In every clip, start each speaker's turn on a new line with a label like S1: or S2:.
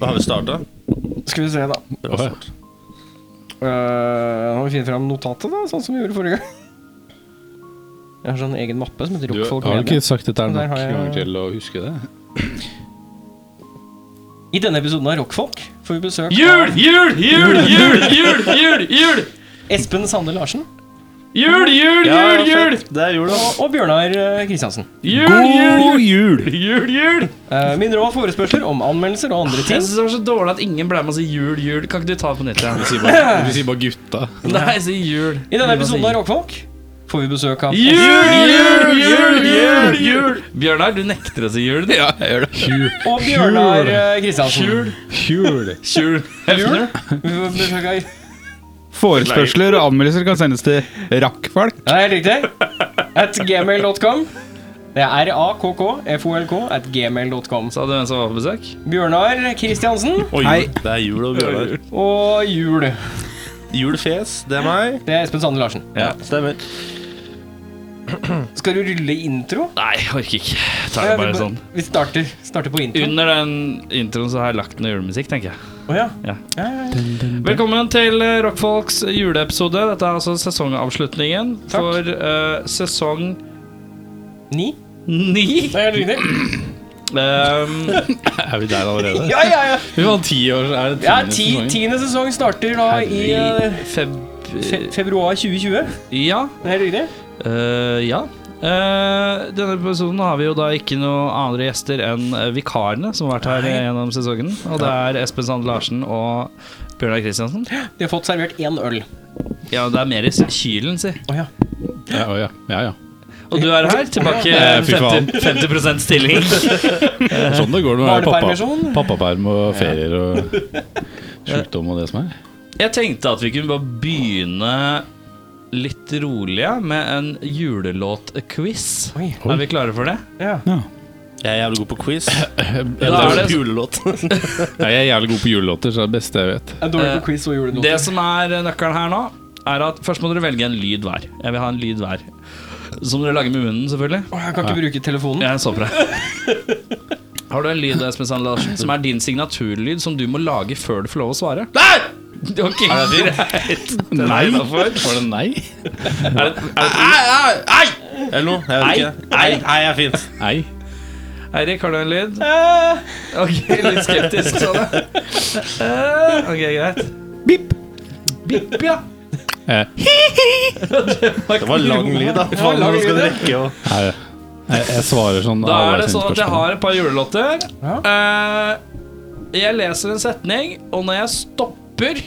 S1: Da har vi starta.
S2: Skal vi se, da. Eh, nå må vi finne fram notatet, da, sånn som vi gjorde forrige gang. Jeg har sånn egen mappe som heter
S3: Du
S2: Rockfolk
S3: har
S2: Media.
S3: ikke sagt dette her
S2: Der
S3: nok
S2: har jeg-
S3: ganger til å huske det.
S2: I denne episoden av Rockfolk får vi besøk
S4: Jul, jul, jul, jul, jul, jul, jul!
S2: av Espen Sande Larsen
S4: Jul, jul, jul, jul!
S1: Det er jul, da.
S2: og, og Bjørnar eh, Kristiansen.
S4: Jul,
S3: jul!
S4: jul, jul, jul, jul!
S2: Eh, minner om forespørsler om anmeldelser og andre
S4: Jeg
S2: ting.
S4: synes det var så dårlig at ingen ble med å si jul, jul. Kan ikke du ta det på nytt igjen?
S3: Vi sier bare, vi sier bare gutta.
S4: Nei, si jul.
S2: I denne episoden av Rockfolk får vi besøk av
S4: Jul, jul, jul, jul, jul! Bjørnar, du nekter å si jul.
S3: Ja, jeg gjør det.
S2: og Bjørnar eh, Kristiansen.
S3: Jul.
S4: Jul. Hefner.
S2: Vi får besøk av
S5: Forespørsler og anmeldelser kan sendes til rakkfolk.
S2: Ja, det er helt riktig. At gmail.com. Det er rakkfolk at gmail.com.
S4: Sa du hvem som var på besøk?
S2: Bjørnar Kristiansen
S1: Og jul.
S5: Hei.
S1: Det er jul og Bjørnar.
S2: og Jul.
S1: Julefjes, det er meg.
S2: Det er Espen Sande Larsen.
S4: Ja.
S1: Stemmer.
S2: Skal du rulle intro?
S4: Nei, jeg orker ikke. Jeg tar det bare
S2: vi,
S4: sånn.
S2: vi starter, starter på intro.
S4: Under den introen så har jeg lagt noe julemusikk, tenker jeg.
S2: Å ja.
S4: Ja.
S2: Ja, ja, ja.
S4: Velkommen til eh, Rockfolks juleepisode. Dette er altså sesongavslutningen
S2: Takk.
S4: for eh, sesong
S2: Ni?
S4: ni.
S2: Det er helt riktig.
S4: Um,
S3: Er vi der allerede?
S2: Ja, ja, ja.
S3: Vi vant ti år, så er det
S2: ja
S3: tiende
S2: ti,
S3: sesongen.
S2: tiende sesong starter da i eh,
S4: feb...
S2: fe, februar 2020.
S4: Ja.
S2: Det er helt riktig.
S4: eh, ja. Eh, denne episoden har vi jo da ikke noen andre gjester enn eh, vikarene som har vært her eh, gjennom sesongen. Og det er Espen Sand Larsen og Bjørnar Kristiansen.
S2: De har fått servert én øl.
S4: Ja, det er mer i Kylen, si.
S2: Å ja.
S3: Ja, å ja, ja, ja.
S4: Og du er her, tilbake
S3: Eh, fy
S4: 50, 50 stilling.
S3: Det er Sånn det går når det er pappa-
S2: Barnepermisjon?
S3: pappaperm og ferier og sjukdom og det som er.
S4: Jeg tenkte at vi kunne bare begynne litt rolige med en julelåt-quiz.
S2: Oi.
S4: Er vi klare for det?
S2: ja.
S1: Jeg er jævlig god på quiz.
S4: Da
S1: Eller
S4: er det-
S1: julelåt.
S3: Nei, jeg er jævlig god på julelåter, så det er det beste jeg vet.
S2: Jeg er dårlig
S4: Eh,
S2: på quiz og julenåter.
S4: Det som er nøkkelen her nå, er at først må dere velge en lyd hver. Jeg vil ha en lyd hver. Som dere lager med munnen, selvfølgelig.
S2: Å, jeg kan ikke bruke telefonen.
S4: Jeg så på deg. Har du en lyd Espen Sand Larsen, som er din signaturlyd, som du må lage før du får lov å svare? Nei! Ok, greit. Den er innafor.
S3: Var det nei?
S4: Er det- er det-
S1: Eller noe. Jeg vet ikke. Nei, nei, er fint.
S3: Nei.
S4: Eirik, har du en lyd?
S2: Eh,
S4: Ok, litt skeptisk, sa du. Eh, Ok, greit. Bip. Bip, ja.
S3: Eh,
S1: Det var lang lyd, da. Faen,
S2: lang
S1: hvordan skal det
S2: lyd,
S1: rekke å
S3: nei. Jeg, jeg svarer sånn
S4: Da er det
S3: halvveis inn i
S4: sånn at jeg
S3: spørsmålet.
S4: har et par julelåter. Eh, jeg leser en setning, og når jeg stopper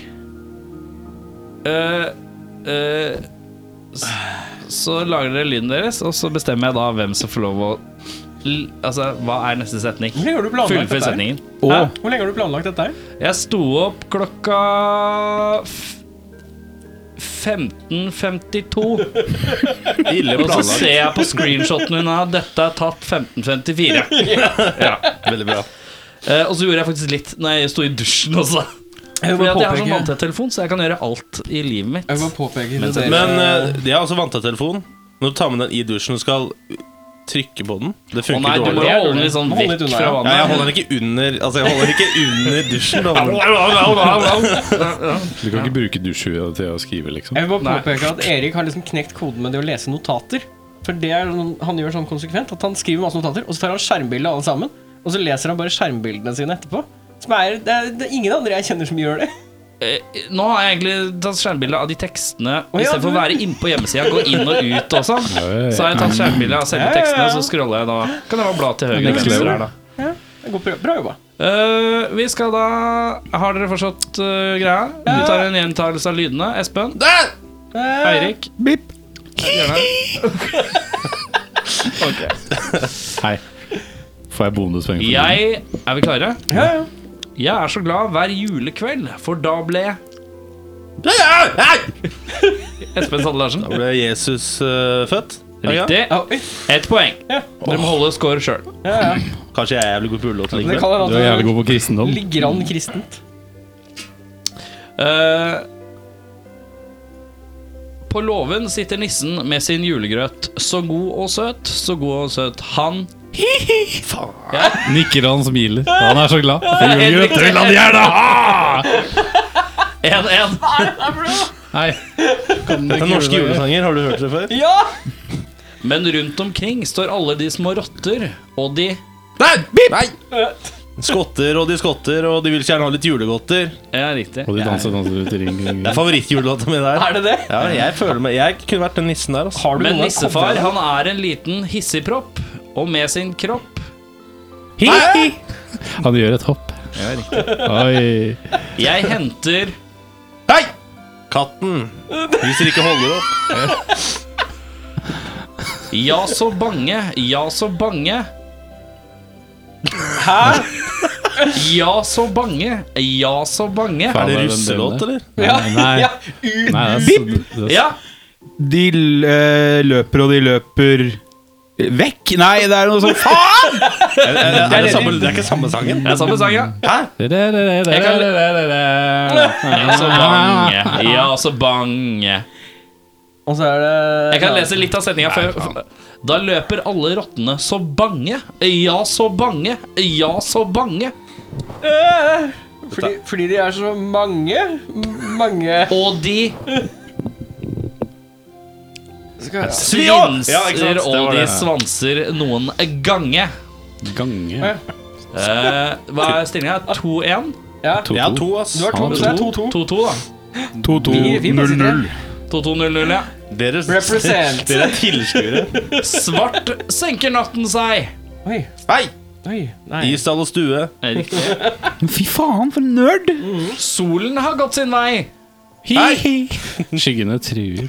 S4: eh, eh, s- Så lager dere lyden deres, og så bestemmer jeg da hvem som får lov å l- Altså, hva er neste setning?
S2: Hvor lenge har du planlagt
S4: Fullfør
S2: dette? her?
S4: setningen.
S3: Å.
S2: Hvor lenge har du planlagt dette? her?
S4: Jeg sto opp klokka f 15.52.
S1: Ille
S4: Og så
S1: planlagt.
S4: ser jeg på screenshoten min at dette er tatt 15.54. Ja.
S1: Veldig bra.
S4: Eh, og så gjorde jeg faktisk litt når jeg sto i dusjen også.
S2: Jeg vil
S4: Fordi
S2: bare
S4: at jeg har sånn
S2: påpeke-
S4: vanntett telefon, så jeg kan gjøre alt i livet mitt.
S2: Jeg vil bare påpeke til dere
S1: Men eh, jeg har også vant av telefonen. Når du tar med den i dusjen og skal trykke på den Det
S4: Å
S1: funker
S4: nei, du må
S1: dårlig.
S2: Det er
S4: holde den litt sånn
S2: dårlig. Hold
S4: vekk
S2: litt unna, ja.
S4: fra
S1: Ja, jeg
S4: vannet.
S1: holder den ikke under Altså, jeg holder den ikke under dusjen. Da. men-
S3: Du kan ikke bruke dusjhuet til å skrive, liksom.
S2: Jeg vil bare
S4: Nei.
S2: påpeke at Erik har liksom knekt koden med det å lese notater. For det er noen, Han gjør sånn konsekvent at han skriver masse notater, og så tar han skjermbilde av alle sammen. Og så leser han bare skjermbildene sine etterpå. Som er, det, er, det er ingen andre jeg kjenner som gjør det.
S4: Eh, Nå har jeg egentlig tatt skjermbilde av de tekstene.
S2: Å, ja,
S4: Istedenfor å
S2: du-
S4: være inne på hjemmesida, gå inn og ut og sånn.
S3: Ja,
S4: Så har jeg tatt skjermbilde av selve
S2: Ja, ja,
S4: tekstene,
S2: ja.
S4: og så scroller jeg da. Kan jeg bare bla til høyre og
S3: Next
S4: venstre
S3: level.
S4: her, da.
S2: Det går bra, bra jobba.
S4: Eh, vi skal da Har dere forstått eh, greia? Vi tar en gjentakelse av lydene. Espen.
S2: Eh,
S4: Eirik.
S5: Bip.
S4: Bjørnar.
S3: Hei. Får jeg bonuspoeng for det?
S4: Jeg Er vi klare?
S2: Ja, ja.
S4: Jeg er så glad hver julekveld, for da ble Espen Sande Larsen.
S1: Da ble Jesus eh, født. Er det ikke det?
S4: Riktig.
S2: Ja, oi.
S4: Ett poeng.
S2: Ja.
S4: Dere må holde score sjøl.
S2: ja, ja.
S1: Kanskje jeg er jævlig god på julelåter
S2: Det
S1: likevel.
S2: kan
S3: Du er
S2: hende at
S3: jævlig
S2: det
S3: god på kristendom.
S2: er litt grann kristent.
S4: Eh, på låven sitter nissen med sin julegrøt. Så god og søt, så god og søt han
S1: Hi-hi! Faen.
S3: Nikker han smiler. Han er så glad.
S4: Henrik-
S3: Grøtter vil han gjerne ha!
S4: 1-1.
S3: Nei.
S1: Dette er norske julesanger. Har du hørt det før?
S2: Ja!
S4: Men rundt omkring står alle de små rotter og de
S3: Nei! Bip! Nei!
S1: Skotter og de skotter, og de vil gjerne ha litt julegodter.
S4: Ja, riktig.
S3: Og de danser danser ut i ring.
S1: Det er favorittjulelåta mi der.
S2: Er det det?
S1: Ja, jeg føler meg Jeg kunne vært den nissen der, altså.
S2: Har du
S4: Men
S2: noen gang kommet
S4: nissefar
S2: deg-
S4: han er en liten hissigpropp, og med sin kropp
S1: Hi-hi!
S3: Han gjør et hopp.
S4: Ja, riktig.
S3: Oi.
S4: Jeg henter
S1: Hei! Katten. Hvis dere ikke holder opp.
S4: Ja, så bange, ja, så bange.
S2: Hæ?
S4: Ja, så bange, ja, så bange.
S1: Er det
S3: Faen,
S1: russelåt,
S3: den delen
S1: eller?
S2: Ja,
S3: Nei.
S2: ja.
S3: der. Nei, det er, det er,
S4: Ja,
S5: De l- eh, løper og de løper Vekk? Nei, det er noe sånn faen!
S1: Er, er, er, det, samme, det er ikke samme sangen.
S4: det er samme sang, ja.
S3: det, er, det, er, det, er, det, er.
S4: Ja, så bange, ja, så bange.
S2: Og så er det
S4: Jeg kan lese litt av sendinga før. Da løper alle rottene så bange. Ja, så bange. Ja, så bange.
S2: Øh, fordi, fordi de er så mange m- Mange
S4: Og de
S2: Skal jeg
S1: Ja, ikke sant?
S4: svinser,
S1: Det
S4: og
S1: var
S4: de
S1: det.
S4: svanser noen gange.
S3: Gange.
S4: Eh, hva er stillinga? 2-1?
S2: Ja,
S1: Jeg har to, ass.
S2: du har to,
S3: Han
S2: så det er
S3: to.
S2: 2-2.
S4: 2-2, da.
S2: Vi- vi bare sitter
S5: 2200.
S4: 2-2-0-0, ja.
S1: Dere,
S2: Represent.
S1: dere er tilskuere.
S4: Svart senker natten seg.
S2: Oi,
S1: Hei!
S2: oi, nei.
S1: I stall og stue.
S4: Eh, Riktig.
S5: Fy faen, for en nerd!
S4: Solen har gått sin vei.
S1: Hei!
S3: Skyggene truer.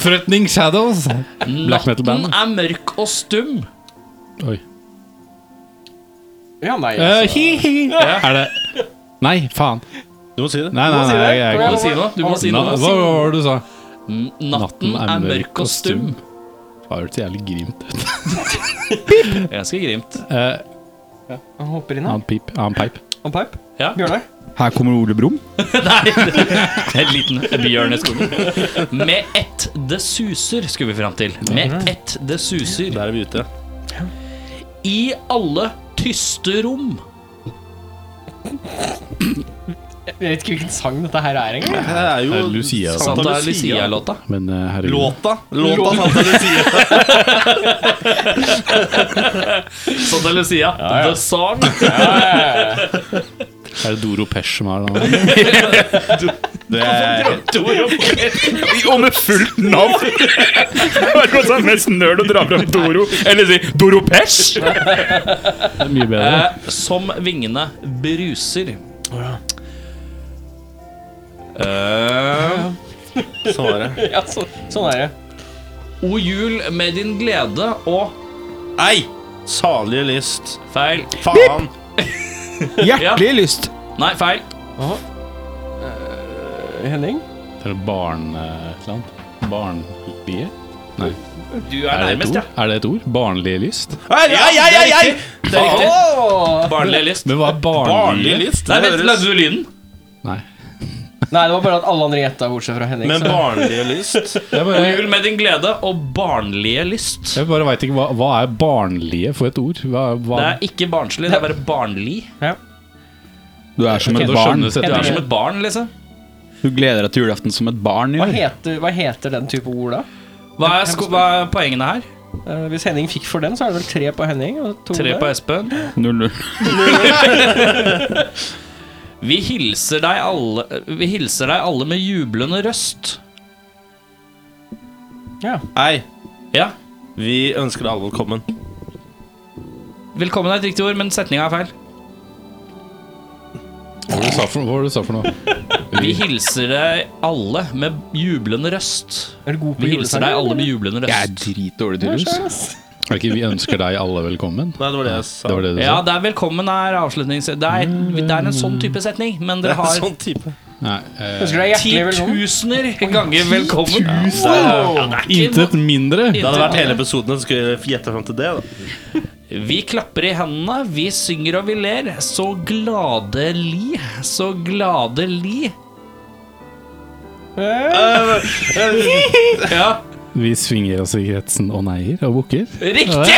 S3: Threatening Shadows. Black metal
S4: Natten
S3: band.
S4: er mørk og stum.
S3: Oi.
S2: Ja, nei.
S3: Eh, hi, hi. Er det Nei, faen.
S1: Du må si det.
S3: Nei, nei, nei, jeg, jeg,
S4: Du må si noe. Du må si
S3: Na-
S4: noe.
S3: hva hva var det du sa?
S4: N- Natten er mørk og stum.
S3: Har hørt så jævlig grimt ut.
S4: Ganske grimt.
S3: Eh,
S2: altså. Han hopper inn her.
S3: annen pip, annen peip.
S2: Han peip.
S4: Ja.
S2: Bjørnar.
S5: Her kommer Ole Brumm.
S4: Nei, en liten bjørn i skogen. Med ett det suser, skulle vi fram til. Med ett det suser.
S1: Der er vi ute.
S4: I alle tyste rom.
S2: Jeg vet ikke hvilken sang dette her er engang.
S1: Det er jo
S3: Det er Lucia,
S4: Santa Lucia-låta.
S3: Men eh, herregud.
S1: Låta. Låta Santa Lucia.
S4: Santa Lucia, the song.
S3: Er det Doro Pesh som er det?
S1: Det er,
S5: Og med fullt navn! Hver gang er mest nerd å dra fram Doro. Eller si Doro Pesh!
S3: det er mye bedre.
S4: Eh, Som vingene bruser. Eh,
S1: sånn var det.
S2: Ja, så, sånn er det.
S4: O jul med din glede og
S1: Ei! Salige lyst.
S4: Feil.
S1: Faen.
S5: Eh, Hjertelig lyst.
S4: Nei, feil.
S2: Eh, Henning?
S3: Det er barn... eh, et eller annet. Barnlige?
S4: Du er
S3: Er det,
S4: nærmest,
S3: et
S4: ja.
S3: ord? er det et ord? Barnlig lyst?
S1: Ei, ei, ei, ei, ei!
S4: Det er riktig.
S2: Åh!
S4: Barnlig lyst.
S3: Men hva er
S1: Barnlig
S3: barnlige?
S1: lyst.
S4: Nei, vent,
S1: høres-
S4: lagde du lyden?
S3: Nei.
S2: Nei, det var bare at alle andre gjetta, bortsett fra Henning.
S1: Men
S2: så-
S1: barnlig lyst
S3: Jeg
S4: Og
S3: bare,
S4: jul med din glede og barnlige lyst.
S3: jeg bare veit ikke hva, hva er barnlige for et ord? Hva, hva?
S4: Det er ikke barnslig, det er bare barnlig.
S2: ja.
S5: Du er som
S3: Men
S5: et
S3: da
S5: barn.
S3: skjønnes dette
S4: Du er
S3: her.
S4: som et barn, liksom.
S5: Du gleder deg til julaften som et barn
S2: hva,
S5: gjør.
S2: heter, hva heter den type ord, da?
S4: Hva er, sko hva er poengene her?
S2: Eh, hvis Henning fikk for den, så er det vel tre på Henning og to
S4: Tre
S2: der.
S4: på Espen.
S5: 0-0.
S4: Vi hilser deg alle, vi hilser deg alle med jublende røst.
S2: Ja.
S1: Ei,
S4: Ja.
S1: vi ønsker deg alle velkommen.
S4: Velkommen er et riktig ord, men setninga er feil.
S3: Hva var det du sa for, hva var det du sa for noe?
S4: Vi hilser deg alle med jublende røst.
S2: Er du god på
S4: Vi hilser deg alle med
S2: julesanger?
S4: jublende
S5: Jeg er
S4: røst.
S5: dritdårlig til rus.
S3: Er det ikke 'vi ønsker deg alle velkommen'?
S1: Nei, det var det jeg sa.
S3: Det var det du
S4: Ja,
S3: sa?
S4: det er velkommen er avslutnings... Det er, det er en sånn type setning, men
S1: Det
S4: dere
S1: er en
S4: har
S1: sånn type.
S3: Nei. Eh,
S2: Ønsker deg hjertelig velkommen.
S4: titusener ganger velkommen.
S2: Wow.
S3: intet mindre!
S1: Det hadde vært hele episoden. så Skulle jeg gjette frem til det, da.
S4: Vi klapper i hendene, vi synger og vi ler. Så gladelig, så gladelig.
S2: Eh,
S4: Ja.
S3: Vi svinger oss i kretsen og neier og bukker.
S4: Riktig!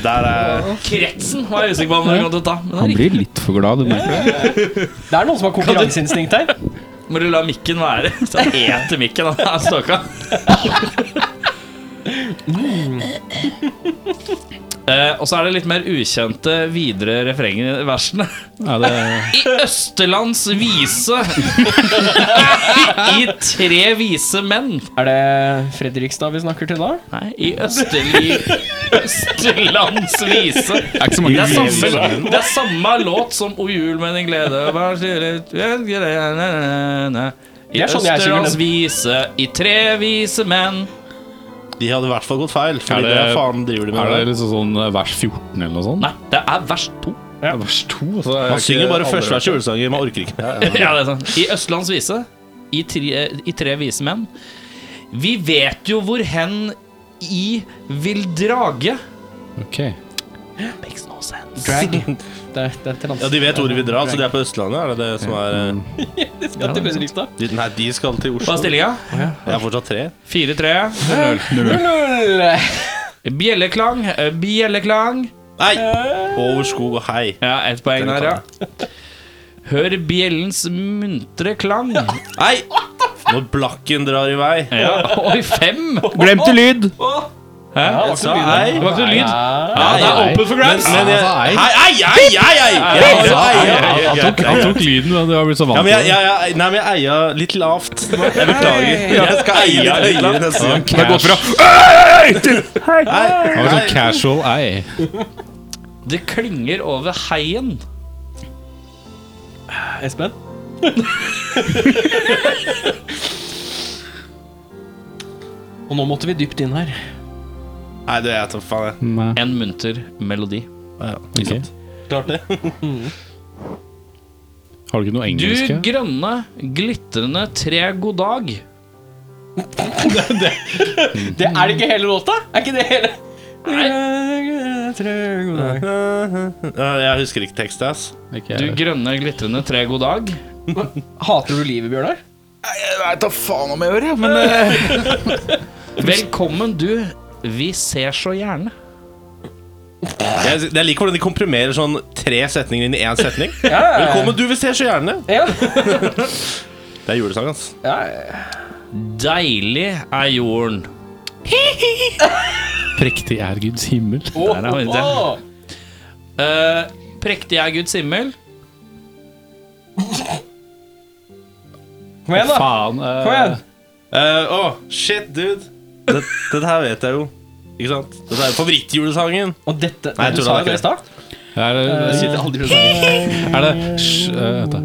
S1: Der er
S4: Kretsen var jeg usikker på om jeg kom til å ta. Men det er
S6: Han
S4: riktig.
S6: blir litt for glad, du merker det.
S2: Det er noen som har konkurranseinstinkt her.
S4: Må du la mikken være? Så han eter mikken, han er stalka. Eh, og så er det litt mer ukjente videre refrenger i versene.
S3: Ja, det
S4: I Østerlands vise I tre vise menn.
S2: Er det Fredrikstad vi snakker til da?
S4: Nei, i Østerli Østerlands vise.
S3: er ikke så
S4: Det
S3: mange
S4: er samme, det er samme låt som O jul med din glede. Hva sier det? I
S2: Det er sånn jeg synger den.
S4: Østerlands vise, i tre vise menn.
S1: De hadde i hvert fall gått feil. Fordi
S3: Er
S1: det,
S3: det-
S1: faen driver de med
S3: Er det
S1: der.
S3: liksom sånn eh, vers 14 eller noe sånt?
S4: Nei, det er vers to.
S3: Ja, vers 2? Så er
S1: Man
S3: ikke
S1: synger bare
S3: alle-
S1: første vers i julesanger. Man orker ikke mer.
S4: Ja, det er sant. I Østlands vise, i tre, i tre vise menn. Vi vet jo hvor hen i vil drage.
S3: Ok.
S4: Makes no sense.
S2: Drag. Det, det er til lands.
S1: Ja, De vet hvor de vil dra, så de er på Østlandet? Er det det som er eh,
S2: De skal til Fredrikstad.
S1: de, Nei, de skal til
S4: Hva
S1: Oslo.
S4: er stillinga?
S1: Jeg er fortsatt tre.
S4: 4-3.
S2: Null.
S4: Bjelleklang, Eh, bjelleklang.
S1: Nei! Over skog og hei.
S4: Ja, ett poeng der, ja. Hør bjellens muntre klang.
S1: Nei! Når blakken drar i vei.
S4: Ja. Oi, fem!
S6: Glemte lyd!
S4: Hæ?
S2: Ja,
S1: Så hei.
S4: Det var ikke noe lyd.
S2: Ja.
S4: Ja, det er
S1: Nei.
S4: open for grabs.
S1: Men jeg,
S3: Ja,
S1: hei,
S3: hei.
S1: hei, hei, hei, hei! Ja,
S4: ja,
S1: hei, hei, hei.
S3: Han tok, han tok lyden, da. Du har blitt så
S1: Ja,
S3: vant
S1: men jeg,
S3: til det.
S1: jeg, jeg, nei, men jeg eia litt lavt. Jeg beklager. Jeg skal eie litt høyere neste gang.
S3: Det går fra
S1: Hei,
S3: Han var
S1: hei.
S3: sånn casual ei.
S4: Det klinger over heien.
S2: Espen? Og nå måtte vi dypt inn her.
S1: Nei, det er jeg tar faen, jeg.
S3: Nei,
S4: En munter melodi.
S3: ok.
S1: Klart det.
S3: Har du ikke noe
S4: Du
S3: engelsk? ja?
S4: grønne, glitrende tre god dag.
S2: Det er det ikke hele låta? Er ikke det hele Nei.
S1: Jeg husker ikke tekstet, ass.
S3: Ikke
S4: Du
S3: jeg.
S4: grønne, glitrende tre god dag.
S2: Hater du livet, Bjørnar?
S4: Velkommen, du. Vi ser så gjerne.
S1: Jeg, jeg liker hvordan de komprimerer sånn tre setninger inn i én setning. Velkommen, du, vi ser så gjerne.
S2: Ja.
S1: Det er julesang, ass.
S2: ja.
S4: Deilig er jorden.
S3: Prektig er Guds himmel.
S2: Åh,
S4: Der er vi ute.
S2: åh.
S4: Eh, prektig er Guds himmel.
S2: Kom igjen, da.
S3: Faen. eh,
S2: Kom igjen.
S1: Eh, Åh, shit, dude. Dette, dette her vet jeg jo. Ikke sant? Dette er favorittjulesangen.
S2: Og dette
S1: Nei, jeg
S2: Du
S1: tror det er
S2: sa jo det i stad.
S3: Er det,
S2: aldri sånn.
S3: er det sj, eh, vent da.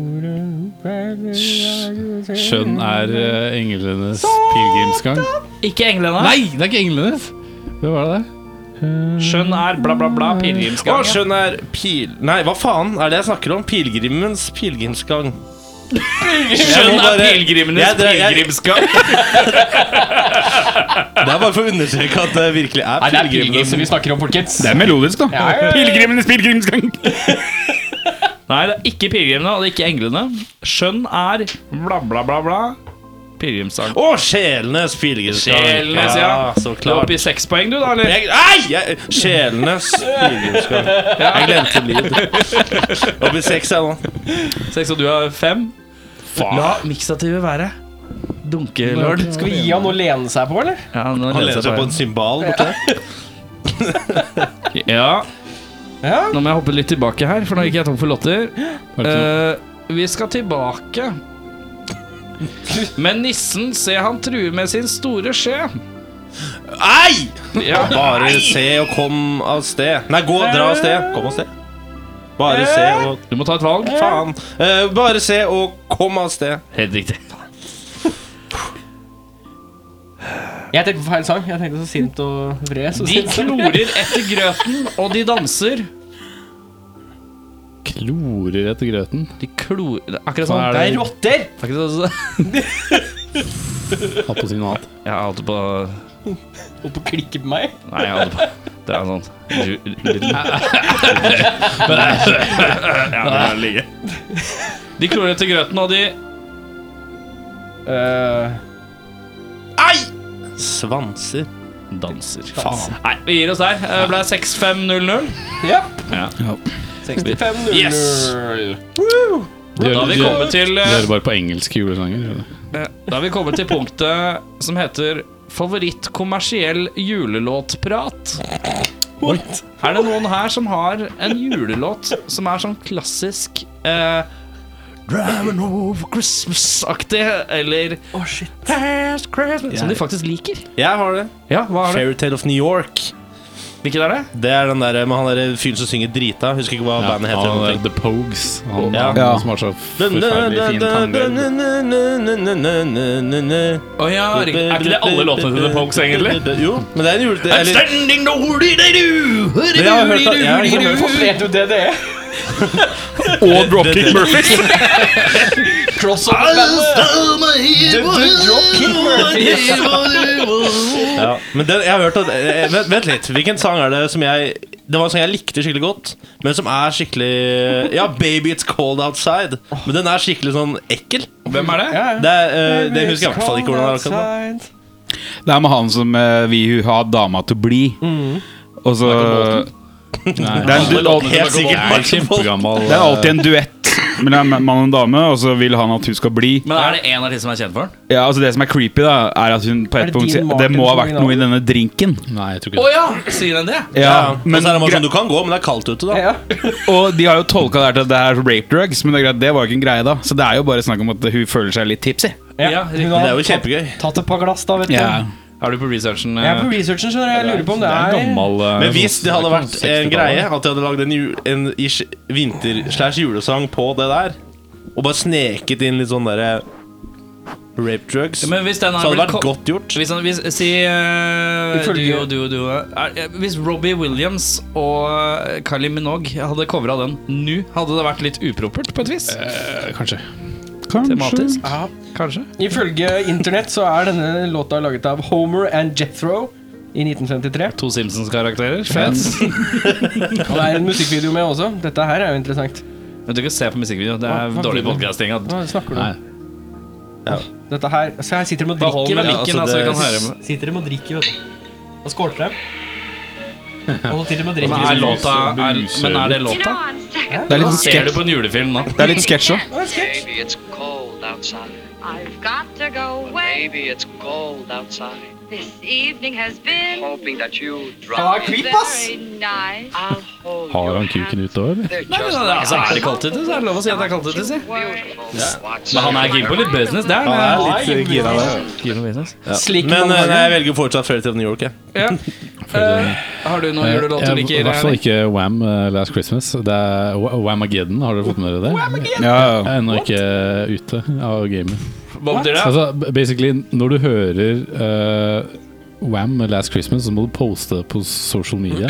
S3: Sj- Skjønn er eh, englenes pilegrimsgang.
S4: Ikke englene.
S3: Nei, det er ikke englenes! Hva var det der?
S4: Skjønn er bla, bla, bla.
S1: Å,
S4: Pilegrimsgang.
S1: skjønn er pil... Nei, hva faen er det jeg snakker om? Pilegrimens pilegrimsgang.
S4: Skjønn er
S1: bare-
S4: pilegrimenes
S1: Jeg dre- jeg-
S4: pilegrimsgang.
S1: Det er bare for å understreke at det virkelig er
S2: Nei, det er
S1: pilegrimene
S2: pilegrim
S1: som
S2: vi snakker om, folkens.
S5: Det er melodisk, da.
S2: Ja, ja, ja.
S5: Pilegrimenes pilegrimsgang.
S4: Nei, det er ikke pilegrimene, og det er ikke englene. Skjønn er bla, bla, bla, bla. Pilegrimsgang.
S1: Å, sjelenes pilegrimsgang.
S4: Sjelenes, ja.
S1: Så
S4: Du er
S1: klart.
S4: oppe i seks poeng, du, da, eller?
S1: Jeg, nei! Jeg, sjelenes pilegrimsgang. Jeg glemte lyd. Oppe i seks, jeg nå.
S4: Seks, og du er fem. La miksativet være. Dunkelord.
S2: Skal vi gi han noe å lene seg på, eller?
S4: Ja, nå
S1: Han lener
S4: leser
S1: seg på en symbal borte.
S4: jeg på ja,
S2: Ja.
S4: nå må jeg hoppe litt tilbake her, for nå gikk jeg tom for låter.
S3: Var det ikke noe?
S4: Eh, vi skal tilbake. Men nissen, se han truer med sin store skje.
S1: Nei!
S4: Ja.
S1: Bare se og kom av sted. Nei, gå, dra av sted. Kom av sted. Bare se og
S4: Du må ta et valg.
S1: Faen. Eh, bare se og kom av sted.
S4: Helt riktig.
S2: Jeg tenkte på feil sang. Jeg tenkte så sint og vred. Så
S4: De
S2: sint.
S4: klorer etter grøten, og de danser.
S3: Klorer etter grøten.
S4: De klor... Akkurat
S3: Hva
S4: sånn.
S3: er
S2: Det
S3: det?
S2: er rotter!
S4: Akkurat sånn.
S3: Hatt på sin hat.
S4: Jeg holdt på
S2: Opp og klikke på meg.
S4: Nei, jeg holdt på Det er sånn du, du, De klorer etter grøten, og de
S2: Eh,
S1: Nei! Svanser.
S4: Danser. Faen. Nei, vi gir oss der. Det ble 6500.
S2: Ja.
S4: Ja.
S2: 65 0
S1: Yes.
S3: De
S4: Da har vi kommet til
S3: de
S4: eh,
S3: hører bare på engelske julesanger. gjør de det?
S4: Da har vi kommet til punktet som heter favorittkommersiell julelåtprat. Er det noen her som har en julelåt som er sånn klassisk eh, Driving over Christmas-aktig, eller
S2: Å, shit.
S4: Last Christmas Som de faktisk liker.
S1: Jeg har det.
S4: Ja, hva er det?
S1: Fairytale of New York.
S4: Hvilken er det?
S1: Det er den der med han der fyren som synger drita. Husker ikke hva
S3: Ja,
S1: bandet heter.
S3: han,
S1: eller
S3: eh,
S1: noe.
S3: The Pogues. Han,
S1: Ja.
S3: han,
S6: Ja.
S3: som har så
S1: Dun, dun,
S3: forferdelig fin
S1: dun, dun,
S3: tangdel.
S1: dun, dun, dun, dun, dun, dun, dun, dun.
S5: Å ja, Er ikke det alle låtene til The Pokes, egentlig?
S1: Jo, men det er en julete... eller-
S5: Standing nobody they do,
S1: Det jeg har hørt at- jeg har hørt
S2: Hvorfor vet du det det er?
S5: Og Dropkick Murphys.
S2: Crossover-bandet! Dropkick Murphys!
S1: Ja, men den, jeg har hørt at eh, vent, vent litt. Hvilken sang er det som jeg Det var en sang jeg likte skikkelig godt, men som er skikkelig Ja, 'Baby It's Cold Outside'. Men den er skikkelig sånn ekkel.
S4: Hvem er det?
S2: Ja, ja.
S1: Det, er, eh, det husker jeg i hvert fall ikke hvordan det er akkurat nå.
S2: akkurat.
S6: Det er med han som eh, vi vil ha dama til å bli.
S1: Mm.
S6: Og så det er, en du,
S1: Helt sikkert Michael
S3: Det er
S1: Bolton.
S3: kjempegammal. eh,
S6: det er alltid en duett mellom en mann og en dame, og så vil han at hun skal bli.
S4: Men er det en av de som er kjent for den?
S6: Ja, altså Det som er creepy, da er at hun på
S2: Er
S6: et
S2: det
S6: punkt
S2: Dean
S6: sier Det
S2: Martin
S6: må ha
S2: som
S6: vært noe i denne drinken.
S3: Nei, jeg tror
S4: Å
S3: ikke det.
S4: ja! Sier den det?
S1: Ja,
S6: men,
S1: og så er det bare
S6: gre-
S1: sånn, Du kan gå, men det er kaldt ute, da.
S2: Ja.
S6: og de har jo tolka det her til at det er rape drugs, men det, er greit, det var jo ikke en greie da. Så det er jo bare snakk om at hun føler seg litt tipsy.
S2: Ja.
S4: Ja, riktig.
S2: Hun har
S1: Det er jo kjempegøy.
S2: tatt- Tatt et par glass, da, vet du.
S4: Er du på researchen?
S2: Jeg er på researchen, eh, skjønner du. Jeg lurer på om det er
S3: Gammal, eh,
S1: Men hvis det hadde
S3: sånn
S1: vært en
S3: 60-tallet.
S1: greie at de hadde lagd en, ju- en ish- vinter-slash-julesang på det der, og bare sneket inn litt sånn derre rape drugs,
S4: Ja, Men hvis den
S1: så
S4: har
S1: hadde det
S4: blitt
S1: vært
S4: ko-
S1: godt gjort.
S4: Hvis han, hvis, si eh, duo,
S2: Ifølge-
S4: duo, duo. Er, eh, Hvis Robbie Williams og eh, Kylie Minogue hadde covra den nå, hadde det vært litt upropert på et vis?
S3: Eh, Kanskje.
S4: Tematisk? Kanskje.
S2: Ifølge internett så er denne låta laget av Homer and Jethro i 1953.
S4: To Simpsons-karakterer. Fett.
S2: Og det er en musikkvideo med også. Dette her er jo interessant.
S4: Men du kan se på musikkvideo. Det
S2: Hva-
S4: er
S2: hva
S4: dårlig
S2: blir det?
S4: podcasting. at-
S2: Hva snakker du
S3: Nei.
S2: om? Dette her Så her sitter de og
S4: Behold
S2: drikker.
S4: med
S2: vet du.
S4: Altså, mikken, da, så vi kan høre. med-
S2: Sitter de og drikker, vet du. Og skåler dem. Og så sitter de og
S4: Men
S2: drikker.
S4: er, låta, er, men er det låta? Altså,
S6: Det er litt
S4: Ser du
S6: sketsj.
S4: på en julefilm nå?
S6: Det er litt sketsj òg.
S7: Baby, it's cold outside.
S8: I've got to go away.
S7: Baby, it's cold outside.
S8: This evening has been
S7: Hoping that you
S2: Kan
S7: drop.
S2: være creep, ass!
S8: very nice.
S7: I'll hold
S3: Har
S7: your
S3: han kuken
S7: hand.
S3: ute òg, eller?
S7: They're
S4: Nei, men,
S7: just
S4: altså, er det
S7: like
S4: kaldt ute, så er det lov å si at det er kaldt ute, si.
S7: beautiful. Watch
S4: Men han er keen på litt business der.
S1: Han
S4: Men,
S1: er litt gira der.
S4: Keen på business.
S1: Ja.
S2: Slik
S1: Men
S2: man
S1: eh,
S2: lager.
S1: nei, jeg velger fortsatt Fairytale of New York. Jeg.
S4: Ja. Eh, har du noen julelåt du
S3: Jeg- I
S4: liker?
S3: hvert fall
S4: Henrik?
S3: ikke Wham eh, Last Christmas. Det er Wha- Whamageddon, har dere fått med dere det?
S6: Ja,
S3: Jeg er ennå ikke eh, ute av gamet.
S4: Hva betyr det?
S3: Altså, b- basically, når du hører eh, Wham Last Christmas, så må du poste det på social media.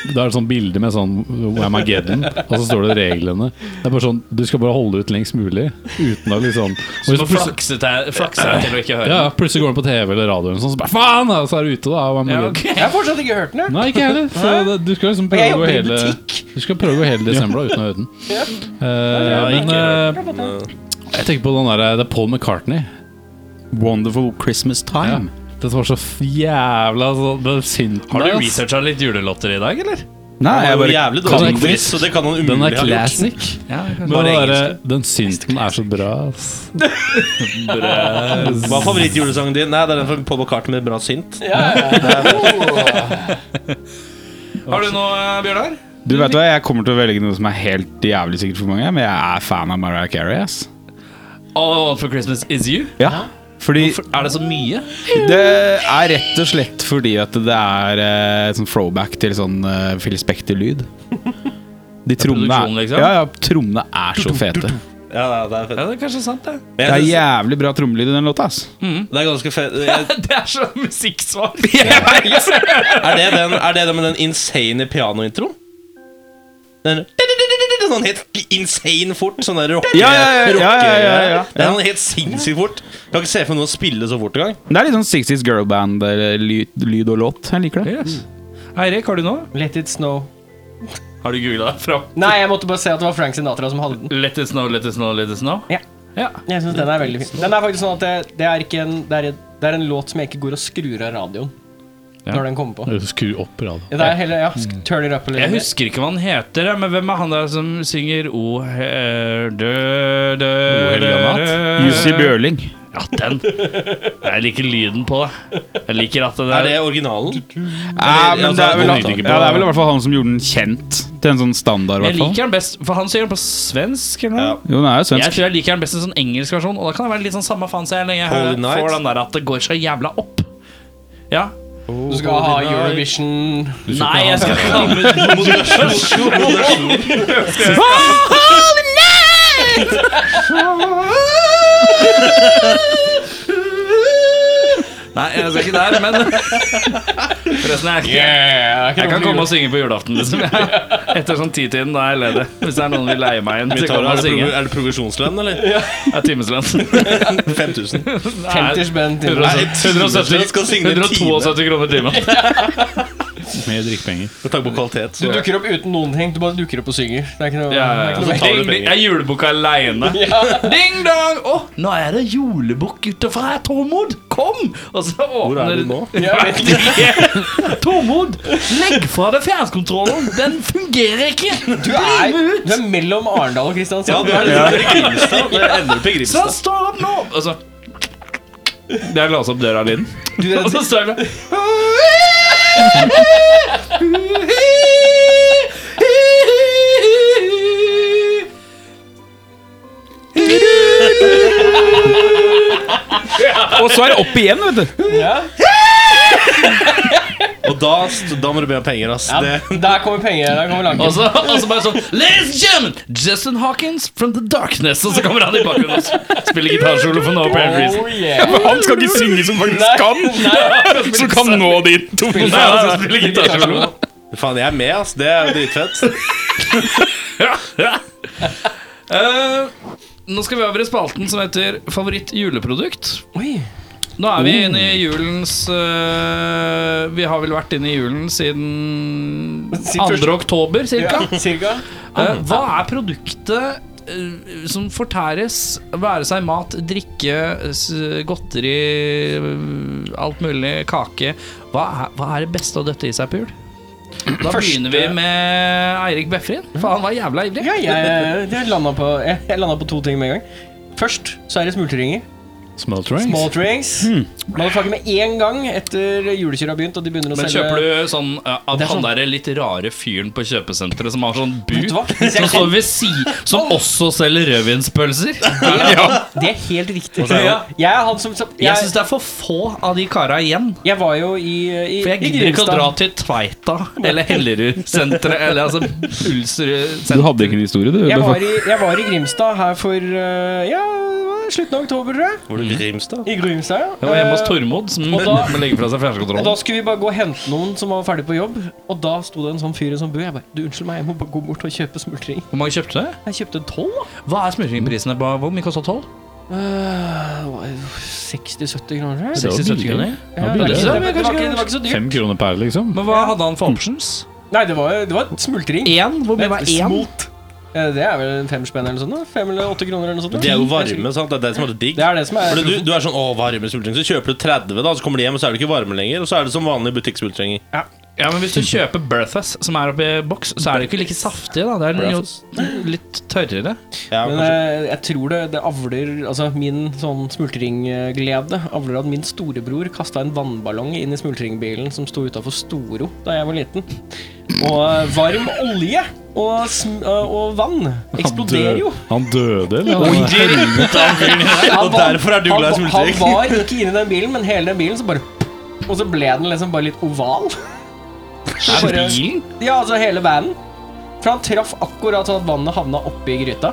S3: Da er det sånn bilde med sånn Whamageddon, og så står det reglene. Det er bare sånn, Du skal bare holde ut lengst mulig, uten å liksom og
S4: Du
S3: hvis
S4: må
S3: plutselig-
S4: flakse deg flakse deg til å ikke høre.
S3: ja, plutselig går den på TV eller radio, eller sånn, så bare faen! Og så er du ute, da. av
S4: Ja,
S3: Whamageddon.
S4: ok.
S2: Jeg har fortsatt ikke hørt den, jeg.
S3: Nei, ikke jeg heller. Så det, du skal liksom
S2: jeg
S3: prøve å gå
S2: jobber i
S3: hele Du skal prøve å gå hele desember da, uten å høre den.
S1: Ja,
S3: Eh, men
S1: ikke-
S3: eh, jeg tenker på den der, eh, det er Paul McCartney.
S6: Wonderful Christmas time.
S3: Den var så f- jævla altså, så, den synten
S4: Har
S3: der,
S4: du
S3: ass.
S4: researcha litt julelåter i dag, eller?
S6: Nei,
S1: Han er
S6: jeg
S1: jo
S6: bare
S1: jævlig dårlig
S3: Kan
S1: på
S3: ikke-
S1: quiz, så det kan han
S3: Den
S1: umulig
S3: er
S1: ha gjort.
S3: classic.
S4: Ja,
S3: Men
S4: Bare
S3: den, der,
S4: engelsk.
S3: den synten er så bra, ass.
S1: Hva er favorittjulesangen din? Nei, det er den fra Paul McCartney med bra synt.
S4: Har du noe, eh, Bjørnar?
S6: Du vet hva, Jeg kommer til å velge noe som er helt jævlig sikkert for mange, men jeg er fan av Mariah Carey. ass
S4: All I Want for Christmas Is You?
S6: Ja, fordi
S4: For, er det så mye?
S6: Det er rett og slett fordi at det er eh, et sånn throwback til sånn eh, Phil Spector-lyd. De trommene
S4: produksjonen,
S6: er,
S4: liksom?
S6: ja, ja, trommene er så fete.
S1: Ja, ja, det er fett.
S4: Ja, det er kanskje sant, det.
S1: Men
S6: Det er
S1: jeg synes,
S6: jævlig bra trommelyd i den låta. ass
S1: det er ganske fett. Jeg-
S4: Det er så musikksvar.
S1: Er det den, er det den med den insane pianointroen? Den Sånn helt insane fort. Sånn der rocke...
S6: Ja, ja, ja, ja, ja, ja, ja.
S1: Det er sånn helt sinnssykt fort. Jeg kan ikke se for meg noen spille så fort engang.
S6: Det er litt sånn 60s girlband eller lyd, lyd og låt. Jeg liker det.
S4: Yes. Eirik, har du noe?
S2: Let it snow.
S4: Har du googla deg fram?
S2: Nei, jeg måtte bare se at det var Frank Sinatra som hadde den.
S4: Let it snow, let it snow, let it snow?
S2: Ja.
S4: Ja.
S2: Jeg synes den er veldig fin. Den er faktisk sånn at det, det, er ikke en, det, er, en- det er en låt som jeg ikke går og skrur av radioen
S3: Ja.
S2: når den kommer på.
S3: Skru opp radioen. Mm.
S2: Ja, Det er hele, ja, sk- turn it up eller
S4: Jeg husker ikke hva han heter, ja, men hvem er han der som synger O he- dø dø dø dø-
S6: Jussi Bjørling.
S4: Ja, den. Jeg liker lyden på det. Jeg liker at det
S1: Er
S4: der
S1: det originalen?
S6: Ja, men det er vel,
S1: altså,
S6: ja, det er vel i hvert fall han som gjorde den kjent til en sånn standard.
S4: Jeg
S6: hvert fall.
S4: liker den best, for han synger den på svensk. Eller? noe?
S6: Jo, den er jo
S4: Jeg
S6: svensk.
S4: tror jeg liker den best i en sånn engelsk versjon, og da kan det være litt sånn samme faen så jeg lenge jeg
S1: Holy
S4: hører-
S1: night.
S4: får den der at det går så jævla opp. Ja.
S2: Du skal ha Eurovision
S4: Nei, jeg skal ikke ha med Nei, jeg skal ikke der, men Forresten, jeg, jeg kan komme og synge på julaften, liksom. Jeg, etter sånn titiden, da er jeg ledig. Hvis det er noen som vil leie meg inn, så kan
S1: Tar,
S4: jeg
S1: er, det
S4: synge.
S1: prog- er det progresjonslønn, eller?
S4: Det er timeslønn.
S1: 5000.
S2: 50 spenn til
S1: Nei,
S4: 170
S1: skal signe en time.
S4: 172 kroner timen.
S3: Med drikkepenger.
S1: Med tanke på kvalitet.
S2: Du
S1: Så.
S2: dukker opp uten noen ting. Du bare dukker opp og synger. Det er ikke noe,
S4: Ja,
S2: det er
S4: ja, ja.
S2: ikke noe
S1: tar du penger.
S4: Jeg er julebukk aleine. Ding dong! Å, nå er det julebukk ute fra Tormod! Kom! Og så
S1: Hvor er du nå?
S2: Jeg vet ikke.
S4: Tormod, legg fra deg fjernkontrollen! Den fungerer ikke!
S2: Du er, du er mellom Arendal og Kristiansand.
S1: Ja, det
S4: liksom-
S1: er det Grimstad. Det ender på
S4: Så han
S1: Grimstad.
S4: står opp nå! Og så Det er låst opp døra lyden.
S2: Du, det,
S4: Og så står jeg
S6: Og så er det opp igjen, vet du.
S2: ja.
S6: Sånn.
S1: Og da, da må du be om penger, ass.
S2: Ja,
S1: Det,
S2: der kommer penger. Der kommer
S4: Og
S2: lanken.
S4: så, og så bare sånn Ladies and gentlemen, Justin Hawkins from the darkness. Og så kommer han i bakgrunnen og s- spiller gitarsolo for no apparent reason.
S2: Oh, yeah.
S5: Han skal ikke synge som faktisk kan! Så kan nå de to
S4: Nei, han skal spille gitarsolo.
S1: faen, jeg er med, ass. Det er jo dritfett.
S4: Eh, nå skal vi over i spalten som heter Favoritt juleprodukt.
S2: Oi.
S4: Nå er
S5: Oh.
S4: vi inne i julens eh, Vi har vel vært inne i julen siden
S2: Siden
S4: 2.
S2: første-
S4: oktober, cirka.
S2: Ja, cirka.
S4: Eh,
S2: Mm.
S4: hva er produktet eh, som fortæres, være seg mat, drikke, s- godteri, eh, alt mulig, kake Hva er, hva er det beste å døtte i seg på jul? Da begynner vi med Eirik Befrin, for han var jævla ivrig.
S2: Ja, jeg, eh, jeg, landa på, jeg, jeg landa på to ting med en gang. Først så er det smultringer.
S3: Smell trains.
S2: Small drinks.
S4: Hmm.
S2: Motherfucker med en gang etter julekyr har begynt, og de begynner å
S4: Men
S2: selge
S4: kjøper du sånn eh, av
S2: Det er
S4: han
S2: sånn-
S4: derre litt rare fyren på kjøpesenteret som har sånn
S2: Vet
S4: bud
S2: du hva? Hvis jeg
S4: som står ved si, som også selger rødvinspølser?
S2: Det er helt riktig. Jeg er han som som-
S4: Jeg
S2: Jeg,
S4: syns det er for få av de kara igjen.
S2: jeg var jo i, eh, i,
S4: For
S2: i
S4: jeg gidder ikke å
S2: Grimstad.
S4: dra til Tveita eller Hellerudsenteret eller altså
S6: Du
S4: Ulsrud-senteret.
S6: hadde ikke en historie, du.
S2: Jeg
S6: Eller
S2: var, i, jeg var i Grimstad her for eh, ja, det var slutten av oktober, tror jeg.
S1: Var du Grimstad?
S2: I Grimstad, ja.
S4: Jeg var hjemme hos
S2: Eh,
S4: Tormod, som
S2: og da-
S4: må legge fra seg
S2: Og da
S4: fjernkontrollen.
S2: skulle vi bare gå og hente noen som var ferdig på jobb, og da sto det en sånn fyr i en sånn bu. Jeg bare Du, unnskyld meg, jeg må bare gå bort og kjøpe smultring.
S4: Hvor mange kjøpte du?
S2: Jeg kjøpte tolv, da.
S4: Hva er smørkringprisene? på- Hvor mye kosta tolv?
S2: Eh, det var jo 60-70 kroner, tror jeg.
S4: 60-70 kroner?
S2: Ja, det,
S3: billig.
S2: var ikke, så- det, var
S4: Det var
S2: ikke,
S4: ikke-
S2: det var ikke så dyrt.
S3: Fem kroner per, liksom.
S4: Men hva hadde han for options?
S2: Nei, det var, det var smultring.
S4: Én? Hvor mye var én?
S2: Smolt. Eh, Det er vel en fem spenn eller sånn da? Fem eller åtte kroner eller noe sånt? da.
S1: De er jo varme, sant? Det er det som er det digg.
S2: Det er det som er
S1: Fordi du, du er sånn 'Å, varme smultringer', så kjøper du 30, da, så kommer de hjem, og så er de ikke varme lenger. Og så er det som vanlige butikksmultringer.
S4: Ja, men Hvis du kjøper Berthas, som er oppi boks, så er det ikke like saftig. da Det er jo litt tørrere.
S1: Ja,
S2: Men
S1: kanskje.
S2: eh, jeg tror det, det avler Altså min sånn smultringglede avler at min storebror kasta en vannballong inn i smultringbilen som sto utafor Storo da jeg var liten. Og eh, varm olje og, sm eh, og vann eksploderer jo.
S3: Han døde, eller?
S1: Og derfor er du glad i
S2: han-
S1: smultring.
S2: Han var ikke inni den bilen, men hele den bilen så bare Og så ble den liksom bare litt oval.
S4: Er bilen?
S2: Ja, altså hele vanen. For han traff akkurat sånn at vannet havna oppi gryta.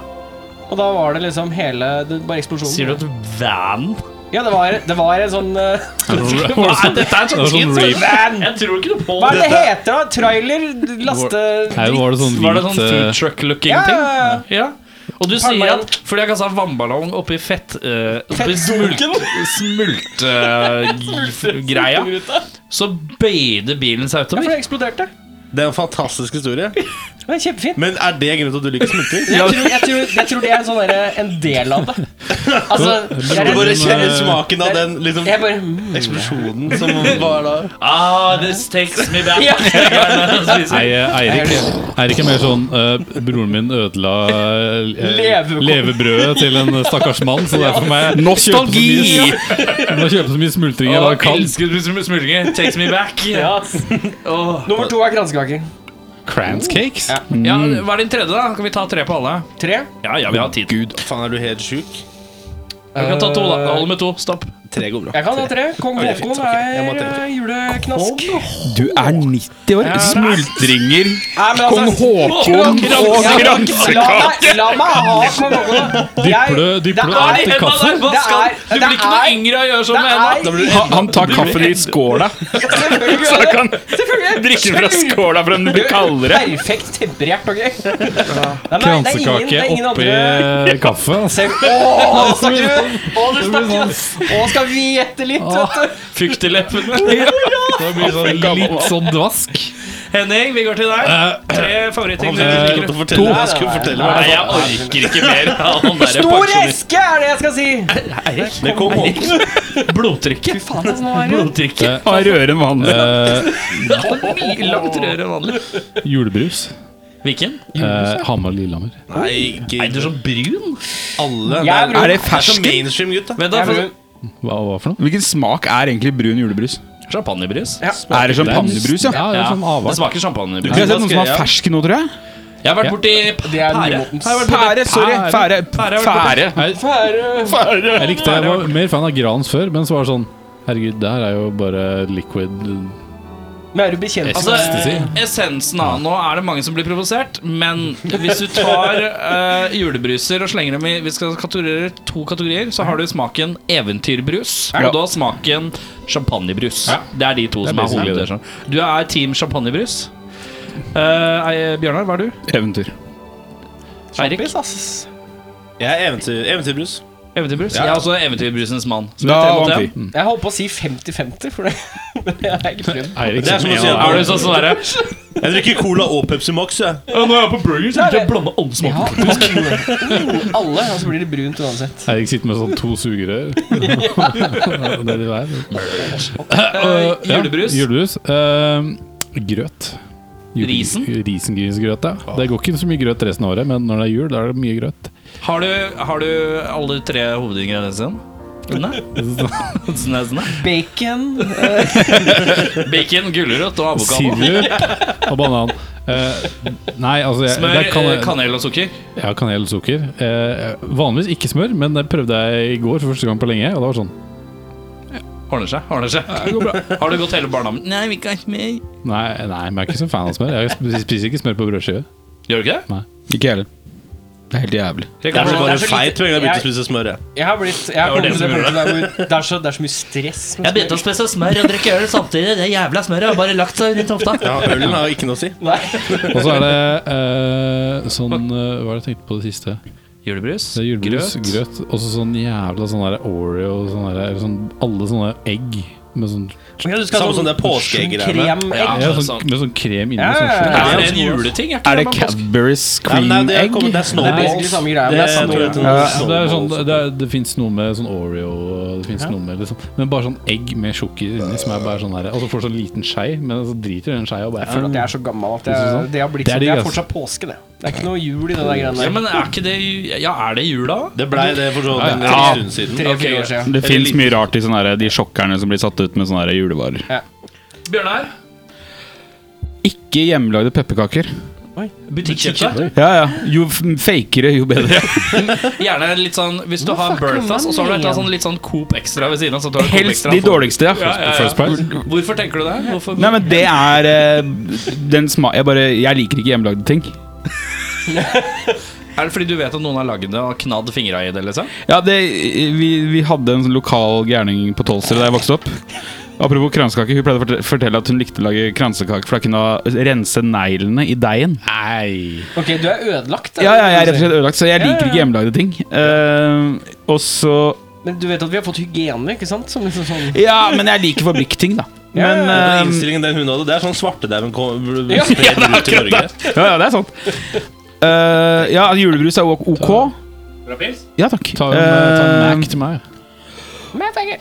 S2: Og da var det liksom hele det, Bare eksplosjonen.
S4: Sier du at van?
S2: Ja, det var, det var en sånn eh,
S4: Hva er dette er sånn
S3: sånn
S4: skit,
S3: rip.
S2: van.
S4: Jeg tror ikke noe på
S2: Hva er det
S4: dette.
S2: det heter, da? Trailer? Laste...
S3: Nei, var det sånn
S4: Var det sånn
S3: hvit
S4: food
S3: eh,
S4: truck-looking
S2: Ja,
S4: ting?
S2: ja,
S4: Ja. Og du sier
S2: Palmeolje.
S4: at fordi jeg kasta vannballong oppi fett... Uh, oppi smult... Smultgreia,
S2: Smultruta.
S4: så bøyde bilen seg
S2: Ja, for
S4: utover.
S2: det eksploderte.
S1: Det er en fantastisk historie.
S2: Det er kjempefint.
S1: Men er det grunnen til at du liker smultring?
S2: Jeg tror, jeg, tror, jeg tror det er en sånn derre en del av det. Altså, jeg,
S1: Du bare
S2: jeg,
S1: kjenner smaken av den liksom,
S2: jeg bare mm.
S1: eksplosjonen som var da.
S4: Ah, this takes me back.
S2: Ja.
S3: Nei, eh, Eirik, Eirik er mer sånn eh, Broren min ødela eh,
S2: Levebrød.
S3: levebrødet til en stakkars mann, så derfor må jeg Nostalgi! Må kjøpe så mye smultring jeg bare kan.
S4: elsker sm- smulringer. Takes me back.
S2: ja. Nummer to er kransekake.
S3: Crans cakes?
S4: Ja, Hva er din tredje, da? Kan vi ta tre på alle?
S2: Tre.
S4: Ja, ja, vi har tid. Gud.
S1: Faen, er du helt sjuk?
S4: Jeg kan ta to,
S2: Eh.
S4: da. Hold med to. Stopp.
S1: Tre går bra.
S2: Jeg kan ha tre. Kong
S1: det er fint,
S2: Haakon
S1: ok. Jeg må ha
S2: er
S1: tre,
S2: eh, juleknask.
S6: Du er 90 år. Smultringer,
S2: Nei, men
S6: kong
S2: altså-
S6: Håkon og
S2: Ja, men La
S6: kransekake.
S2: meg, la meg ha Kong Haakon, da. Jeg-
S3: Dypper du- dypper
S2: det
S3: du
S2: er-
S3: alt i
S4: Hva
S3: kaffe?
S4: skal-
S2: Det er-
S4: Du blir ikke
S2: det
S4: noe
S2: er-
S4: yngre av å gjøre sånn med henne.
S2: Det er
S6: Han, han tar kaffen i skåla.
S2: Selvfølgelig
S5: Da
S2: gjør jeg
S5: kan
S2: det. Selvfølgelig.
S5: drikke den fra skåla for den blir kaldere.
S2: Perfekt temperert, ok? Nei, men det er ingen- det
S3: Kransekake
S2: er ingen
S3: oppi
S2: andre-
S3: eh, kaffe. ass.
S2: Tenk- Åh, nå snakker
S4: sånn.
S2: du! Åh, du snakker! Åh, skal vi gjette litt, vet du?
S4: Fukk til leppene.
S3: Det blir sånn litt sånn dvask.
S4: Henning, vi går til deg. Tre
S1: Jeg
S4: favorittting. du
S1: kan
S4: liker.
S2: Eh,
S1: ikke fortelle hva jeg skulle fortelle.
S4: Eh, Nei, jeg orker ikke mer. av han der
S2: Stor
S4: pensjonisten.
S2: eske er det jeg skal si!
S1: Men kom på.
S4: Blodtrykket. Blodtrykket.
S3: Eh,
S6: Av rødere enn vanlig.
S4: Mye langt rødere enn vanlig.
S3: Julebrus.
S4: Hvilken?
S3: Eh, Hamar Lillehammer.
S1: Nei,
S4: Nei, du
S1: gud.
S4: er så brun.
S1: Alle.
S2: Jeg er
S1: Det
S2: brun.
S6: Er det
S1: er så
S6: fersken?
S1: mainstream, gutt. da.
S4: Vent da,
S2: Jeg
S4: for
S2: vil-
S3: Hva, hva for noe?
S6: Hvilken smak er egentlig brun julebrus?
S4: Champagnebrus.
S2: Ja.
S6: Er det champagnebrus, ja?
S3: Ja, det er sånn
S4: det
S3: avart.
S4: smaker
S6: Vi har
S4: champagnebrus.
S6: sett noen som har fersk nå, tror jeg.
S4: Jeg har vært borti
S2: Det er
S4: pære.
S2: nymotens.
S4: Har jeg vært borti-
S6: Pære, sorry. Fære.
S4: Pære.
S6: Fære.
S3: Jeg,
S2: Fære.
S3: jeg likte Jeg var mer fan av Grans før, men så var det sånn Herregud, der er jo bare liquid
S2: Men er du bekjent
S4: Altså,
S2: med
S4: eh, essensen av nå er det mange som blir provosert, men hvis du tar eh, julebruser og slenger dem i Vi skal kategorere to kategorier, så har du smaken eventyrbrus, og du har smaken champagnebrus. Det er de to som er
S3: basically
S4: hovedene.
S3: det.
S4: sånn. Du er team champagnebrus. Eh, ei- Bjørnar, hva er du?
S6: Eventyr.
S4: Eirik?
S2: Kjappis, ass.
S1: Jeg er eventyr, eventyrbrus.
S4: Eventyrbrus? Jeg er også eventyrbrusens mann. Så vi
S6: Da
S4: er tre mot
S6: vant
S4: en.
S6: vi.
S2: Jeg holdt på å si 50-50, for det men jeg har ikke prøvd.
S3: Eirik
S1: Det er som å si
S4: Er du
S1: at
S4: sånn sånn derre
S1: jeg drikker cola og Pepsi Max. jeg.
S4: Nå er jeg på burger,
S2: så jeg
S4: blande alle
S2: Ja, mm, alle, og så blir det brunt uansett.
S3: Eirik sitter med sånn to sugerør. det er det det er. Eh, ja,
S4: julebrus?
S3: julebrus. Eh, grøt. Jule-
S4: Risen?
S3: Risengrynsgrøt, ja. Det går ikke så mye grøt resten av året, men når det er jul, da er det mye grøt.
S4: Har du, har du alle tre hovedingrediensene? Nesene.
S2: Bacon eh,
S4: Bacon, gulrot og avokado.
S3: Sirup og banan. Eh, nei, altså jeg,
S4: Smør,
S3: det er kanel-
S4: eh, kanel og sukker.
S3: Ja, kanel og sukker. Eh, vanligvis ikke smør, men det prøvde jeg i går for første gang på lenge. Og det var sånn
S4: Ordner seg. ordner seg Har du gått hele barndommen? Nei, vi kan ikke mer.
S3: Nei, nei men jeg er ikke så fan av smør. Jeg sp- spiser ikke smør på brødskive.
S4: Gjør du ikke det?
S6: Ikke heller. Det er helt jævlig.
S4: Jeg
S1: Jeg er
S4: kan
S1: så
S4: prøve.
S1: bare
S2: så lite-
S1: feit med en gang jeg begynte å
S2: jeg-
S1: spise smør. jeg.
S2: Jeg har blitt Jeg har
S4: Det var det
S2: kommet til det
S4: som gjorde
S2: punktet der hvor det er så, det er så mye stress. Med
S4: Jeg begynte å spise smør og drikke øl samtidig. Det jævla smøret har bare lagt seg rundt hofta.
S1: Ja, Ølen har ikke noe å si.
S2: Nei.
S3: Og så er det eh, sånn eh, Hva var det jeg tenkte på det siste?
S4: Julebrus,
S3: Det er julebrus,
S4: grøt.
S3: grøt, og så sånn jævla sånn der Oreo sånn der, eller sånn, Alle sånne egg med sånn,
S2: Okay, du
S1: Samme som det påskeegggreiene.
S2: Krem, egg.
S4: Ja,
S3: ja,
S4: det er
S3: sånn,
S4: sant.
S3: med sånn krem inni.
S2: Ja,
S3: sånn
S2: ja,
S4: Er
S2: ja.
S3: sjokolade.
S4: det en juleting? Er ikke
S6: Er det
S4: det man-
S6: Cadbury's
S1: Ja, men det, er- det, er
S6: cream-egg?
S1: kommet- det er
S2: Det er
S1: snowballs.
S2: basically samme greia, men
S1: Det,
S2: det er
S1: jeg tror jeg
S2: snowballs.
S1: tror det er
S3: Det, er sånn,
S1: snowballs.
S3: det, er, det finnes noe med sånn Oreo og Det finnes noe med liksom Men bare sånn egg med sjokker inni som er bare sånn der Og så får du sånn liten skei, men så driter du i den skeia og bare
S2: Jeg føler at jeg er så gammel at
S3: Synes du
S2: jeg,
S3: sånn?
S2: det har blitt
S3: Det
S2: sånn. Det
S3: er digg,
S2: er
S3: ass.
S2: fortsatt påske, det. Det er ikke noe jul i det der greiene
S4: Ja,
S2: der.
S4: men er ikke det ju- Ja, er det jula?
S1: det blei det for så vidt en
S6: Ja.
S1: stund siden.
S2: Tre-fire år siden.
S6: Det fins mye rart i sånne her, de sjokkerne som blir satt ut med sånne her julevarer.
S4: Bjørnar?
S6: Ikke hjemmelagde pepperkaker.
S4: Butikkjøpte.
S6: Ja, ja. Jo f- fakere, jo bedre.
S4: Gjerne litt sånn Hvis du har
S2: fucker
S4: Birthas,
S2: man
S4: og så har du et eller annet
S2: igjen?
S4: sånn litt sånn Coop Extra ved siden av. så tar du Coop
S6: Helst
S4: Extra
S6: de
S4: for-
S6: dårligste,
S4: Ja,
S6: ja.
S4: ja, ja.
S3: First price?
S4: Hvorfor tenker du det? Hvorfor?
S6: Nei, men det er eh, den sma... Jeg bare Jeg liker ikke hjemmelagde ting.
S4: Er det fordi du vet at noen har lagd det og knadd fingra i det? liksom?
S6: Ja, det Vi, vi hadde en sånn lokal gærning på Tolster da jeg vokste opp. Apropos kransekake, hun pleide å fortelle- fortelle at hun likte å lage kransekake, for da kunne hun rense neglene i deigen.
S3: Nei
S2: Ok, du er ødelagt.
S6: Ja, ja, jeg er rett og
S2: eller?
S6: slett ødelagt, så jeg
S2: Ja, ja,
S6: liker
S2: ja.
S6: ikke hjemmelagde ting. Eh, og så
S2: Men du vet at vi har fått hygiene, ikke sant? Som liksom sånn
S6: Ja, men jeg liker fabrikkting, da. Men
S1: Og den
S6: eh,
S1: innstillingen den hun hadde, det er sånn svartedauden kom- ble- ble
S2: Ja,
S1: spredt rundt i Norge.
S6: ja, ja, det er sant. Eh, ja, julebrus er ok. Ja, takk.
S3: Ta en, eh, ta en
S6: Eh,
S3: Mac til meg.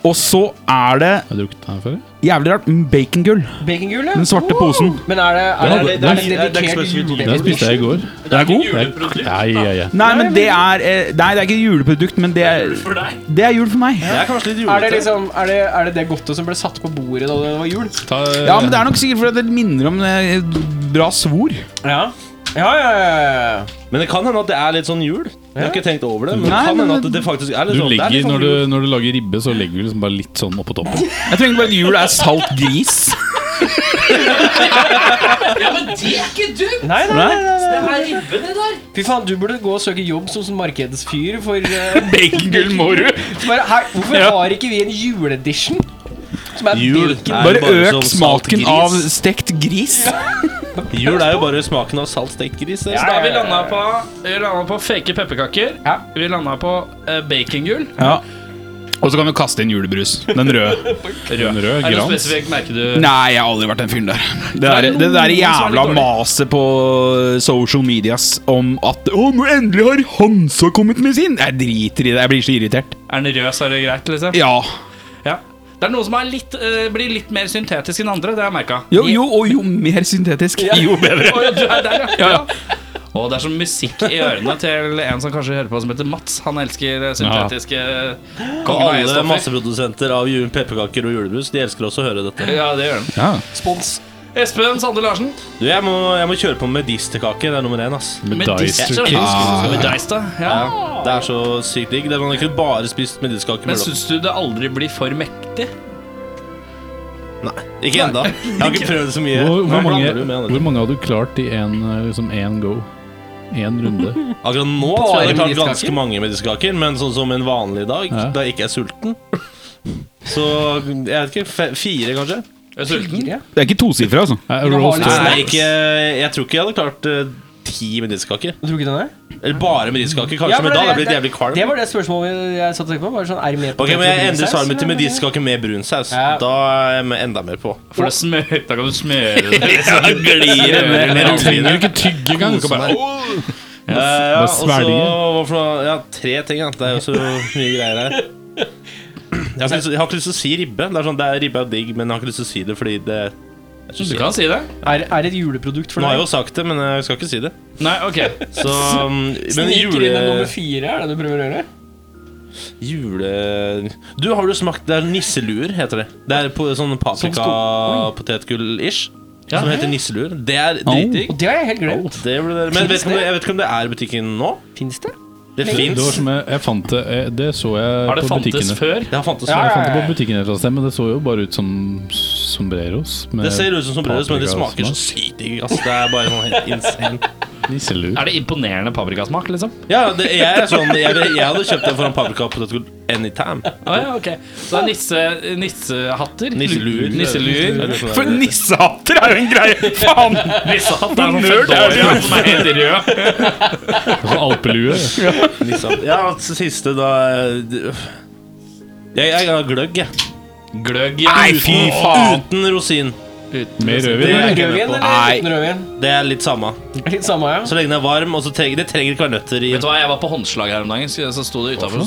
S6: og så er det
S3: Har du drukket den her før?
S6: jævlig rart mm, bacongull.
S2: Bacongull, ja.
S6: Den svarte posen.
S2: Men er det, er det, er det, er det, dedikert
S3: Den
S2: julebrus?
S3: spiste jeg i går.
S6: Den er god.
S3: Ja, ja, ja.
S6: Nei, men det er eh, Nei, det er ikke juleprodukt, men det er Det er jul for meg.
S1: Det er kanskje litt
S2: Er det
S1: julete.
S2: liksom, er det, er det det godtet som ble satt på bordet da det var jul?
S3: Ta,
S6: Ja, men det er nok sikkert fordi det minner om eh, bra svor.
S2: Ja. Ja, ja, ja, ja.
S1: Men det kan hende at det er litt sånn jul. Jeg har ikke tenkt over det, men
S6: Nei,
S1: det kan
S6: men-
S1: hende at det faktisk er litt
S3: du
S1: sånn. det er litt
S3: legger,
S1: sånn
S3: når, du,
S1: jul.
S3: når du lager ribbe, så legger du liksom bare litt sånn oppå toppen.
S6: Jeg tenker bare at jul er salt gris.
S2: Nei, nei, nei, nei, nei. Fy faen, du burde gå og søke jobb som sånn markedsfyr for eh,
S6: Bacongull må du.
S2: bare, her, Hvorfor har ikke vi en juleedition? Som er
S1: Jul
S2: bacon?
S1: er
S6: Bare
S1: bare
S6: øk
S1: som salt
S6: smaken
S1: gris.
S6: av stekt gris.
S1: Jul er jo bare smaken av salt stekt gris. det.
S4: Så da har vi landa på, vi landet på fake pepperkaker.
S2: Ja.
S4: Vi landa på eh, bacongull.
S6: Ja. Og så kan du kaste inn julebrus. Den
S3: En
S6: røde.
S3: rød
S4: Er det noe
S3: grans.
S4: spesifikt merke du
S6: Nei, jeg har aldri vært den fyren der. Det der, det der jævla maset på eh, social medias om at Å, nå endelig har Hansa kommet med sin! Jeg driter i det. Jeg blir så irritert.
S4: Er den rød, så er det greit, liksom?
S6: Ja.
S4: Ja. Det er noe som er litt, eh, blir litt mer syntetisk enn andre, det har jeg merka.
S6: Jo, jo, og jo mer syntetisk, jo bedre.
S4: du er der, ja. Og det er sånn musikk i ørene til en som kanskje hører på, som heter Mats. Han elsker eh, syntetiske
S1: Og
S4: kongen av
S1: alle
S4: E-stoffer.
S1: masseprodusenter av ju- pepperkaker og julebrus De elsker også å høre dette.
S4: Ja, det gjør han.
S2: Spons.
S4: Espen Sande Larsen.
S1: Du, jeg må, jeg må kjøre på med medisterkake. Det er nummer én. ass
S3: Med
S4: Medister
S3: dice.
S4: King. Med Dice, da. Ja.
S1: Det er så sykt digg. Det- Man har ikke bare spist medisterkake
S4: Men
S1: med
S4: syns du det aldri blir for mektig?
S1: Nei, ikke ennå. Jeg har ikke prøvd så mye.
S3: Hvor,
S1: Hva
S3: hvor, mange,
S1: blander du med, Anders?
S3: hvor mange har du klart i en, eh, liksom en go? En runde?
S1: Akkurat nå tror jeg det klart
S2: Bare
S1: ganske
S2: medisterkaker?
S1: mange medisterkaker, men sånn som en vanlig dag,
S3: Ja.
S1: da jeg ikke er sulten Så jeg vet ikke. fe- Fire, kanskje?
S4: Er du sulten?
S6: Det er ikke tosifra, altså.
S3: Eh,
S2: må ha
S3: Roast
S2: litt-
S3: eh,
S1: Nei, ikke, jeg tror ikke jeg hadde klart eh, ti medisterkaker.
S2: Du tror ikke den er?
S1: Eller bare medisterkaker, kanskje.
S2: Ja, for
S1: men da hadde jeg
S2: det-
S1: blitt jævlig kvalm.
S2: Det var det spørsmålet jeg satt og tenkte på. Bare sånn, er det med
S1: Ok, men
S2: poteter og
S1: jeg endrer
S2: brunsaus,
S1: svaret mitt til
S2: eller?
S1: medisterkake med brun saus.
S2: Ja.
S1: Da er jeg enda mer på.
S4: For det smører, da kan du smøre det. liksom.
S1: Mer
S3: Du
S1: rutine.
S3: trenger jo ikke tygge engang. du kan bare-
S1: Ja, Eh, ja,
S3: Bare
S1: og så
S3: svelger.
S1: hva for noe- Ja, tre ting. Ja. Det er jo så mye greier her. Jeg har, ikke, lyst- jeg har ikke lyst til å si ribbe. Det er sånn, det er Ribbe er digg, men jeg har ikke lyst til å si det fordi det jeg synes
S4: Du
S1: ikke-
S4: kan si det.
S2: Er, er det et juleprodukt for
S1: Nå har jeg jo
S2: deg?
S1: sagt det, men jeg skal ikke si det.
S4: Nei, ok.
S1: Så, um, men
S2: Sniker inn en nummer
S1: jule...
S2: fire, er det du prøver å gjøre?
S1: jule du, har du smakt Det er nisseluer, heter det. Det er på sånn paprika-potetgull-ish.
S4: Ja.
S1: Som heter nisseluer. Det er dritdigg.
S2: Og det har jeg helt glemt.
S1: Det ble det. Men vet ikke om det, jeg vet ikke om det er i butikken nå.
S2: Fins det?
S1: Det
S3: Det var
S1: fins.
S3: som jeg, jeg fant det eh, Det så jeg
S4: Har det
S3: på
S4: fantes
S3: butikkene.
S4: før?
S1: Det har fantes
S2: Ja,
S1: før.
S3: Jeg fant det på butikken et eller annet sted, men det så jo bare ut som sombreros. med
S1: Det ser ut som sombreros, men det
S3: paprika og
S1: smaker så
S3: smak.
S1: sykt digg. ass. det er bare sånn helt insane.
S3: Nisselue.
S4: Er det imponerende paprikasmak, liksom?
S1: Ja, det, jeg, er sånn, jeg, jeg hadde kjøpt den foran paprika potetgull anytime.
S4: Ah, ja, ok. Så det er nisse, nissehatter?
S1: Nisseluer.
S4: Nisseluer.
S1: sånn
S6: For nissehatter er jo en greie! Faen!
S4: Nissehatt er sånn
S6: Nerd er det,
S4: fedora som er helt rød.
S3: Altså alpelue.
S1: Nissan. Ja, og så siste, da Jeg, jeg har gløgg, jeg.
S4: Gløgg. Ja.
S6: Nei, fy faen!
S1: Uten rosin.
S3: Med
S1: Det er,
S3: rødvin. eller?
S1: jeg ikke med
S2: Rødvin
S1: på.
S2: eller uten rødvin?
S1: det er litt samme.
S2: Litt samme, ja.
S1: Så lenge den er varm. Og så trenger, det trenger ikke være nøtter i.
S4: Vet du hva, jeg var på håndslag her om dagen, så så sto det utafor.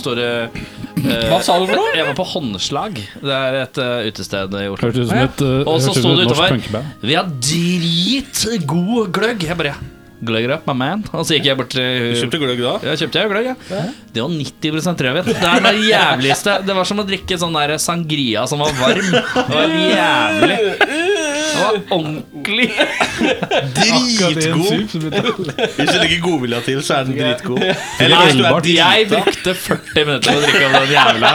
S2: Hva sa du for noe?
S4: Jeg var på håndslag. Det er et eh, utested i Oslo.
S3: Hørtes ut som et, eh,
S4: Og så
S3: hørtes ut som
S4: sto det
S3: et norsk
S4: utenfor.
S3: punkeband.
S4: Vi har dritgod gløgg. Jeg bare Gløgger opp, my man. Og så gikk jeg bort til
S1: Du kjøpte gløgg da?
S4: Ja, kjøpte jeg gløgg, ja. Det var 90 rødvin. Det er det jævligste. Det var som å drikke sånn der sangria som var varm. Det var jævlig. Det var ordentlig.
S1: Dritgod! Hvis du legger godvilja til, så er den dritgod. Eller hvis du er
S4: Jeg
S1: drita.
S4: brukte 40 minutter på å drikke av den jævla.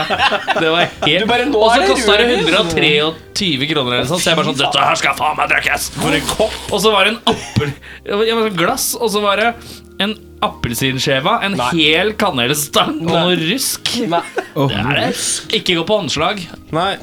S4: Det var helt
S2: bare, nå
S4: Og
S2: er
S4: så
S2: det
S4: kosta det
S2: rødvin.
S4: 123 kroner eller sånn, så jeg bare sånn Dette her skal faen meg drikkes! For en kopp! Og så var det en appel... Jeg var sånn glass, og så var det en appelsinskjeva, en hel kanelstang og noe rusk.
S2: Nei.
S4: Det er det. Ikke gå på håndslag.
S1: Nei.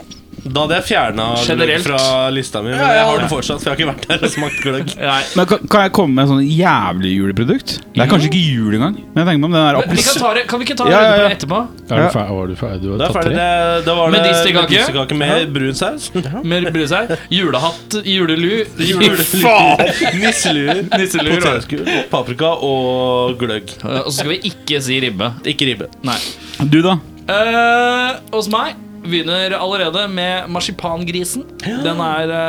S1: Da hadde jeg fjerna gløgg
S4: Generelt.
S1: fra lista mi. Men
S2: Ja, ja,
S1: jeg har
S2: ja.
S1: det fortsatt, for jeg har ikke vært der og smakt gløgg.
S4: Nei.
S6: Men kan, kan jeg komme med en sånn jævlig juleprodukt? Det er kanskje ikke jul engang. Men jeg tenker meg om den der
S4: Vi kan,
S6: appels...
S4: ta det, kan vi ikke ta det
S6: Ja, ja, ja.
S4: etterpå?
S3: Er du ferdig? Var du ferdig? Du
S1: Da
S3: har
S1: er
S3: tatt
S1: ferdig.
S3: tre?
S1: Det, da var det
S4: Medisterkake.
S1: medisterkake med brun saus.
S4: Med bryr seg. Julehatt, julelu,
S1: Nisseluer,
S4: nisseluer. og-
S1: potetskur, paprika og gløgg.
S4: Og så skal vi ikke si ribbe.
S1: Ikke ribbe.
S4: Nei.
S6: Du, da?
S4: Eh, hos meg begynner allerede med marsipangrisen. Den er
S1: Å,
S4: uh,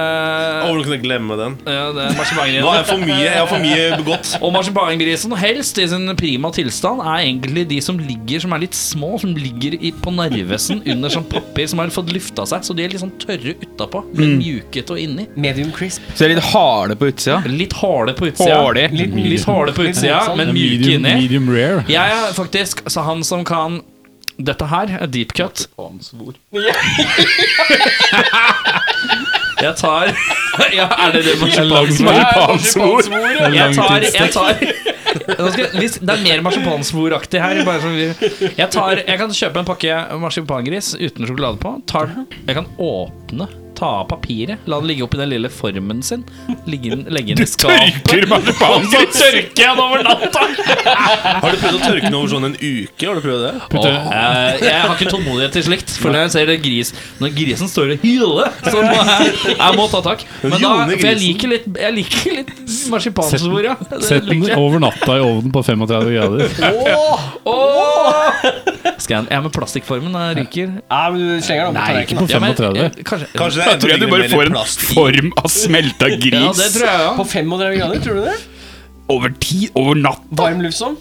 S1: Hvordan kunne jeg glemme den?
S4: Det er
S1: Nå er jeg
S4: marsipangrisen.
S1: for mye, jeg har for mye godt.
S4: Og marsipangrisen, helst i sin prima tilstand, er egentlig de som ligger som er litt små, som ligger i, på nervesen under sånn papir som har fått lufta seg. Så de er litt sånn tørre utapå, men mjukete og inni.
S2: Medium crisp.
S6: Så jeg er litt harde på utsida.
S4: Litt harde på utsida.
S6: Harde.
S4: Litt, litt harde på utsida,
S2: Litt
S4: men mjuke
S3: Medium,
S4: inni.
S3: medium rare.
S4: Jeg er faktisk så han som kan dette her er deep cut. Jeg tar ja, Er det det marsipansvor?
S5: Marsipansord.
S4: Jeg tar, jeg tar Nå skal, jeg- hvis, Det er mer marsipansvoraktig her. Bare sånn, vi- jeg, tar, jeg kan kjøpe en pakke marsipangris uten sjokolade på. Tar den, jeg kan åpne, ta av papiret, la den ligge oppi den lille formen sin. Ligge, den- legge den i skapet.
S5: Tørker
S4: Så
S5: marsipansord.
S4: tørker jeg den over natta!
S1: Har du prøvd å tørke den over sånn en uke? Har du prøvd det?
S4: Åh, eh, jeg har ikke tålmodighet til slikt. For når jeg ser det gris Når grisen står og hyler, så må jeg, jeg må ta tak. Men da,
S1: Jone
S4: for jeg
S1: grisen.
S4: liker litt, jeg liker litt marsipansvor, ja. Det
S3: Sett den
S4: liker jeg.
S3: over natta i ovnen på 35 grader.
S4: Åh! Skal jeg, ja, men plastikkformen eh, ryker.
S2: Nei, men du slenger den opp på tallerkenen.
S3: På
S4: Ja, men,
S3: 35.
S4: eh, kanskje,
S1: Kanskje det
S5: Da tror jeg du
S1: ligner
S5: bare
S1: mer
S5: får en
S1: plast i.
S5: form av smelta
S4: ja,
S5: gris
S4: det tror jeg
S2: På
S4: ja.
S2: 35 grader, tror du det?
S5: over tid, over natt.
S2: Varm luftsom?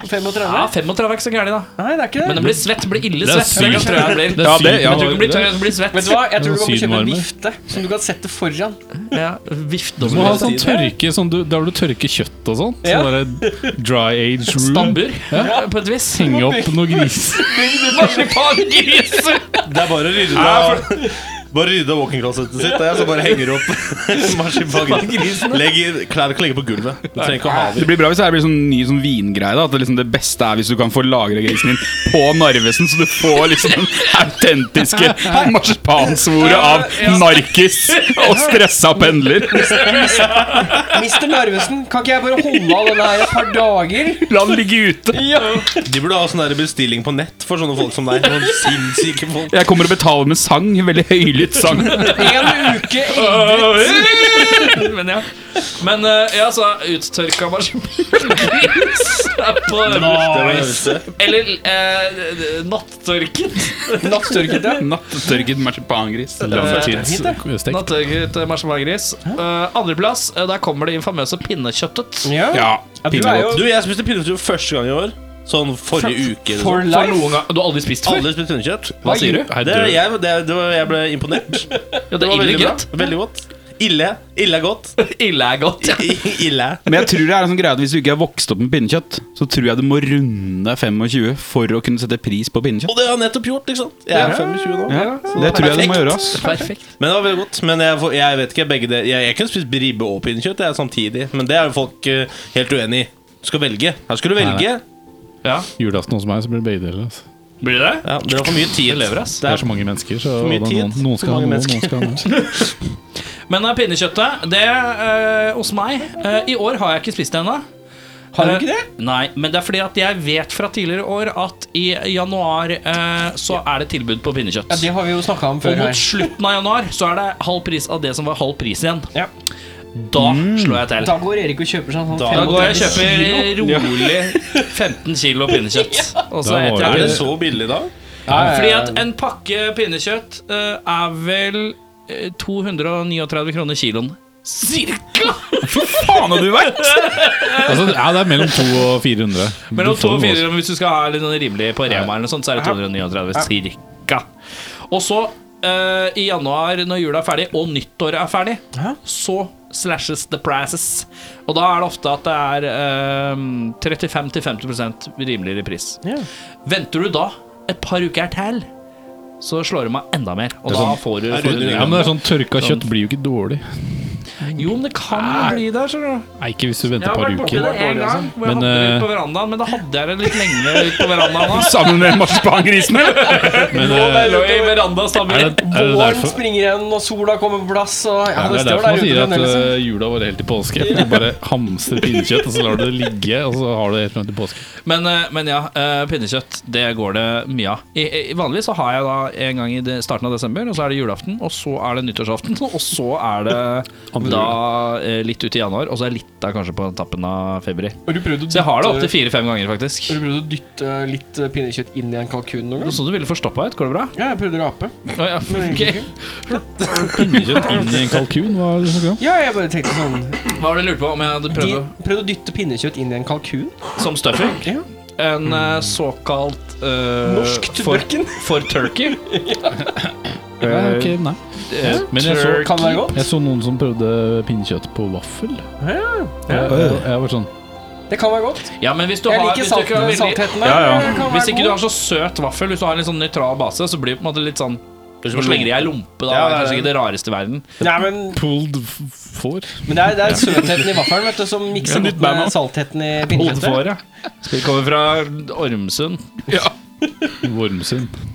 S2: På 35?
S4: Ja, 35 er ikke så gærent, da.
S2: Nei, det er ikke
S4: Men
S2: det.
S4: det blir svett. Blir ille svett. Det kan
S3: sykt.
S4: tror jeg det blir.
S3: Det er
S5: Ja, det- ja.
S3: sykt.
S4: Jeg tror ikke det blir tørr, det blir
S2: Vet
S4: svett.
S2: du hva, jeg tror du kan
S3: Det var
S2: få kjøpe en
S3: sydenvarme.
S2: vifte som du kan sette foran.
S4: Ja,
S3: Du må ha
S4: Viftdommer.
S3: sånn tørke sånn du, Der hvor du tørker kjøtt og sånt.
S2: Ja.
S3: Sånn derre dry age room.
S4: Stabbur, ja, på et vis.
S3: Henge opp noen griser.
S4: Marsipangriser!
S1: Det er bare å rydde av Bare rydde av walking-closetet sitt, og jeg så bare henger opp marsipangrisen. Legg i- Klær kan ligge på gulvet. Du trenger ikke å ha
S6: Det
S1: dem.
S6: blir bra hvis det her blir sånn ny sånn vingreie. da At det, liksom det beste er hvis du kan få lagra grisen din på Narvesen, så du får liksom den autentiske marsipansvoret av narkis og stressa pendler.
S2: Mr. Narvesen, kan ikke jeg bare holde av denne her et par dager?
S6: La den ligge ute.
S1: De burde ha sånn der bestilling på nett for sånne folk som deg. Noen sinnssyke folk.
S6: Jeg kommer og betaler med sang. Veldig høylytt sang.
S2: En uke egg.
S4: Men ja. Men eh, ja, så uttørka marsipangris er på Eller uh, nattørket.
S2: Nattørket, ja.
S6: Nattørket marsipangris.
S3: Stekt.
S4: Nattørket marsipangris. Eh, Andreplass, eh, der kommer det infamøse pinnekjøttet.
S2: ja.
S6: Ja,
S2: ja du er jo
S1: Du, jeg spiste pinnekjøtt første gang i år. Sånn forrige uke. eller
S2: for
S1: sånn.
S4: For noen
S2: life.
S4: gang, du har aldri spist før?
S1: Aldri spist pinnekjøtt.
S4: Hva sier du?
S1: Det, jeg, det, det var, jeg ble imponert.
S4: Ja, det
S1: Det var
S4: er ille
S1: veldig bra.
S4: godt.
S1: Veldig godt. Ille. Ille er godt.
S4: Ille er godt. Ja.
S1: Ille.
S6: Men jeg tror det er en sånn greie at hvis du ikke er vokst opp med pinnekjøtt, så tror jeg du må runde 25 for å kunne sette pris på pinnekjøtt.
S1: Og det har jeg nettopp gjort, ikke sant? Jeg er 25 nå.
S6: Ja, det tror jeg du må gjøre. ass
S4: Perfekt.
S1: Men det var veldig godt. Men jeg, får- jeg vet ikke, begge det Jeg, jeg kunne spist ribbe og pinnekjøtt jeg, samtidig, men det er jo folk eh, helt uenig i. Du skal velge. Her skal du velge.
S4: Ja.
S3: Julaften hos meg så blir det begge deler. Altså.
S4: Blir det det?
S1: Ja, Dere har for mye tid.
S4: lever, ass.
S3: Det er så mange mennesker, så
S1: For mye
S3: det er noen,
S1: tid,
S3: noen skal
S1: for
S3: ha
S1: mange
S3: noe, noen skal ha noe.
S4: Men eh, pinnekjøttet, det eh, hos meg eh, I år har jeg ikke spist det ennå.
S2: Har du ikke det?
S4: Nei, men det er fordi at jeg vet fra tidligere år at i januar eh, så er det tilbud på pinnekjøtt.
S2: Ja, Det har vi jo snakka om
S4: Og
S2: før
S4: mot
S2: her.
S4: slutten av januar så er det halv pris av det som var halv pris igjen.
S2: Ja.
S4: Da slår jeg til.
S2: Da går Erik og kjøper seg en sånn
S4: Da går jeg og
S2: 35
S4: kjøper rolig 15 kilo pinnekjøtt. Og så
S3: Da
S4: eter
S3: var
S1: Er
S4: jeg
S1: det
S4: det.
S1: så billig da?
S4: Fordi at en pakke pinnekjøtt eh, er vel eh, 239 kroner kiloen. Cirka!
S6: Faen, og du vet!
S3: Altså, ja, det er mellom 200 og 400.
S4: Mellom
S3: Du får
S4: 2 og
S3: noe
S4: 4, men hvis du skal ha litt sånn rimelig på Rema, eller noe sånt, så er det 239 cirka. Og så, eh, i januar, når jula er ferdig, og nyttåret er ferdig, så slashes the prices. Og da er det ofte at det er eh, 35-50 rimeligere pris. Venter du da et par uker til, så slår det meg enda mer. Og da får du,
S1: er
S4: får
S3: sånn,
S1: det
S4: du
S1: under Sånn.
S3: Ja, men det er sånn Tørka kjøtt blir jo ikke dårlig.
S4: Jo, men det kan bli der, skjønner du.
S3: Nei, ikke hvis du
S4: Jeg
S3: venter
S4: har
S3: et par
S4: vært borti
S3: uker.
S4: det en gang, altså. hvor jeg
S3: Men,
S4: hadde det
S3: eh,
S4: ut på verandaen, men da hadde jeg det litt lenge ut på verandaen. da.
S6: Sammen med marsipangrisen, eller?
S3: Men
S4: Og
S3: eh,
S4: jeg lå i verandaen
S3: er
S4: sammen.
S3: det, er det
S2: Våren
S3: derfor
S2: springer igjen, og sola kommer på plass. Og ja,
S3: ja,
S2: det
S3: det er
S2: står
S3: derfor
S2: der
S3: man sier
S2: ute
S3: at
S2: fremdeles.
S3: eh, jula var helt til påske. Du bare hamstrer pinnekjøtt, og så lar du det ligge, og så har du det helt frem til påske.
S4: Men, eh, men ja, eh, pinnekjøtt, det går det mye av. I, i, vanligvis så har jeg da en gang i de- starten av desember, og så er det julaften, og så er det nyttårsaften, og så er det da eh, litt ut i januar, og så er litt da kanskje på tappen av februar.
S2: Har du prøvd å
S4: eh, Så jeg har det opptil
S2: dytte,
S4: fire-fem ganger, faktisk.
S2: har eh, du prøvd å dytte litt eh, pinnekjøtt inn i en kalkun noen
S4: Det
S2: gang?
S4: så du ville forstoppa ut. Går det bra?
S2: Ja, jeg prøvde å rape.
S4: Å ja, ok.
S3: Pinnekjøtt inn i en kalkun, hva er det du snakker om?
S2: Ja, jeg bare tenkte sånn
S4: Hva var det du lurte på om jeg hadde
S2: de
S4: prøvd å
S2: Prøvde å dytte pinnekjøtt inn i en kalkun?
S4: Som stuffing?
S2: Ja.
S4: En eh, såkalt eh,
S2: Mm. Norsk
S4: for,
S2: tubbøkken?
S4: for turkey.
S3: Ja, ok, nei.
S4: Eh,
S3: Men jeg så,
S2: Kan være godt.
S3: jeg så noen som prøvde pinnekjøtt på vaffel. Eh, Og Jeg, jeg var sånn
S2: Det kan være godt.
S4: Ja, men hvis du
S2: Jeg
S4: har
S2: liker
S4: hvis du ikke, har
S2: saltene,
S4: veldig,
S2: saltheten der.
S6: Ja, ja.
S2: Det kan
S4: hvis
S2: være
S4: ikke du
S2: god.
S4: har så søt vaffel, hvis du har en litt sånn nøytral base, så blir det på en måte litt sånn Hvis du slenger i ei lompe,
S1: Ja,
S4: da. det er
S1: det er
S4: kanskje ikke det rareste i verden.
S2: Nei, men,
S3: Pulled f- får?
S2: men det er, det er søtheten i vaffelen vet du, som mikser godt med saltheten i pinnekjøttet.
S4: Oldefåret. Skal vi komme fra Ormsund?
S3: Vormsund.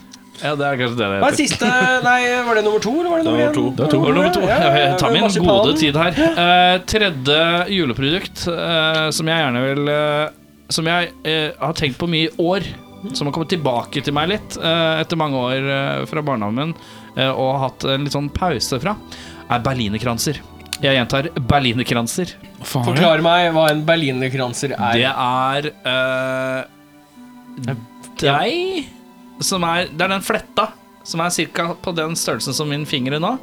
S4: Ja, det er kanskje det det
S2: Hva er
S4: heter.
S2: siste Nei, var det nummer to, eller var det nummer én?
S3: Det er to.
S4: År nummer to.
S2: Ja, ja, ja,
S4: Jeg tar min
S2: marsipan.
S4: gode tid her. Eh, tredje juleprodukt eh, som jeg gjerne vil eh, Som jeg eh, har tenkt på mye i år. Som har kommet tilbake til meg litt eh, etter mange år eh, fra barndommen min eh, og hatt en litt sånn pause fra, er berlinerkranser. Jeg gjentar berlinerkranser.
S2: Forklar meg hva en berlinerkranser er.
S4: Det er eh, deg som er Det er den fletta som er cirka på den størrelsen som min finger er nå.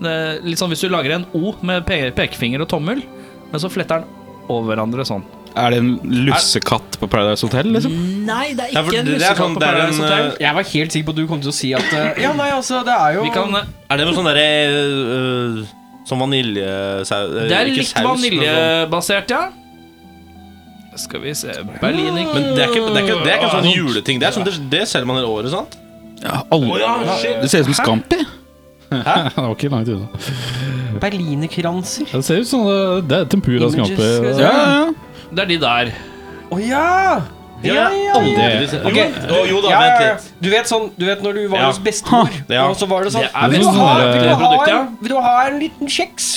S4: Det er Litt sånn hvis du lager en O med pe pekefinger og tommel, men så fletter den over hverandre sånn.
S6: Er det en lussekatt på Paradise Hotel, liksom?
S4: Nei, det er
S1: Ja, for
S4: ikke en
S1: det er sånn-
S4: lussekatt på
S1: det er en,
S4: Paradise Hotel.
S2: Jeg var helt sikker på at du kom til å si at eh, Ja, nei, altså, det er jo
S4: Vi kan,
S1: Er det noe sånn derre øh, Sånn eh, vaniljesaus
S4: det er litt
S1: sånn-
S4: vaniljebasert, ja. Skal vi se Berliner
S1: Men det er ikke, det er ikke, det er ikke en sånn juleting. Det er sånn, det, det selger man hele året, sant?
S6: Ja, alle. Det ser ut som Scampi.
S3: Det var ikke langt unna.
S2: Berlinerkranser.
S3: Ja, Det ser ut som eh, det- det er tempura
S2: Images,
S3: skampe.
S2: skal vi si.
S3: Ja.
S4: Det er de der.
S2: Å ja!
S1: Det har jeg aldri sett.
S2: Ok.
S1: Jo, jo da,
S2: Ja, ja,
S1: vent
S2: ja.
S1: litt.
S2: Du vet sånn Du vet når du var
S1: Ja.
S2: hos bestemor,
S1: Ja.
S2: og så var det sånn
S4: Det er
S2: vil,
S4: veldig
S2: du ha,
S3: sånn,
S2: vil, du
S4: eh,
S2: ha,
S4: produkt, ja.
S2: en- vil du ha en liten kjeks?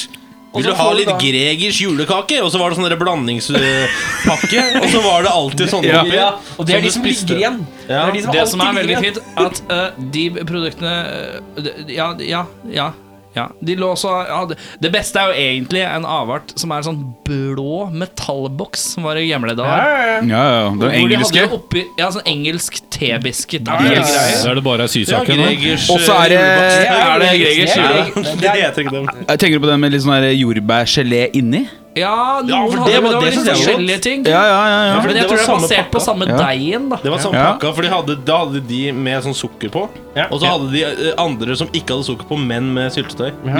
S2: Og
S1: Vil
S2: så
S1: du ha
S2: får
S1: litt
S2: da-
S1: Gregers julekake? Og så var det sånn der blandingspakke. Og så var det alltid sånn sånne
S6: Ja.
S1: oppi.
S2: Ja, og
S1: Som
S2: det er de
S1: du
S2: som
S1: spiste.
S2: ligger igjen. Det
S1: Ja.
S2: er de som
S4: Det som er
S2: alltid
S4: veldig
S2: ligger igjen.
S4: fint, at eh, de produktene eh, de- Ja, ja, ja. ja. De lå også ja, det- Det beste er jo egentlig en avart som er en sånn blå metallboks som var i gamle dager.
S6: Ja, ja, ja.
S4: Hvor
S6: Den
S4: de hadde
S6: engelske.
S4: det oppi, ja, sånn engelsk tebiscuit. Ja,
S2: ja, ja.
S3: Så er det bare
S1: Ja,
S3: sysaken. da.
S1: Gregers
S6: Og så er det-
S1: julebakst.
S4: Er det Gregers
S2: Det er-
S4: jule?
S1: Det heter ikke det.
S6: Jeg tenker du på den med litt sånn her jordbærgelé inni?
S4: Ja, noen
S1: Ja, for
S4: hadde
S1: det var-
S4: det var
S1: det
S4: litt
S1: synes jeg var
S4: forskjellige ting.
S6: Ja, ja, ja. ja.
S1: for det
S4: Men jeg
S1: var
S4: tror det er
S1: samme
S4: basert på
S1: pakka.
S4: samme
S6: Ja.
S4: deigen, da.
S1: Det var samme
S6: Ja.
S1: pakka, for de hadde, da hadde de med sånn sukker på.
S2: Ja.
S1: Og så hadde de eh, andre som ikke hadde sukker på, men med syltetøy.
S6: ja, ja, ja.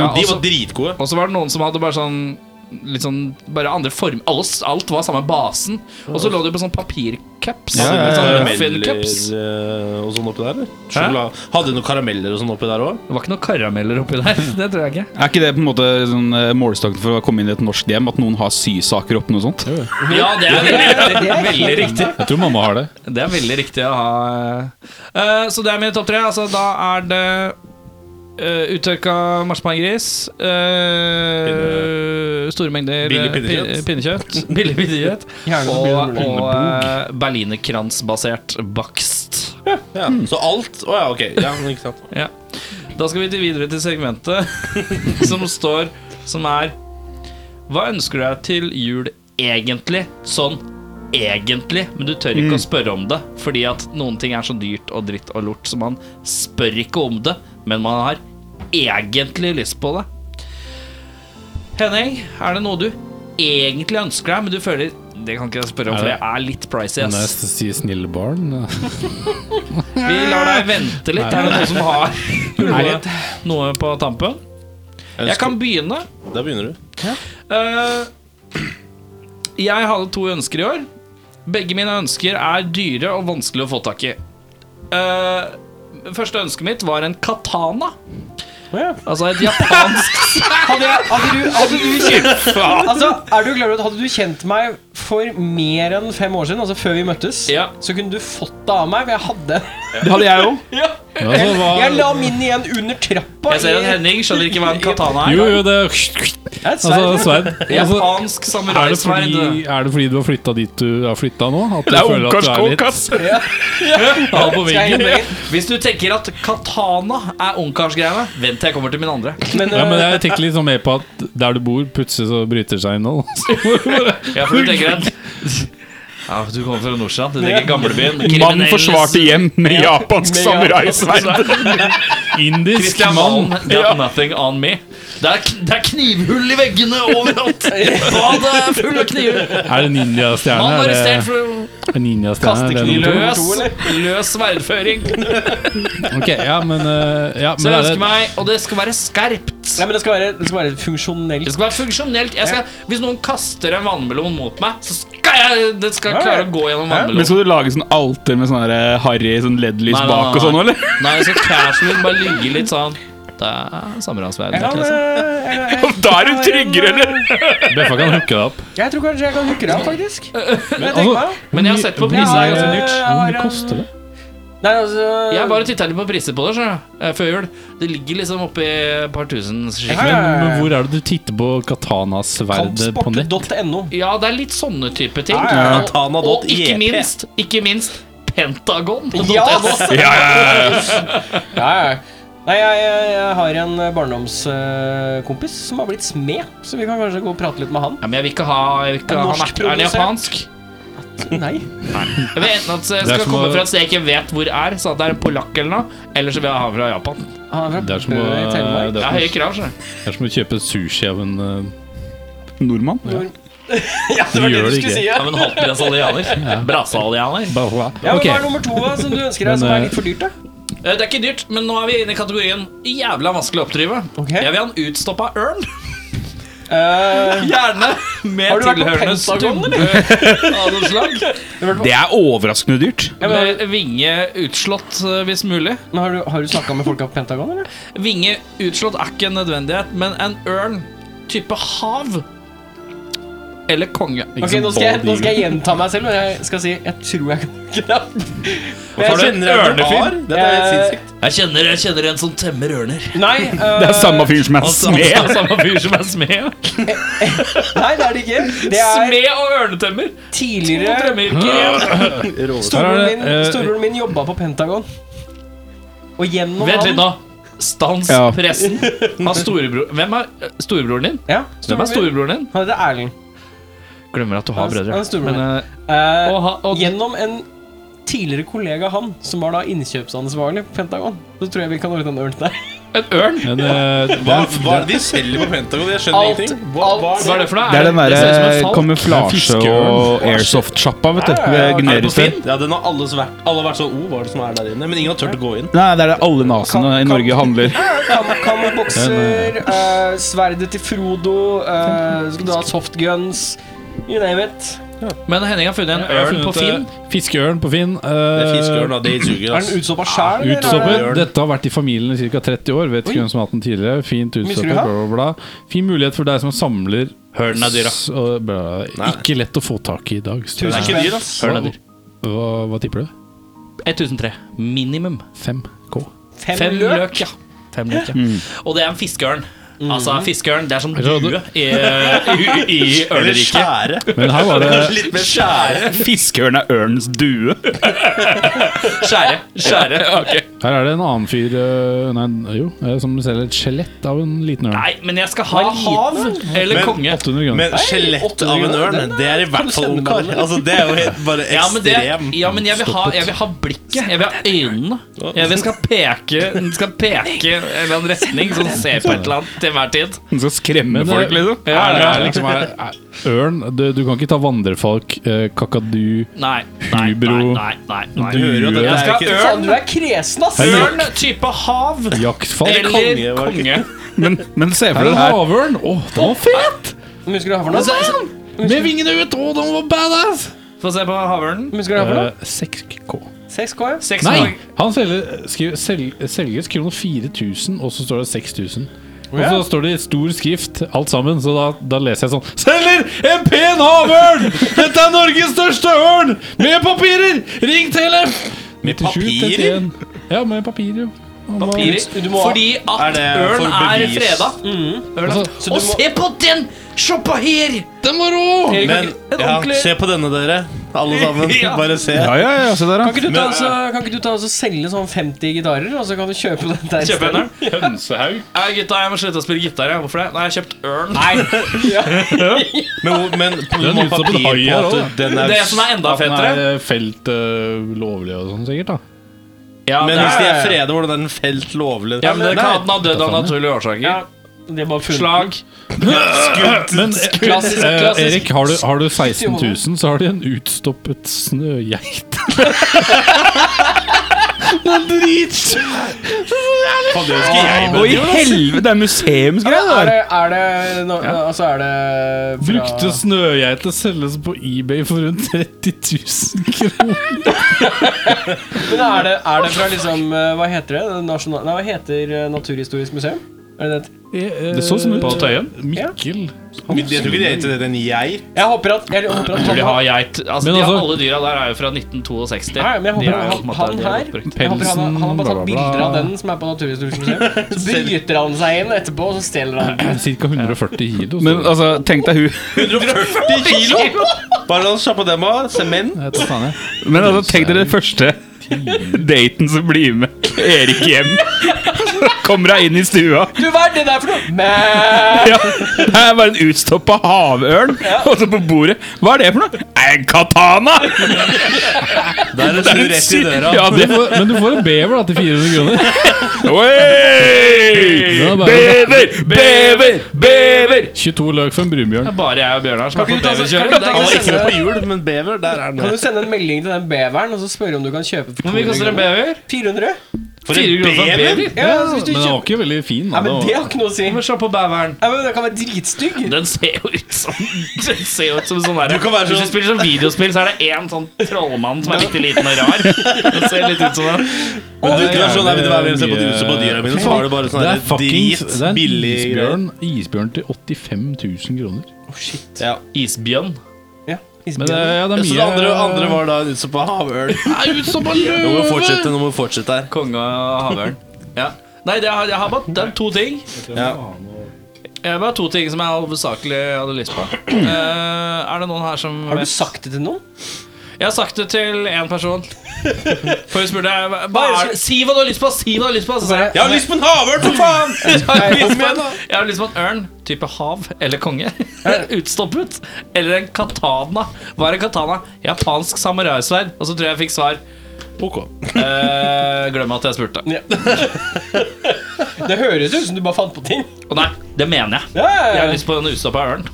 S4: Ja, altså-
S1: De
S4: også-
S1: var dritgode.
S4: Og så var det noen som hadde bare sånn Litt sånn, bare andre form Alt, alt var samme basen Og så lå det jo på sånn papircups
S1: Hadde de
S4: Sånn muffin
S1: karameller
S4: cups
S1: eh, og sånn oppi der? eller? Sjokolade. Hadde de noen karameller og sånn oppi der òg?
S4: Det var ikke noen karameller oppi der Det tror jeg ikke
S6: Er ikke det på en måte sånn eh, målestaken for å komme inn i et norsk hjem? At noen har sysaker oppi noe sånt?
S4: Ja, det er veldig riktig Veldig riktig
S3: Jeg tror mamma har det.
S4: Det er veldig riktig å ha eh. Eh, Så det er mine topp tre altså, Da er det eh, Uttørka marsipangris eh, Store mengder
S1: Billig
S4: eh,
S1: pinnekjøtt.
S4: pin- pinnekjøtt Billig pinnekjøtt
S2: Gjerne så blir
S4: Og,
S2: det
S4: og eh, berlinerkransbasert bakst
S1: Ja. Så alt Å ja, ok. Ja, men ikke sant.
S4: Ja. Da skal vi til videre til segmentet som står Som er Hva ønsker du deg til jul egentlig? Sånn egentlig, men du tør ikke å spørre om det. Fordi at noen ting er så dyrt og dritt og lort, så man spør ikke om det. Men man har egentlig lyst på det. Henning, er det noe du egentlig ønsker deg, men du føler Det kan ikke jeg spørre om, for det er litt pricy.
S3: Men
S4: ass.
S3: jeg sier snille barn. Altså,
S4: Vi lar deg vente litt. Er det noen som har noe, noe på tampen? Jeg kan begynne.
S1: Da begynner du.
S4: Eh, jeg hadde to ønsker i år. Begge mine ønsker er dyre og vanskelig å få tak i. Eh, første ønsket mitt var en katana.
S2: ja.
S4: Altså et japansk
S2: Hadde, jeg, hadde du, hadde du kjent, altså, er du klar over at hadde du kjent meg for mer enn fem år siden, altså før vi møttes,
S4: Ja.
S2: så kunne du fått det av meg, for jeg hadde
S6: Det hadde jeg òg.
S3: Ja, så
S2: Jeg
S3: hva,
S2: la min igjen under trappa.
S4: Jeg ser at Henning skjønner ikke hva en katana er.
S3: jo, jo, det Altså, Svein altså,
S4: Japansk
S3: er, det
S4: samuraisverd.
S3: fordi, er det fordi du har flytta dit du har flytta nå? At du
S5: Det er
S3: føler at du er litt
S5: ungkarskåk, ass!
S3: av på veggen?
S4: Hvis du tenker at katana er ungkarsgreiene, vent til jeg kommer til min andre.
S2: Men,
S3: Ja, men
S2: eh,
S3: jeg tenker litt sånn mer på at der du bor, plutselig så bryter seg innhold.
S4: Ja, for du tenker at ja, Du kommer fra Nordsjøen, du tenker gamlebyen.
S5: Mannen
S4: kriminelles-
S5: forsvarte hjem med japansk samuraisverd.
S3: Indisk
S4: Christian Valen
S3: mann.
S4: got nothing on me. Det er, det er knivhull i veggene overalt! Badet er full av kniver.
S3: Er det
S4: Mann
S3: ninjastjerne?
S4: arrestert
S3: Er
S4: for
S3: det ninjastjerne? er det nummer to?
S4: løs, løs sverdføring.
S3: Ok, ja, men, eh, ja, men
S4: Så jeg
S3: er
S4: ønsker
S3: det,
S4: meg Og det skal være skarpt.
S2: Nei, men det skal være, det skal være
S4: Det
S2: funksjonelt.
S4: skal være funksjonelt. Jeg skal, hvis noen kaster en vannmelon mot meg, så skal jeg det skal
S2: Ja, ja.
S4: klare å gå gjennom
S6: Men
S4: vannmelonen.
S6: Skal du lage sånn alter med sånn der, eh, harry sånn
S4: Nei,
S6: LED-lys
S4: nei,
S6: bak og
S4: nei.
S6: sånn, eller?
S4: Nei, jeg skal casual bare ligge litt sånn. Det er samuraisverd.
S2: Jeg, kan, eh,
S4: liksom.
S2: jeg, jeg, jeg,
S5: Da er du tryggere, eller?
S3: Beffa kan hooke deg opp.
S2: jeg tror kanskje jeg kan hooke deg opp, faktisk. Men,
S3: altså,
S4: Men jeg har sett på
S3: Hvor mye-
S4: priser. Det er ganske
S2: dyrt.
S3: Hvor mye koster det?
S2: Nei, altså
S4: Jeg bare titta litt på priser på det skjønner du, eh, før jul. Det ligger liksom oppi et par tusen.
S2: Ja,
S4: skikkelig.
S3: Men, men hvor er det du titter på katana-sverdet på nett?
S2: Kampsport.no.
S4: Ja, det er litt sånne type ting.
S2: Ja,
S4: Og- Og ikke
S1: Katana.jp.
S4: minst, ikke minst Pentagon.
S2: Ja, altså.
S5: Ja, ja, ja, ja.
S2: Ja, ja. Nei, jeg, jeg, jeg har en eh, barndomskompis som har blitt smed, så vi kan kanskje gå og prate litt med han.
S4: Ja, men jeg vil ikke ha, jeg vil ikke
S2: En
S4: ha han
S2: norsk
S4: er, er det
S2: produsent.
S4: japansk?
S2: Nei.
S4: Jeg vil enten at det
S3: Det er
S4: skal
S3: som
S4: komme
S3: å-
S4: fra et sted jeg ikke vet hvor er, sånn at det er en polakk eller noe. Eller så vil jeg ha han fra Japan.
S2: Han er sånn-
S3: Det er
S2: fra
S3: som å,
S2: Bø eh, i Telemark.
S3: det
S4: Jeg har høye
S3: er som,
S4: krav, skjønner du.
S3: det er som å kjøpe sushi av en eh,
S6: Nordmann?
S2: Ja, det var det
S3: gjør
S2: du
S3: det
S2: skulle
S3: ikke.
S2: si, ja.
S4: men halvbrasilianer. Brasilianer.
S3: bahua.
S2: Ja, men
S3: Ok,
S2: Hva er nummer to da, som du ønsker deg,
S3: Men,
S2: som er
S3: eh,
S2: litt for dyrt? da?
S4: Eh, Det er ikke dyrt, men nå er vi inne i kategorien jævla vanskelig å oppdrive.
S2: Ok.
S4: Jeg vil ha en utstoppa ørn.
S2: Eh,
S4: Gjerne med
S2: Har du vært på
S4: tilhørende
S2: Pentagon,
S4: stubbe av noe slag.
S6: Det er overraskende dyrt.
S2: ja, men,
S4: Med vinge utslått eh, hvis mulig.
S2: men har du, har du snakka med folka på Pentagon, eller?
S4: Vinge utslått er ikke en nødvendighet, men en ørn type hav eller konge.
S2: Ok, nå skal, jeg, nå skal jeg gjenta meg selv, men jeg skal si jeg tror jeg kan ikke det.
S1: Har du en ørnefyr?
S2: ørnefyr?
S1: Dette er helt
S2: Eh,
S1: sinnssykt.
S4: Jeg kjenner, jeg kjenner en som temmer ørner.
S2: Nei, eh,
S6: Det er samme fyr som er
S4: Altså,
S6: smed.
S4: altså, samme fyr som er smed.
S2: øh, nei, det er det ikke. Det er
S4: Smed og ørnetemmer. To
S2: tidligere
S4: tømmeryrker.
S3: Her
S2: Storebroren
S3: er det,
S2: min,
S3: eh,
S2: storebroren min jobba på Pentagon. Og gjennom
S4: Vent
S2: han
S4: litt nå. Stans
S6: Ja.
S4: pressen. Har storebror Hvem er eh, storebroren din?
S2: Ja,
S4: Hvem
S2: storebroren
S4: er
S2: min.
S4: storebroren din?
S2: Han heter Erling.
S4: Glemmer at du har
S2: Han-
S4: brødre.
S2: han er storebroren
S4: Men,
S2: Eh,
S4: eh, og, ha- og,
S2: gjennom en tidligere kollega av han, som var da innkjøpsansvarlig på Pentagon, så tror jeg vi kan ordne en ørn til deg.
S4: en ørn?
S3: Men eh, det
S1: Hva,
S3: er,
S1: hva er det de selger på Pentagon? Jeg skjønner
S2: Alt,
S1: ingenting.
S2: alt.
S4: Hva er det for noe?
S6: Det er den eh,
S4: det- det ser ut som en
S6: derre
S4: falk.
S6: kamuflasje- og airsoft-sjappa, vet du. Ved
S1: Er det på
S6: Gunerius.
S1: Finn? Ja, den har alles vært, alle har vært sånn O, hva er det som er der inne? Men ingen har turt å gå inn.
S6: Nei, det er det alle nasene i Norge handler.
S2: Kam- Kammerbokser, eh, sverdet til Frodo, eh, skal du ha softguns You name it.
S4: Men Henning har funnet en
S3: jeg har
S4: ørn på
S3: funnet, eh,
S4: Finn.
S3: Fiskeørn på Finn.
S1: Det er
S3: eh,
S1: fiskeørn, da. Det suger,
S2: Er
S1: ass.
S2: den utstoppa sjæl?
S3: Utstoppet.
S1: Ørn.
S3: Dette har vært i familien i ca. 30 år. Vet ikke hvem som har hatt den tidligere. Fint
S2: Misliker
S3: utstoppet,
S2: du det?
S3: bla, bla, bla. Fin mulighet for deg som samler
S1: Hørn er dyr, da.
S3: s- og bla. Ikke lett å få tak i i dag. så-
S1: Det er ikke dyr, ass.
S4: Ørn er dyr.
S3: Hva, hva tipper du?
S4: 1003. Minimum.
S3: 5K.
S4: Fem løk, ja. Fem løk, ja.
S6: Mm.
S4: Og det er en fiskeørn. Altså, fiskeørn det er som
S3: tror
S4: due i, eh, i, i
S1: Eller
S4: ørneriket.
S1: skjære.
S3: Men her var det
S1: Litt mer skjære.
S6: Fiskeørn er ørnens due.
S4: Skjære. skjære.
S3: Her er det en annen fyr eh, Nei, jo, eh, som selger et skjelett av en liten ørn.
S4: Nei, men jeg skal ha
S2: Hva er
S4: hav eller
S1: Men-
S4: konge.
S3: 800 kroner.
S1: Men skjelett av en ørn, det er i hvert fall ungkar. Altså, det er jo helt bare
S4: Ja men, det,
S1: ekstrem.
S4: ja, men jeg vil ha, jeg vil ha blikket. Jeg vil ha øynene. Jeg vil skal peke Den skal peke en eller annen retning, som ser på et eller annet til enhver tid.
S6: Den skal skremme
S3: Men, eh,
S6: folk, liksom.
S4: Ja,
S3: Er det
S4: ja,
S3: er liksom er, er, Ørn du, du kan ikke ta vandrefalk, eh, kakadu
S4: Nei, nei, nei,
S3: Hubro.
S4: nei, nei, nei.
S1: Du hører jo at dette
S4: Jeg
S1: er
S4: skal
S1: ikke-
S4: ha
S2: Faen,
S4: ørn,
S2: du er kresen, ass!
S4: ørn type hav
S3: jaktfalk.
S4: eller
S1: konge, var det ikke?
S4: konge.
S6: Men, men se for
S3: Er det en
S6: deg det her.
S3: havørn? Å, den var fet!
S2: Men Husker du hva for noe?
S3: Med vingene ut! Å, den var badass!
S4: Få se på havørnen.
S2: Men Husker du hva for noe?
S3: Eh, 6K.
S2: 6K, ja.
S4: Seks
S3: Nei!
S4: poeng.
S3: Han selger, skriver, sel, selges kroner 4000, og så står det 6000. Og så står det i stor skrift alt sammen, så da, da leser jeg sånn Selger en pen havørn! Dette er Norges største ørn! Med papirer! Ring Telef! Med
S1: papirer?
S3: Ja, med papirer, jo. Han var-
S4: Papirer.
S2: Du må-
S4: Fordi
S1: Er
S4: at
S1: det
S4: ørn
S1: for
S4: er
S1: bevis?
S4: freda. Ørn er-
S3: Altså,
S2: du
S4: Og
S2: må-
S4: se på den! Shoppa her! Den var rå!
S2: Erik,
S1: Men
S4: En
S1: ja,
S4: ordentlig-
S1: se på denne, dere. Alle sammen.
S4: Ja.
S1: Bare se.
S6: Ja, ja, ja, se der,
S2: Kan ikke, du ta,
S1: Men-
S2: altså, kan ikke du ta og så selge sånn 50 gitarer, og så kan du kjøpe den der?
S4: Kjøp
S2: isteden?
S4: ørn. Nei, gutta, jeg må slutte å spille gitar. jeg. Hvorfor det? Nei, jeg har kjøpt ørn.
S1: Men, hvor- men
S3: Den
S1: må
S3: er ute som en
S1: papir
S3: hai
S1: på
S3: her
S1: at
S3: også.
S1: den er
S4: Det som er enda
S3: At den
S4: fetere
S3: er felt øh, lovlig og sånn, sikkert. da
S4: ja,
S1: Men
S4: det
S1: hvis de
S4: er,
S1: er freda, hvordan er den felt lovlig?
S4: ja, men det kan
S1: Nei.
S4: at den har dødd av
S3: Nei.
S4: naturlige årsaker.
S2: Ja, de har bare funnet
S4: Slag.
S3: Men
S2: Klassisk,
S3: eh,
S2: klassisk.
S3: Erik, har du, har du 16 000, så har de en utstoppet snøgeit.
S1: Faen, det husker jeg, men-
S6: Og i helvete, det er museumsgreier det
S2: Er
S6: der.
S2: det, er det no, Altså, er det fra-
S3: Brukte snøgeiter selges på eBay for rundt 30 000 kroner.
S2: Men er det, er det fra liksom eh, Hva heter det? Det Nasjonal, nei, hva heter eh, Naturhistorisk museum? Er det det? heter?
S3: Det så sånn ut. På Tøyen? Mikkel.
S1: Men Jeg tror ikke det heter det, den geit.
S2: Jeg håper at, jeg håper at
S4: De
S2: han,
S4: har geit. Altså,
S3: Men
S4: de har
S3: altså-
S4: alle dyra der er jo fra 1962.
S2: Nei, men jeg
S4: De
S2: håper
S4: er jo på en
S2: han,
S4: måte-
S2: han
S4: de er
S2: her
S4: oppbrukt.
S2: jeg håper han, han har bare
S3: Pelsen, bla, bla,
S2: tatt bilder av
S3: bla.
S2: den som er på Naturhistorisk museum. Så bryter han seg inn etterpå, og så stjeler han den.
S3: Ca. 140 kilo.
S6: Men altså, tenk deg hun
S1: 140 kilo! Bare la oss kjappe dem av. Sement.
S6: Men altså, tenk dere den første daten som blir med Erik hjem. Så kommer hun inn i stua.
S2: Du, hva er det der for noe? Men,
S6: Ja, det er bare en utstoppa havørn. Og så på bordet Hva er det for noe? En katana!
S1: Da er det snu rett i døra.
S6: Ja, det
S3: Men du får en bever da til 400 kroner.
S6: Oi!
S3: Ja, bare-
S6: Bever! Bever! Bever!
S3: 22 løk for en brunbjørn.
S4: Bare jeg og Bjørnar som
S2: Kan
S4: har fått
S2: ikke du ta- altså,
S4: babyskjøring.
S2: kan ikke du ta-
S1: Han var ikke med på jul, men bever, der er
S2: kan
S1: den.
S2: du sende en melding til den beveren og så spørre om du kan kjøpe for
S4: Hvor mye koster
S2: 200
S4: en
S2: kroner?
S4: bever?
S2: 400?
S1: For
S4: Fire
S1: en
S4: kroner for en
S1: bever?
S4: bever?
S2: Ja, så hvis du
S3: Men den var
S2: kjøper
S3: ikke veldig fin.
S2: Nei,
S3: Da.
S2: men det har ikke noe å si.
S4: Men se på beveren.
S2: Nei, men Den kan være dritstygg.
S4: Den ser jo ut som Den ser jo ut som sånn der
S1: Du kan være
S4: Hvis
S1: sånn-
S4: du spiller sånn videospill, så er det én sånn trollmann som er litt liten og rar. Den ser litt ut som det.
S1: Men du, ikke sånn,
S3: jævlig
S1: jeg vil være med og se på
S3: mye-
S1: huset på dyra mine, så var det bare sånn
S3: Det er
S1: her
S3: fuckings
S1: drit,
S3: det er en
S1: billig greier.
S3: isbjørn, isbjørn til 85 000 kroner.
S2: Å, shit.
S1: Ja.
S4: Isbjørn.
S2: Ja,
S3: Men eh, det, er- ja, det er
S1: Så
S3: mye
S1: det andre, andre var da en utsopp av havørn. Nå må vi fortsette, nå må vi fortsette her.
S4: Konge av havørn. Ja. Nei, det har, jeg har bare det er to ting.
S1: Ja.
S4: Jeg har bare to ting som jeg hovedsakelig hadde lyst på. Eh, er det noen her som
S2: Har du
S4: vet?
S2: sagt det til noen?
S4: Jeg har sagt det til én person. For hun spurte hva hva
S2: Bare-
S4: er det? Si hva du har lyst på! Si hva du har lyst på! Så sa jeg
S1: Jeg har lyst på en havørn, for faen!
S4: Jeg har lyst på
S1: igjen,
S4: en,
S1: da.
S4: jeg har lyst på en ørn, type hav eller konge. Utstoppet. Eller en katana. Hva er en katana? Japansk samuraisverd. Og så tror jeg jeg fikk svar.
S1: Ok.
S4: Eh, glem at jeg spurte.
S2: Ja. Det høres ut som du bare fant på ting.
S4: Og nei, det mener jeg.
S2: Ja, ja,
S4: Jeg har
S2: ja.
S4: lyst på en utstoppa ørn.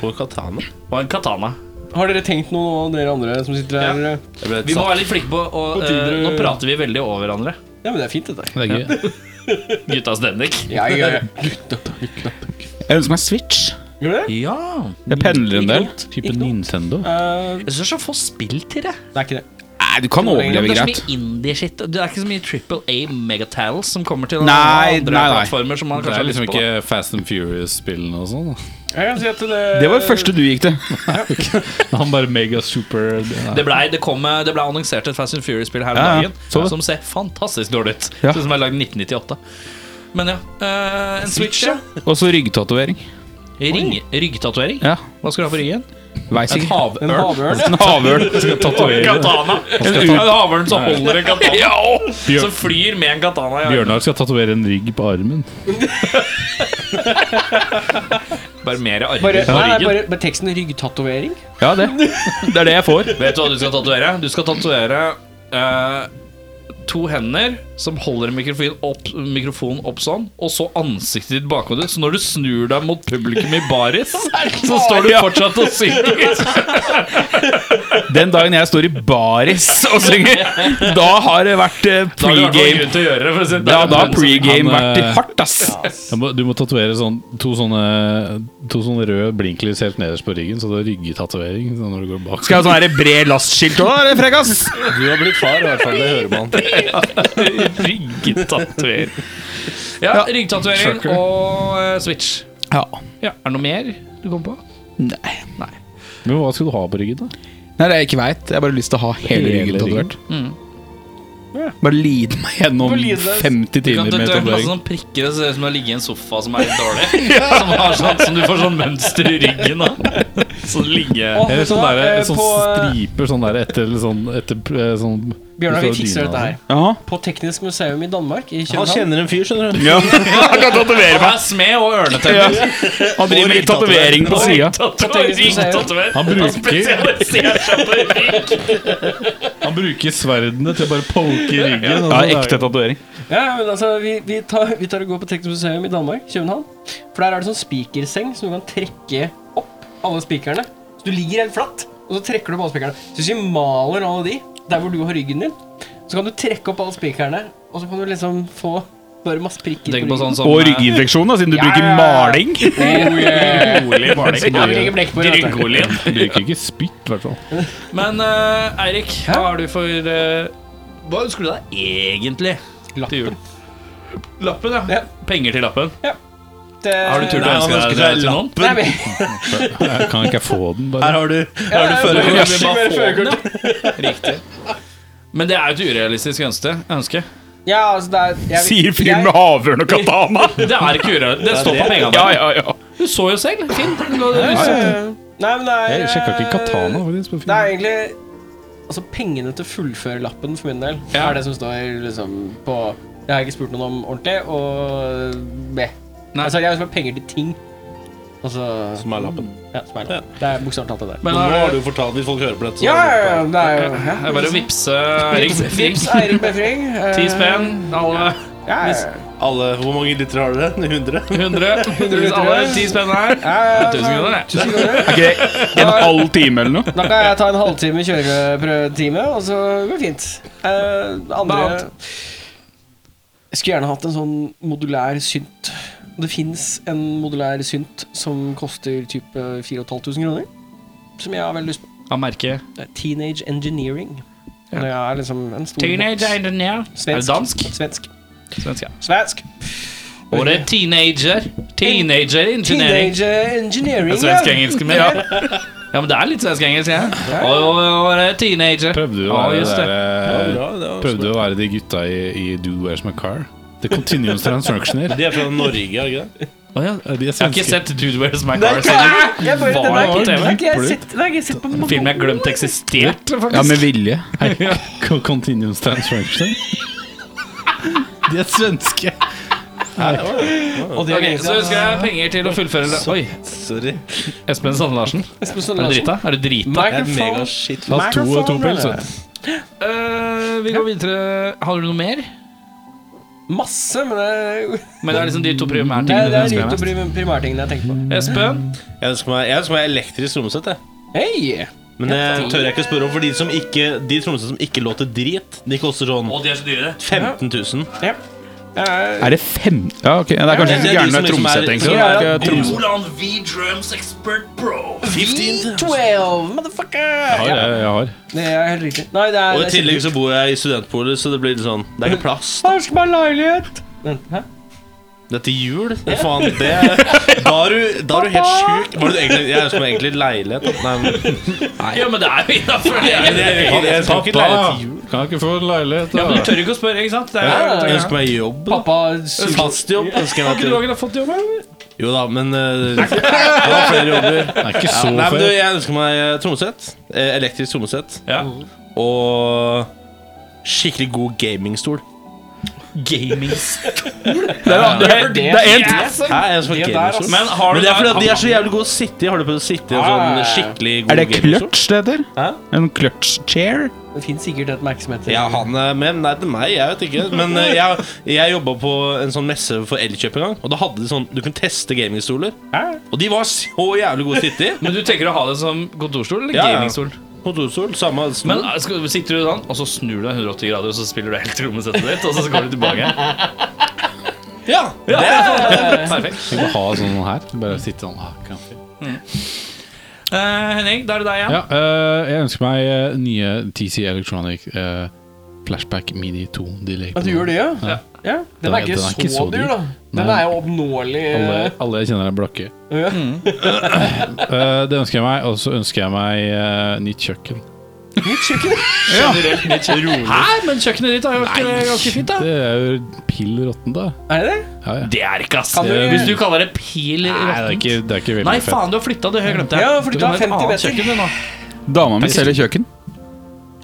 S1: På katana.
S4: Og en katana.
S2: Har dere tenkt noe, dere andre som sitter her? Ja,
S1: Jeg ble
S4: Vi må være litt flinke på å
S2: På
S4: eh,
S2: Tinder-
S4: Nå prater vi veldig over hverandre.
S2: men det er fint, dette.
S3: Det er gøy.
S4: Guttas stemning.
S2: Ja, ja, ja.
S6: Jeg ønsker meg Switch.
S2: Gjør du det?
S4: Ja.
S6: Jeg pendler en del.
S3: Type Nintendo.
S2: Eh,
S4: Jeg syns det er så få spill til det.
S2: det er ikke det.
S6: Nei, du kan
S4: Det
S6: overleve
S4: er så
S6: greit.
S4: mye indie-shit. Det er ikke så mye Triple A megatales som kommer til
S6: Nei,
S4: andre
S6: nei, nei.
S4: plattformer. Som man
S3: Det
S4: kanskje
S3: er
S4: har lyst
S3: liksom
S4: på.
S3: ikke Fast and Furious-spillene og sånn. da.
S2: Jeg kan si at det,
S6: Det var det første du gikk til.
S3: Han bare mega super
S4: Det ble, det, kom, eh, det ble annonsert et Fast and Furious-spill her om
S6: Ja, ja.
S4: dagen
S6: Så det.
S4: som ser fantastisk dårlig ut.
S6: Ja.
S4: Sånn som er lagd i 1998. Men ja. eh, en Switch, ja.
S6: Og så ryggtatovering.
S4: Ring, ryggtatovering.
S6: Ja.
S4: Hva skal du ha på ryggen?
S6: Veis
S4: En
S2: En
S6: ikke.
S4: havørn.
S2: havørn.
S6: En havørn.
S4: Katana. En ut- en havørn som holder en katana. Ja, og- som flyr med en katana. i armen.
S3: Bjørnar skal tatovere en rygg på armen.
S4: Bare mer armer på
S2: Bare, nei, nei,
S4: ryggen.
S2: bare, bare teksten 'ryggtatovering'.
S6: Ja, det. Det er det jeg får.
S4: Vet du hva du skal tatovere? Du skal tatovere eh, to hender som holder mikrofonen opp, mikrofonen opp sånn, og så ansiktet ditt bakhodet. Så når du snur deg mot publikum i baris, så står du fortsatt og synger.
S6: Den dagen jeg står i baris og synger, da har det vært eh,
S4: Da har du i hvert fall
S6: pregame.
S4: grunn til å gjøre det. For å si det. sånn.
S6: Ja, da har pregame
S3: Han,
S6: vært i
S3: eh,
S6: hardt, ass.
S3: Jeg må- Du må tatovere sånn, to, sånne, to sånne røde blinklys helt nederst på ryggen, så du har ryggetatovering sånn når du går bak.
S6: Skal jeg ha sånn her bred lastskilt òg, eller, frekkas?
S1: Du har blitt far, i hvert fall. Det hører man.
S4: Ryggtatovering. Ja, ryggtatovering og eh, Switch.
S6: Ja.
S4: Ja, Er det noe mer du kom på?
S6: Nei.
S3: Men hva skal du ha på ryggen, da?
S6: Nei, det er jeg ikke veit. Jeg har bare lyst til å ha hele
S3: Hele
S6: ryggen
S3: ryggen.
S6: tatovert. Bare lide meg gjennom 50
S4: Du kan
S6: timer med
S4: tatovere masse
S6: tatovering.
S4: sånne prikker og ser ut som å ligge i en sofa som er litt dårlig. Som, har sånn, som du får sånn mønster i ryggen av. Sånn ligge
S2: Å,
S3: Eller
S2: vet du
S3: sånn
S2: hva?
S3: der,
S2: Eh,
S3: sånn
S2: på-
S3: striper sånn der etter eller sånn, etter, eh, sånn altså.
S2: Bjørnar, vi
S3: utover
S2: fikser
S3: dyna,
S2: dette her.
S6: Jaha.
S2: På Teknisk museum i Danmark i
S1: Han
S2: København.
S1: kjenner en fyr, skjønner du.
S6: Ja. Han kan tatovere
S4: Han er smed og ørnetenner.
S6: Han driver med tatovering på sida.
S4: Ryggtatovering.
S3: Han bruker,
S4: Spesialiserer seg på rygg.
S3: han bruker sverdene til å bare poke i ryggen. og sånn
S6: Ja,
S3: så
S6: ekte tatovering.
S2: Ja, ja, men altså, vi, vi, tar, vi tar og går på Teknisk museum i Danmark, København. For der er det sånn spikerseng som du kan trekke opp alle spikerne. Så du ligger helt flatt, og så trekker du opp alle spikerne. Så hvis vi maler alle de, der hvor du har ryggen din, så kan du trekke opp alle spikerne, og så kan du liksom få bare masse prikker
S4: Tenk på sånn som
S6: Og rygginfeksjon, da, siden du
S2: Ja,
S6: bruker
S2: ja, ja.
S6: maling.
S2: Ja, vi legger blekk på, vet du.
S3: der- Bruker ikke spytt, i hvert fall.
S4: Men eh, Eirik, hva
S2: Hæ?
S4: har du for eh, Hva ønsker du deg egentlig til jul? Lappen, ja.
S2: Ja.
S4: Penger til lappen.
S2: Det-
S4: Har du turt
S1: Nei,
S4: å
S1: han
S4: ønske
S1: ønsker
S4: deg det
S1: seg
S4: til noen?
S2: Eh, Nei, men-
S1: lappen.
S3: Jeg kan ikke jeg få den, bare?
S1: Her har du, her har du
S2: Ja, ja,
S1: førerkort.
S2: ja. Bare
S4: Bare få den, ja. Riktig. Men det er jo et urealistisk ønske. ønske.
S2: Ja, altså, det er jeg-
S6: Sier fyren
S2: jeg-
S6: med havørn og katana.
S4: Det er ikke urealistisk. Det står på pengene.
S6: Ja, ja, ja.
S4: Du så jo selv. Fint.
S2: Nei, men det er eh,
S3: Jeg sjekka ikke katana. faktisk, på Finn.
S2: Det er egentlig Altså pengene til å fullføre lappen for min del
S4: Ja.
S2: er det som står liksom på Det har jeg ikke spurt noen om ordentlig, og B.
S4: Nei.
S2: Altså, jeg har liksom penger til ting. Og så
S1: Som er lappen.
S2: Ja, som er lappen. Det er bokstavelig talt det der.
S4: Men
S1: Nå
S4: har
S1: har
S4: du
S1: du fortalt hvis folk hører på dette. så-
S2: Ja, ja, ja, det er jo ja.
S4: Det er bare å vippse Eirik.
S2: Vips, Eirik Befring. eh,
S4: Ti spenn. Alle
S2: Ja, ja,
S1: Alle, Hvor mange liter har dere? 100?
S4: 100. Hvis
S2: liter.
S4: alle ti spenn her.
S2: ja, ja,
S4: 1000
S2: ja.
S4: kroner, det.
S2: Tusen kroner.
S6: Ok, En halv time eller noe?
S2: Da kan jeg ta en halvtime kjøreprøvetime, og så går det fint. Eh, andre
S4: Hva annet?
S2: Jeg skulle gjerne hatt en sånn modulær synt. Det fins en modulær synt som koster type 4500 kroner. Som jeg har veldig lyst på.
S4: Av merket
S2: Det er Teenage Engineering.
S4: Ja.
S2: Det er liksom en stor
S4: Teenage
S2: boks.
S4: Engineer. Er det
S2: Svensk.
S4: dansk?
S2: Svensk.
S4: Svensk, ja.
S2: Svensk.
S4: Og det er teenager. Teenager engineering.
S2: Teenage Engineering.
S4: Svensk-engelsk, men ja. Ja, men det er litt svensk-engelsk, ja. Og, og, og det er teenager.
S3: Prøvde du å
S4: Ja,
S3: være,
S4: just det.
S3: det der, eh,
S1: Ja, det var
S3: prøvde du å være de gutta i, i Do Where's My Car? The Continuous Transactioner.
S1: De er fra Norge, er de ikke det?
S4: Å, ja.
S3: De er
S4: Jeg har ikke
S3: svenske.
S4: sett Dude Wears My
S2: Nei,
S4: Car
S2: hva?
S4: siden
S2: Jeg bare, den
S4: Var
S2: har
S4: det på
S2: ikke- den har
S4: TV?
S2: ikke jeg sett- den har ikke jeg sett på mange
S4: filmen jeg glemte eksisterte.
S6: Ja, med vilje.
S3: Co- Continuous Transactioner. De er svenske.
S2: Og det er
S4: Ok,
S2: lenge
S4: så
S2: siden.
S4: ønsker jeg penger til å fullføre det. Oi,
S1: Sorry.
S4: Espen Sande Larsen.
S2: Espen Sund
S4: Er du
S2: Larsen.
S4: drita? Er du drita?
S1: Jeg er
S2: Microphone.
S1: megaskitt.
S3: Altså, to,
S2: Microphone,
S3: to pils.
S2: eller?
S3: vet du.
S4: Eh, vi går videre. Har du noe mer?
S2: Masse, men det er,
S4: Men det er liksom de to
S2: det er,
S4: primærtingene
S2: det
S4: du
S2: er
S4: ønsker deg
S2: de
S4: mest.
S2: to prim- primærtingene jeg tenker på.
S4: Espen?
S1: Jeg ønsker meg, jeg ønsker meg elektrisk trommesett, jeg.
S2: Hei!
S1: Men det tør jeg ikke spørre om, for de, som ikke, de trommesett som ikke låter drit, de koster sånn
S4: de er så dyre.
S1: 15 000.
S2: Ja. Eh,
S6: Er det fem Ja, ok, Det er kanskje
S1: Det er
S6: ikke
S1: de
S6: gærent
S1: som
S6: med
S1: liksom er-
S6: tromsett, egentlig.
S2: Ja, ja.
S6: Det er ikke Tromsø.
S4: Roland V Drums Expert Pro.
S1: 15 000.
S2: 12, Eh, E motherfucker!
S3: Har
S2: Ja,
S3: jeg, jeg har.
S2: det er helt riktig. Nei, det er,
S1: Og i
S2: det er
S1: tillegg så bor jeg i studentbolig, så det blir litt sånn Det er ikke plass.
S2: kjempe- Ønsker meg leilighet! Vent, hæ?
S1: Det er til jul? Det, faen, det Da er du, da er du helt sjuk. Var det egentlig, jeg ønsker meg egentlig leilighet. da. Nei, men,
S4: Ja, men det er jo innafor.
S1: men jeg, jeg, jeg, ønsker meg ikke leilighet til jul.
S3: Kan jeg ikke få en leilighet,
S4: Ja, men du
S3: da?
S4: tør ikke å spørre, ikke sant? Det
S2: Ja, ja,
S4: er,
S2: ja.
S1: Jeg ønsker meg jobb. da.
S2: Pappa suger
S1: Fast jobb. ønsker jeg
S4: Har
S1: meg
S4: ikke du
S1: til.
S4: Agnes, fått jobb? eller?
S1: Jo da, men eh, Det var flere jobber.
S3: Det er ikke
S1: Ja,
S3: så
S1: nei, men du,
S3: feil.
S1: jeg ønsker meg eh, trommesett. Eh, Elektrisk trommesett.
S4: Ja.
S1: Og skikkelig god gamingstol. Gamingstol?
S2: Det er for det.
S5: Det er en
S1: Hæ, jeg skal
S2: Det
S1: ikke
S2: der,
S1: gamingstol.
S2: altså.
S1: Men, har du det er fordi at de er så jævlig gode å sitte i. Har du prøvd å sitte i en sånn
S2: Ah.
S1: skikkelig god
S6: Er det
S1: gamingstol?
S6: clutch det heter?
S2: Hæ?
S6: En clutch chair?
S2: Det finnes sikkert et merke som heter
S1: Ja, han er med. Nei, til meg. Jeg vet ikke. Men eh, jeg, jeg jobba på en sånn messe for Elkjøp en gang, og da hadde de sånn Du kunne teste gamingstoler.
S2: Hæ?
S1: Og de var så jævlig gode å sitte i.
S4: Men du tenker å ha det som kontorstol eller
S1: Ja, ja.
S4: gamingstol?
S1: Kontorstol, samme stol.
S4: Men eh, skal, sitter du sånn, og så snur du deg 180 grader, og så spiller du helt rommesettet ditt, og så går du tilbake?
S1: ja, det er
S4: Perfekt.
S3: Tenk å ha sånn her. Bare sitte sånn. Ah, krampe.
S4: Eh, Henning, da er det deg igjen.
S3: ja, eh, jeg ønsker meg eh, nye TC Electronic eh, Flashback Mini 2 delay.
S2: At du gjør det, ja?
S3: Ja.
S2: Ja, Den er ikke,
S3: Den er ikke
S2: så
S3: så dyr.
S2: dyr, da. Den
S3: Nei.
S2: er jo oppnåelig.
S3: Alle,
S2: eh,
S3: alle jeg kjenner er blakke.
S2: Ja.
S3: Eh, det ønsker jeg meg, og så ønsker jeg meg eh, nytt kjøkken.
S4: Hæ, men kjøkkenet ditt har jo vært eh, ganske fint, da.
S3: Det er jo pill råttent, da.
S2: Er det det?
S3: Ja, ja.
S4: Det er ikke, ass.
S2: Kan du-
S4: Hvis du kaller det pil
S3: Nei, det er
S4: råttent.
S3: ikke, det er ikke veldig
S4: Nei,
S3: fett.
S4: faen, du har flytta det. Jeg glemte det.
S2: Ja, fordi du har
S4: har et
S2: 50
S4: annet
S2: meter.
S4: kjøkken, du, nå.
S6: Dama mi selger kjøkken.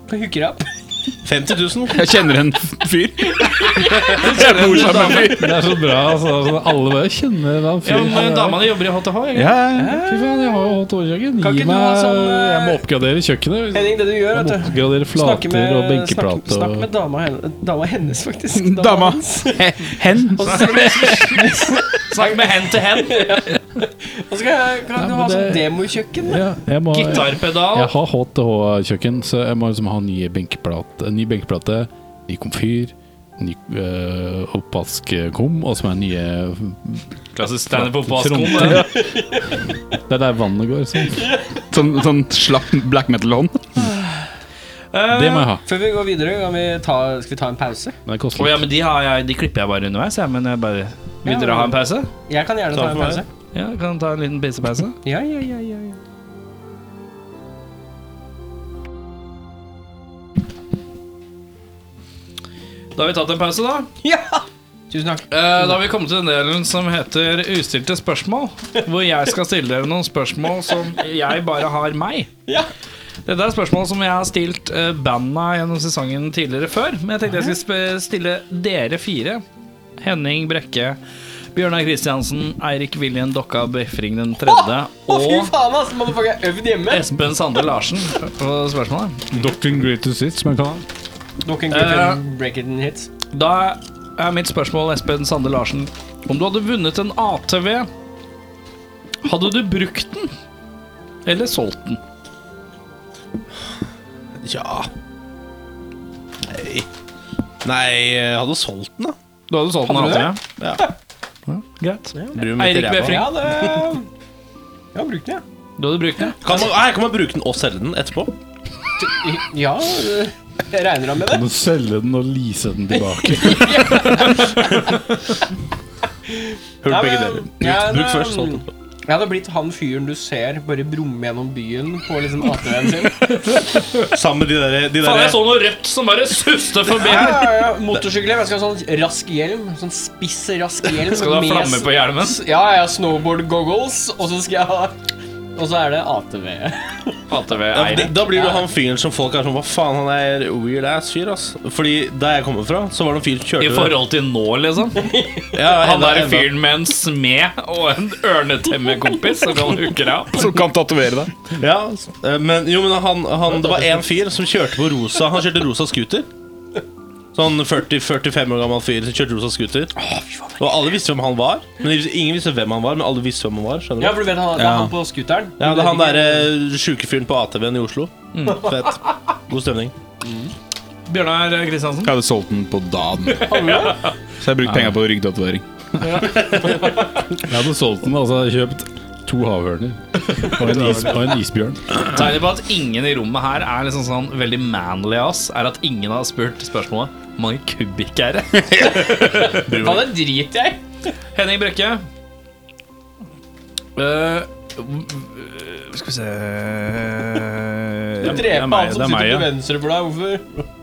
S2: På Hookerap?
S1: 50 000.
S6: Jeg kjenner en fyr. Jeg bor sammen med en fyr.
S3: Det er så bra. Altså, altså, alle bare kjenner hva
S4: Ja,
S3: fyren
S4: men damene jobber i HTH. Jeg.
S6: Ja, ja.
S3: Fy faen, jeg har jo holdt overkjøkken.
S2: Kan
S3: Gi
S2: ikke du
S3: meg
S2: ha sånn, eh,
S3: Jeg må oppgradere kjøkkenet.
S2: Henning, det du gjør,
S3: Jeg må
S2: vet du
S3: oppgradere
S2: Snakke med,
S3: flater og
S2: snakk,
S3: benkeplater.
S2: snakk
S3: og-
S2: med dama, hen- dama hennes, faktisk.
S6: Dama.
S2: Hennes.
S6: Hen.
S2: Og så skal du-
S4: Snakk med hen til hen.
S2: og så skal jeg-
S3: Nei,
S2: kan du
S3: men
S2: ha sånn
S3: det-
S2: demokjøkken. da?
S3: Ja, jeg, må, jeg
S4: Gitarpedal.
S3: har HTH-kjøkken, eh, så jeg må liksom ha nye benkeplate, ny benkeplate, ny komfyr, ny øh, oppvaskkum, og så må jeg ha nye
S4: Klassisk standup på Askon.
S3: Fronten.
S4: det.
S3: Det er der vannet går. Sånn.
S6: Sånn, sånn slapp black metal-hånd.
S3: Det må jeg ha.
S2: Før vi går videre, kan vi ta, skal vi ta en pause?
S3: Men det
S4: Å
S3: koster
S4: ja,
S3: litt.
S4: men de, har jeg, de klipper jeg bare underveis, jeg. Men jeg bare Vil
S2: Ja.
S4: dere ha en pause?
S2: Jeg kan gjerne ta en
S1: for meg.
S2: pause.
S4: Ja, kan ta en liten pissepause?
S2: Ja, ja, ja, ja, ja.
S4: Da har vi tatt en pause, da.
S2: Tusen takk.
S4: Eh, da har vi kommet til den delen som heter ustilte spørsmål. Hvor jeg skal stille dere noen spørsmål som jeg bare har meg.
S2: Ja.
S4: Dette er spørsmål som jeg har stilt eh, banda gjennom sesongen tidligere før. Men jeg tenkte jeg skulle sp- stille dere fire. Henning Brekke, Bjørnar Kristiansen, Eirik William Dokka Befring den tredje.
S2: Å, fy
S4: Og
S2: faen, altså! Motherfucker, jeg har øvd hjemme.
S4: Espen Sande Larsen på spørsmålet.
S3: Doctrine Greatest Hits, som jeg kaller den.
S2: Dere kan
S3: Eh.
S2: ikke break it in hits.
S4: Da er mitt spørsmål, Espen Sande Larsen. Om du hadde vunnet en ATV, hadde du brukt den? Eller solgt den?
S1: Ja Nei Nei, jeg hadde solgt den, da.
S4: Du hadde solgt
S2: Hadde du
S4: den ATV?
S1: Ja.
S4: Greit.
S1: Bryr meg
S4: Eirik
S1: ikke ræva.
S4: Befring.
S2: Ja, det Jeg har brukt den, ja.
S4: Du hadde brukt den?
S1: Kan man, nei, kan man bruke den og selge den etterpå?
S2: Ja, øh, jeg regner da med det.
S3: Kan du selge den og lease den tilbake?
S1: Hørt
S2: Nei,
S1: begge
S2: men-
S1: deler.
S2: ja,
S1: Bruk, bruk
S2: nei,
S1: først.
S2: men-
S1: solgt den.
S2: Jeg hadde blitt han fyren du ser bare brumme gjennom byen på liksom ATV-en sin.
S1: Sammen med de der, de
S4: Faen, jeg
S1: der
S4: så noe rødt som bare suste forbi.
S2: Ja, ja, ja. Motorsykler. Jeg skal ha sånn rask hjelm. Sånn spiss, rask hjelm. sånn
S4: Skal du ha
S2: med
S4: flamme på hjelmen?
S2: s- Ja, ja, snowboard goggles, og så skal jeg ha Og så er det ATV.
S1: ja, men
S4: ATV-eier.
S1: da blir du han fyren som folk er sånn Hva faen, han er weird ass fyr, ass. Fordi der jeg kommer fra, så var det en fyr som kjørte
S4: I forhold til nå, liksom.
S1: ja,
S4: Han
S1: enda-
S4: der
S1: enda-
S4: fyren med en smed og en ørnetemmekompis som kan hooke deg opp.
S6: Som kan tatovere deg.
S1: Ja, eh, men, jo, men han, han, det var en fyr som kjørte på rosa Han kjørte rosa scooter. Sånn 40-45 år gammel fyr som kjørte rosa scooter. Og alle visste hvem han var. Men Ingen visste hvem han var, men alle visste hvem han var. skjønner
S2: Ja,
S1: du?
S2: for du vet han, det er han på scooteren.
S1: Ja,
S2: Du
S1: det er han
S2: vet ikke-
S1: derre sjuke fyren på ATV-en i Oslo. Fett. God stemning.
S4: Bjørnar Kristiansen.
S6: Jeg hadde solgt den på dagen. Så jeg brukte penger på ryggtatovering.
S3: Jeg hadde solgt den, altså jeg hadde kjøpt to havørner og en, is, og en isbjørn.
S4: Tegnet på at ingen i rommet her er liksom sånn veldig manly ass, er at ingen har spurt spørsmålet hvor mange kubikk er det?
S2: Ja, det driter jeg i.
S4: Henning Brekke. Eh, eh, skal vi se
S2: Du
S4: Det er
S2: dreper
S4: meg,
S2: han
S4: det er
S2: som
S4: meg,
S2: sitter
S4: ja.
S2: til venstre for deg. Hvorfor?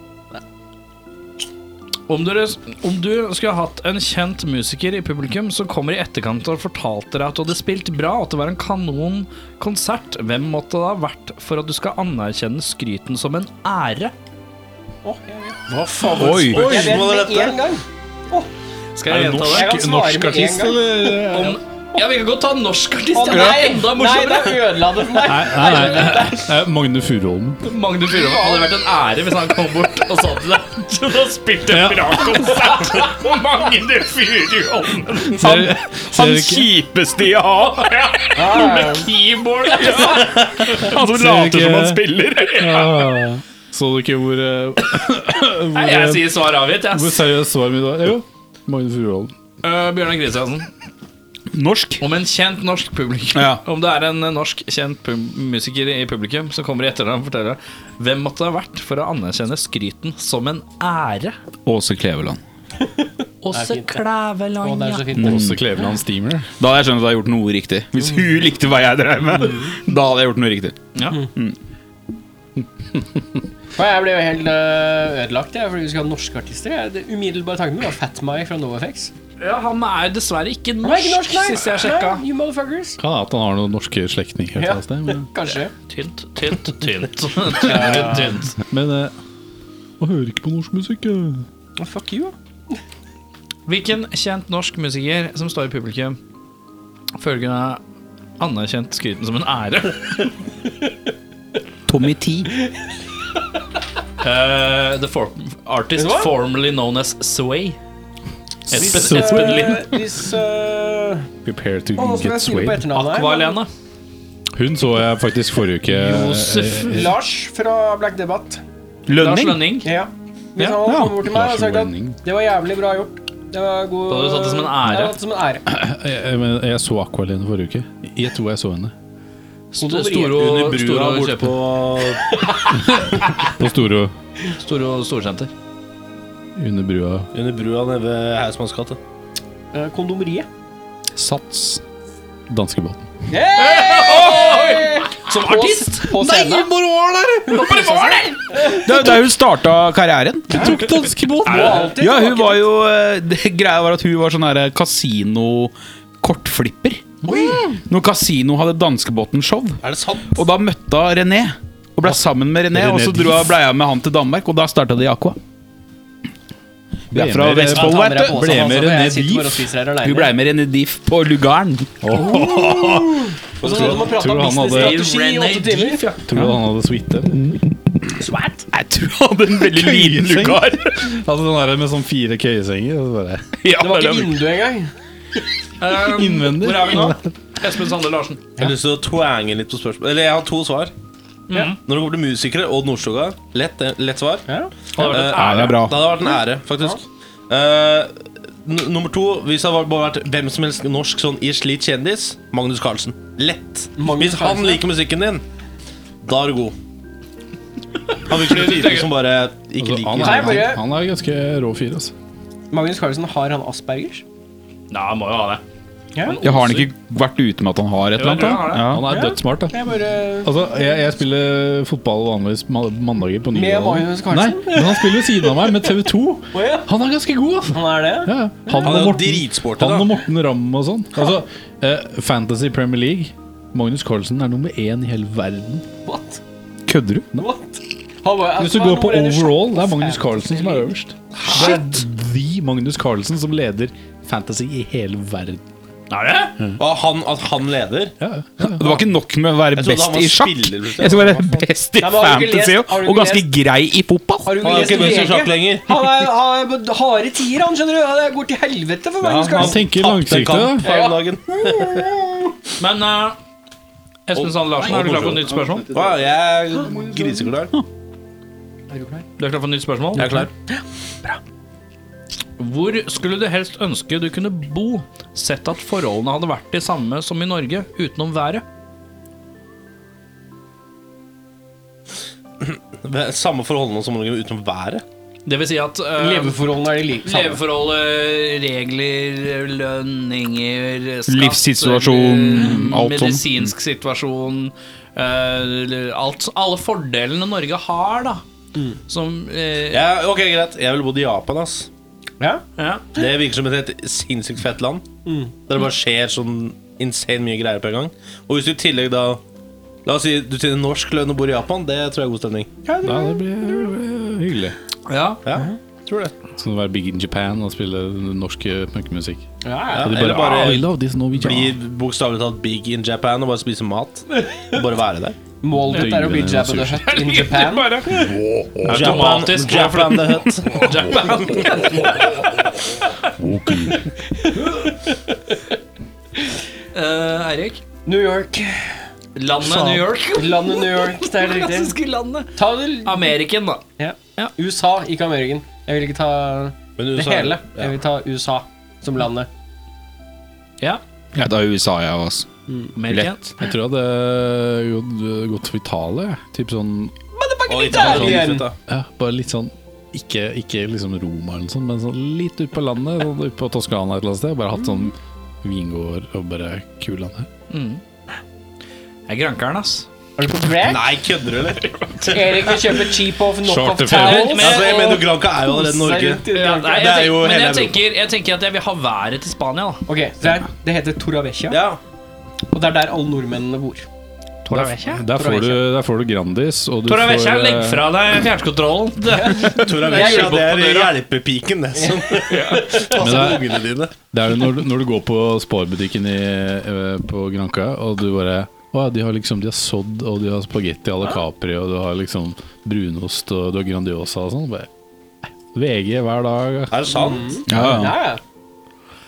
S4: Om, dere, om du skulle hatt en kjent musiker i publikum som kommer i etterkant og fortalte deg at du hadde spilt bra, og at det var en kanon konsert, hvem måtte det ha vært for at du skal anerkjenne skryten som en ære?
S2: Åh, jeg vet.
S1: Hva faen
S6: Oi.
S1: for
S2: Jeg vet
S1: spørsmål er
S2: med
S1: dette?
S2: én gang.
S4: Skal jeg gjenta det?
S2: Jeg kan svare med en gang.
S4: Om, ja, vi kan godt ta en norsk artist.
S2: Å
S4: ja, det er
S2: nei,
S4: enda
S2: nei, da
S4: morsommere.
S2: ødela det for meg.
S3: Nei, nei, nei, eh, Magne Furuholmen.
S4: Magne Furuholm det hadde vært en ære hvis han kom bort og sa til deg
S5: Du har spilt en bra konsert på Magne Furuholmen.
S3: Han,
S5: Han kjipeste jeg har. Ja. Med keyboard. Ja. Han som later som han spiller.
S3: Så du ikke hvor eh,
S4: Nei, jeg sier svar avgitt, jeg.
S3: Hvor seriøst svaret mitt var? Jo, Magne Furuholm.
S4: Øh, Bjørnar Kristiansen.
S6: Norsk?
S4: Om en kjent norsk publikum
S6: Ja.
S4: Om det er en eh, norsk kjent pub- musiker i publikum som kommer i etternavn og forteller hvem måtte det ha vært for å anerkjenne skryten som en ære?
S6: Åse Kleveland.
S2: Å,
S4: Åse Klæveland,
S2: det
S4: ja.
S2: er så fint.
S3: Åse Kleveland Steamer.
S6: Da hadde jeg skjønt at jeg hadde gjort noe riktig. Hvis hun likte hva jeg drev med, da hadde jeg gjort noe riktig.
S4: Ja.
S2: Og jeg ble jo helt øh, ødelagt jeg, fordi vi skal ha norske artister. Jeg, det umiddelbare tanken min var Fat Mike fra NoFX.
S4: ja, han er dessverre ikke
S2: Han er ikke
S4: norsk,
S2: norsk, nei!
S4: sist jeg sjekka.
S2: Nei, You motherfuckers.
S3: Kan hende at han har noen norske slektninger.
S2: Ja.
S3: altså, et eller annet sted, Men,
S2: Kanskje.
S4: Tynt, tynt, tynt. tynt, tynt.
S3: men eh, han hører ikke på norsk musikk. eh.
S2: Oh, fuck you.
S4: Hvilken kjent norsk musiker som står i publikum, føler kunne ha anerkjent skryten som en ære?
S6: Tommy T.
S4: Eh, the for artist
S2: Vet du hva?
S4: formerly known as Sway. Espen,
S3: Sway.
S4: Espen Lind.
S2: Øh, hvis, øh,
S3: Prepare to
S2: Å, nå skal
S3: get
S2: jeg skrive på
S3: swayed.
S2: etternavnet her.
S4: Aqualene.
S3: Hun så jeg faktisk forrige uke. eh,
S4: Josef
S2: Lars fra Black Debate.
S4: Lars
S6: Lønning?
S4: Lønning.
S2: Ja. Hvis
S4: Ja,
S2: han hadde
S6: ja.
S2: kommet bort til meg og
S3: Lars
S2: sagt at
S3: Lønning.
S2: det var jævlig bra gjort Det var god
S4: Da hadde du tatt det som en ære.
S2: Jeg hadde tatt det som en ære.
S3: Jeg, jeg, men jeg så Aqualine forrige uke. Jeg tror jeg så henne.
S4: Sto-
S1: Under
S4: Storo
S1: brua
S4: Storo
S1: bort på
S4: Kjøpen.
S3: På Storo
S4: Storo Storsenter.
S3: under brua.
S1: Under brua nede ved Heismanns gate.
S2: Øh, Kondomeriet.
S3: Sats. Danskebåten.
S4: Som artist!
S2: På scenen.
S6: hvor var dere?! Det er der hun starta karrieren.
S3: Du tok danskebåten!
S2: Og alltid
S6: Ja, hun
S2: tilbake.
S6: var jo eh, det Greia var at hun var sånn her kasino-kortflipper. Når Kasino hadde Danskebåten-show,
S1: Er det sant?
S6: og da møtte hun René. Og ble sammen med René,
S3: René
S6: og så dro hun blei hun med han til Danmark, og da starta de Aqua. Vi er fra
S3: Ble med-
S6: Vestfold,
S2: Ta med
S6: vet
S2: deg
S6: du.
S2: posen,
S3: Ble med
S2: altså, for
S3: René
S2: jeg sitter bare og
S3: Diff.
S2: spiser her alene.
S6: Hun blei med René Diff på Lugaren.
S2: Og så hadde man pratet
S3: Tror
S2: om
S3: han hadde-
S2: businessstrategi i åtte timer.
S4: Diff, ja.
S3: Tror du han hadde suite?
S2: Svært.
S6: Jeg tror han hadde en veldig liten
S3: Køyeseng.
S6: lugar.
S3: Altså den der med sånn fire køyesenger. og så bare-
S6: Ja,
S2: Det var ikke
S6: det var-
S2: vindu engang.
S4: Um,
S3: Innvendig.
S4: Hvor er vi nå? Espen Sander Larsen.
S1: Jeg har lyst til å twange litt på spørsmål Eller jeg har to svar.
S4: Ja.
S1: Når det kommer til musikere, Odd Nordstoga. Lett, lett svar.
S4: Hadde vært
S1: Eh,
S4: en ære.
S6: det er bra.
S1: Det hadde vært en ære, faktisk. Eh, n- nummer to, hvis det hadde bare vært hvem som helst norsk sånn i slit kjendis, Magnus Carlsen. Lett.
S2: Magnus
S1: hvis han
S2: Carlsen, ja.
S1: liker musikken din, da er du god. Han virker som en fyr som bare ikke
S3: Altså, han,
S1: liker
S2: Nei,
S3: er,
S2: bare-
S3: han er ganske rå fyr, altså.
S2: Magnus Carlsen, har han Aspergers?
S4: Ja, han må jo ha det.
S6: Jeg har han ikke vært ute med at han har et eller
S4: Jo, jeg
S6: annet?
S4: tror han
S6: da? Ja.
S3: Han er dødssmart, da.
S2: Jeg bare
S3: Altså, jeg, jeg spiller fotball vanligvis ma- mandager på
S2: Med
S3: Nydalen.
S2: Magnus Carlsen?
S3: Nei, men han spiller ved siden av meg med TV2.
S2: Å ja,
S3: Han er ganske god, altså.
S2: han er det?
S3: Ja, ja. han,
S1: Han er
S3: og
S1: jo
S3: Morten,
S1: dritsporty,
S3: han
S1: da.
S3: og Morten Ramm og sånn. Altså, eh, Fantasy Premier League. Magnus Carlsen er nummer én i hele verden.
S2: What?
S6: Kødder du?
S2: What? Han var,
S3: Hvis du går på overall, det er Magnus Carlsen som er øverst. Det er the Magnus Carlsen som leder Fantasy i hele verden.
S4: Er det?
S1: Og han, at han leder.
S3: Ja, ja.
S6: Det var ikke nok med å være
S1: Jeg trodde han
S6: best
S1: var
S6: i sjakk.
S1: spiller, liksom.
S6: Jeg skal være best i
S2: Nei, men har du ikke
S6: fantasy
S2: lest- har du
S6: og
S2: ikke
S6: ganske grei i fotball.
S2: Har du
S1: Han er jo ikke
S2: ikke
S1: best i
S2: lest
S1: sjakk
S2: VG?
S1: lenger.
S2: Han er, han er harde tier, han, skjønner du. Det går til helvete for Magnus
S3: Han
S2: Carlsen.
S3: tenker
S1: Tapte en
S3: langsiktig,
S1: kamp
S3: da.
S1: her om dagen.
S4: Men eh, Espen Sander Larsen, er du klar for et nytt spørsmål?
S1: Wow, jeg er griseklar.
S4: Du er klar for et nytt spørsmål?
S1: Jeg er klar.
S4: Hvor skulle du helst ønske du kunne bo, sett at forholdene hadde vært de samme som i Norge, utenom været?
S1: Samme forholdene som Norge utenom været.
S4: Det vil si at eh,
S2: Leveforholdene er de like samme.
S4: leveforhold, eh, regler, lønninger, skatt
S6: Livssituasjon,
S4: eh,
S6: alt sånn.
S4: Medisinsk situasjon eh, alt, Alle fordelene Norge har, da. Som eh,
S1: Ja,
S4: ja.
S1: ok, greit. Jeg ville bodd i Japan, ass.
S2: Ja?
S1: Det virker som et helt sinnssykt fett land. Der det bare skjer sånn insane mye greier på en gang. Og hvis du i tillegg da La oss si du tjener norsk lønn og bor i Japan. Det tror jeg er god stemning.
S3: Ja, det blir hyggelig.
S4: Ja.
S1: Tror det.
S3: Skal det være Big in Japan og spille norsk eh, punkemusikk.
S2: Ja, ja.
S1: Ja,
S3: Og de
S1: eller
S3: bare,
S1: bare
S3: ah, I love this Norwegian.
S1: bli bokstavelig talt big in Japan og bare spise mat. Og bare være der.
S2: Målet ditt er å bli Jabba
S3: Døgnet er
S2: the
S3: sur.
S2: Hutt in Japan.
S4: Bare Automatisk, ja, for
S1: Japan, Japan the Hut.
S4: Japan. Eh, Eirik.
S2: New York.
S4: Landet New York.
S2: Landet New York, det er helt riktig.
S4: Klassiske landet.
S2: Ta det
S4: Ameriken, da.
S2: ja. USA, ikke Ameriken. Jeg vil ikke ta
S1: Men
S2: det
S1: USA
S2: hele.
S1: Ja.
S2: Jeg vil ta USA som landet.
S6: Jeg tar USA, jeg også.
S4: Ameriken.
S3: altså. Jeg tror jeg hadde gått- gått for Italia. jeg. Typ sånn
S1: Og Italia.
S2: Italia.
S1: Sånn, da.
S3: Ja, bare litt sånn ikke, ikke liksom Roma eller noe sånt, men sånn litt ut på landet, sånn ut på Toskana et eller annet sted. Bare hatt sånn vingård og bare kul landet.
S4: Jeg er grankeren, ass.
S2: Er du på break?
S1: Nei, kødder du, eller?
S2: Erik vil kjøpe cheap off knock-off
S6: Charterferie.
S2: towels.
S4: Men-
S1: Altså, jeg mener,
S2: og
S1: Granca er jo allerede
S2: kose seg
S1: Norge.
S2: rundt i
S4: Ja,
S2: Granca.
S4: nei, jeg
S1: Det er
S4: tenker,
S1: jo
S4: men
S1: hele
S4: jeg
S1: Europa.
S4: tenker, jeg tenker at jeg vil ha været til Spania, da.
S2: Ok, så det, er, det heter Torrevecchia,
S1: Ja.
S2: og det er der alle nordmennene bor.
S3: Der, der, får, du, der får du Grandis, og du
S4: Tora Vecchia,
S3: får
S4: legg
S3: eh,
S4: fra deg fjernkontrollen. Det-
S1: Tora
S2: Jeg
S1: Vecchia,
S2: jobber
S1: det
S4: på
S1: er
S4: døra.
S1: hjelpepiken, det som passer på
S3: Men
S1: ungene dine.
S3: Det er jo når, du- når du går på sparbutikken i, eh, på Granca, og du bare å, ja, de har liksom, de har sodd, og de har spagetti à la Capri, og du har liksom brunost, og du har Grandiosa og sånn. Bare, eh, VG hver dag.
S1: Er det sant?
S2: Ja, ja.
S3: Det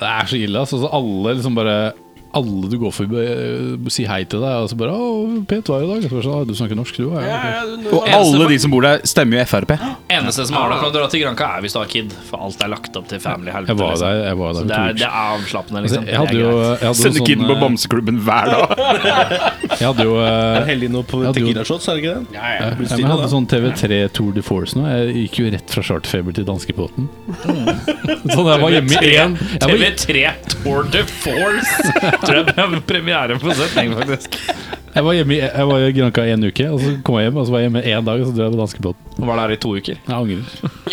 S3: er så ille, altså. Så alle liksom bare alle du går forbi, eh, sier hei til deg, og så bare 'Å, pent vær i dag.' Og så bare sånn, «Å, 'Du snakker norsk, du òg?'
S2: ja,
S3: Ja,
S2: ja, du-
S6: Og alle de som bor der, stemmer jo Frp.
S4: Eneste som har deg å dra til Granca, er hvis du har kid. For alt er lagt opp til family helvete.
S3: jeg var
S4: liksom.
S3: der jeg var der
S4: Det er,
S3: for to
S4: det
S3: uker.
S4: er avslappende,
S3: Altså,
S4: liksom.
S3: jeg hadde
S4: Det er
S3: jo,
S4: greit.
S3: jeg hadde jo
S6: Sender kiden på
S3: sånn,
S6: bamseklubben hver dag.
S3: eh, jeg hadde jo eh,
S1: Heldig noe på
S3: Ja, du-
S1: Tequila shots, er det ikke det?
S2: ja, ja.
S3: ja, men jeg hadde sånn TV3 Tour de Force nå. Jeg gikk jo rett fra charterfeber til danskebåten. Sånn jeg var hjemme i én jeg var,
S4: TV3 Tour de Force! Tror jeg det er premiere på setning, faktisk.
S3: jeg var hjemme i jeg var i Granca i en uke, og så kom jeg hjem, og så var jeg hjemme én dag, og så dro jeg på danskebåten.
S4: Var der i to
S3: Jeg
S4: uker.
S3: angrer.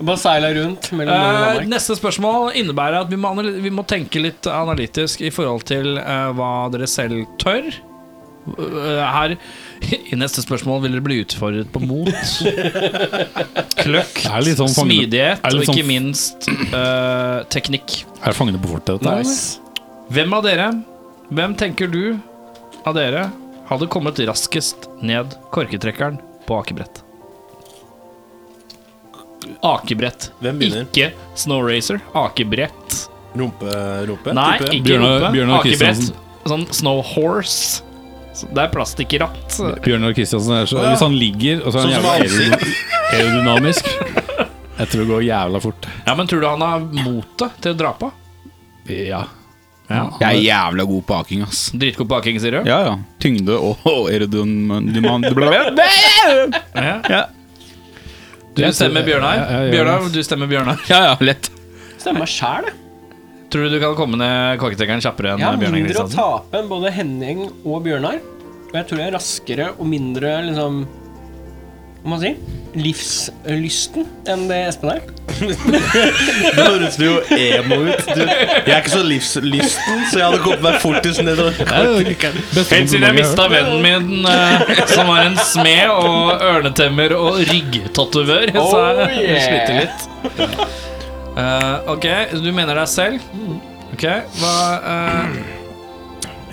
S2: Bare seila rundt mellom Norge og Danmark.
S4: Eh, neste spørsmål innebærer at vi må, anal- vi må tenke litt analytisk i forhold til eh, hva dere selv tør. Eh, her I neste spørsmål vil dere bli utfordret på mot. Kløkt,
S3: Det er litt sånn fangende-
S4: smidighet
S3: er
S4: og
S3: litt
S4: ikke
S3: sånn-
S4: minst eh, teknikk.
S3: Er det fangene på fortet, dette? her, eller?
S2: Nice.
S4: Hvem av dere, hvem tenker du av dere hadde kommet raskest ned korketrekkeren på akebrett? Akebrett.
S1: Hvem begynner?
S4: Ikke Snowracer. Akebrett.
S1: Rumpe, rumpe?
S4: Nei,
S1: type?
S4: ikke
S3: Bjørnar-
S4: rumpe.
S3: Bjørnar
S4: akebrett.
S3: Kristiansen.
S4: Sånn Snow Horse. Så Det er plastikkratt.
S3: Bjørnar Kristiansen er så Hvis han ligger, og så
S1: Sånn
S3: er han
S1: som
S3: jævla
S1: Hansi.
S3: aerodyn- aerodynamisk Jeg tror det går jævla fort.
S4: Ja, men tror du han har motet til å dra på?
S3: Ja.
S6: Jeg er jævla god på aking, ass.
S4: Dritgod på aking, sier du?
S6: Ja, ja. Tyngde og og aerodynam...
S4: Ja.
S6: Ja.
S4: Du stemmer Bjørnar.
S3: Ja, ja, ja.
S4: Bjørnar, du stemmer Bjørnar.
S6: Ja, ja, lett.
S2: Eh, Stemmer sjæl, jeg.
S4: Tror du du kan komme ned korketrekkeren kjappere enn
S2: Jeg har
S4: Bjørnar
S2: mindre å
S4: Kristiansen?
S2: tape enn både Henning og Bjørnar. Og jeg tror jeg er raskere og mindre liksom Hva man sier? Livslysten enn det Espen er.
S1: Nå høres du jo emo ut. Du, jeg er ikke så livslysten, så jeg hadde kommet meg fortest ned. og-
S4: Helt siden jeg mista vennen min, eh, som var en smed og ørnetemmer og ryggtatovør, så
S2: Oh,
S4: jeg
S2: yeah.
S4: sliter litt. Eh, ok, du mener deg selv. Ok, hva eh,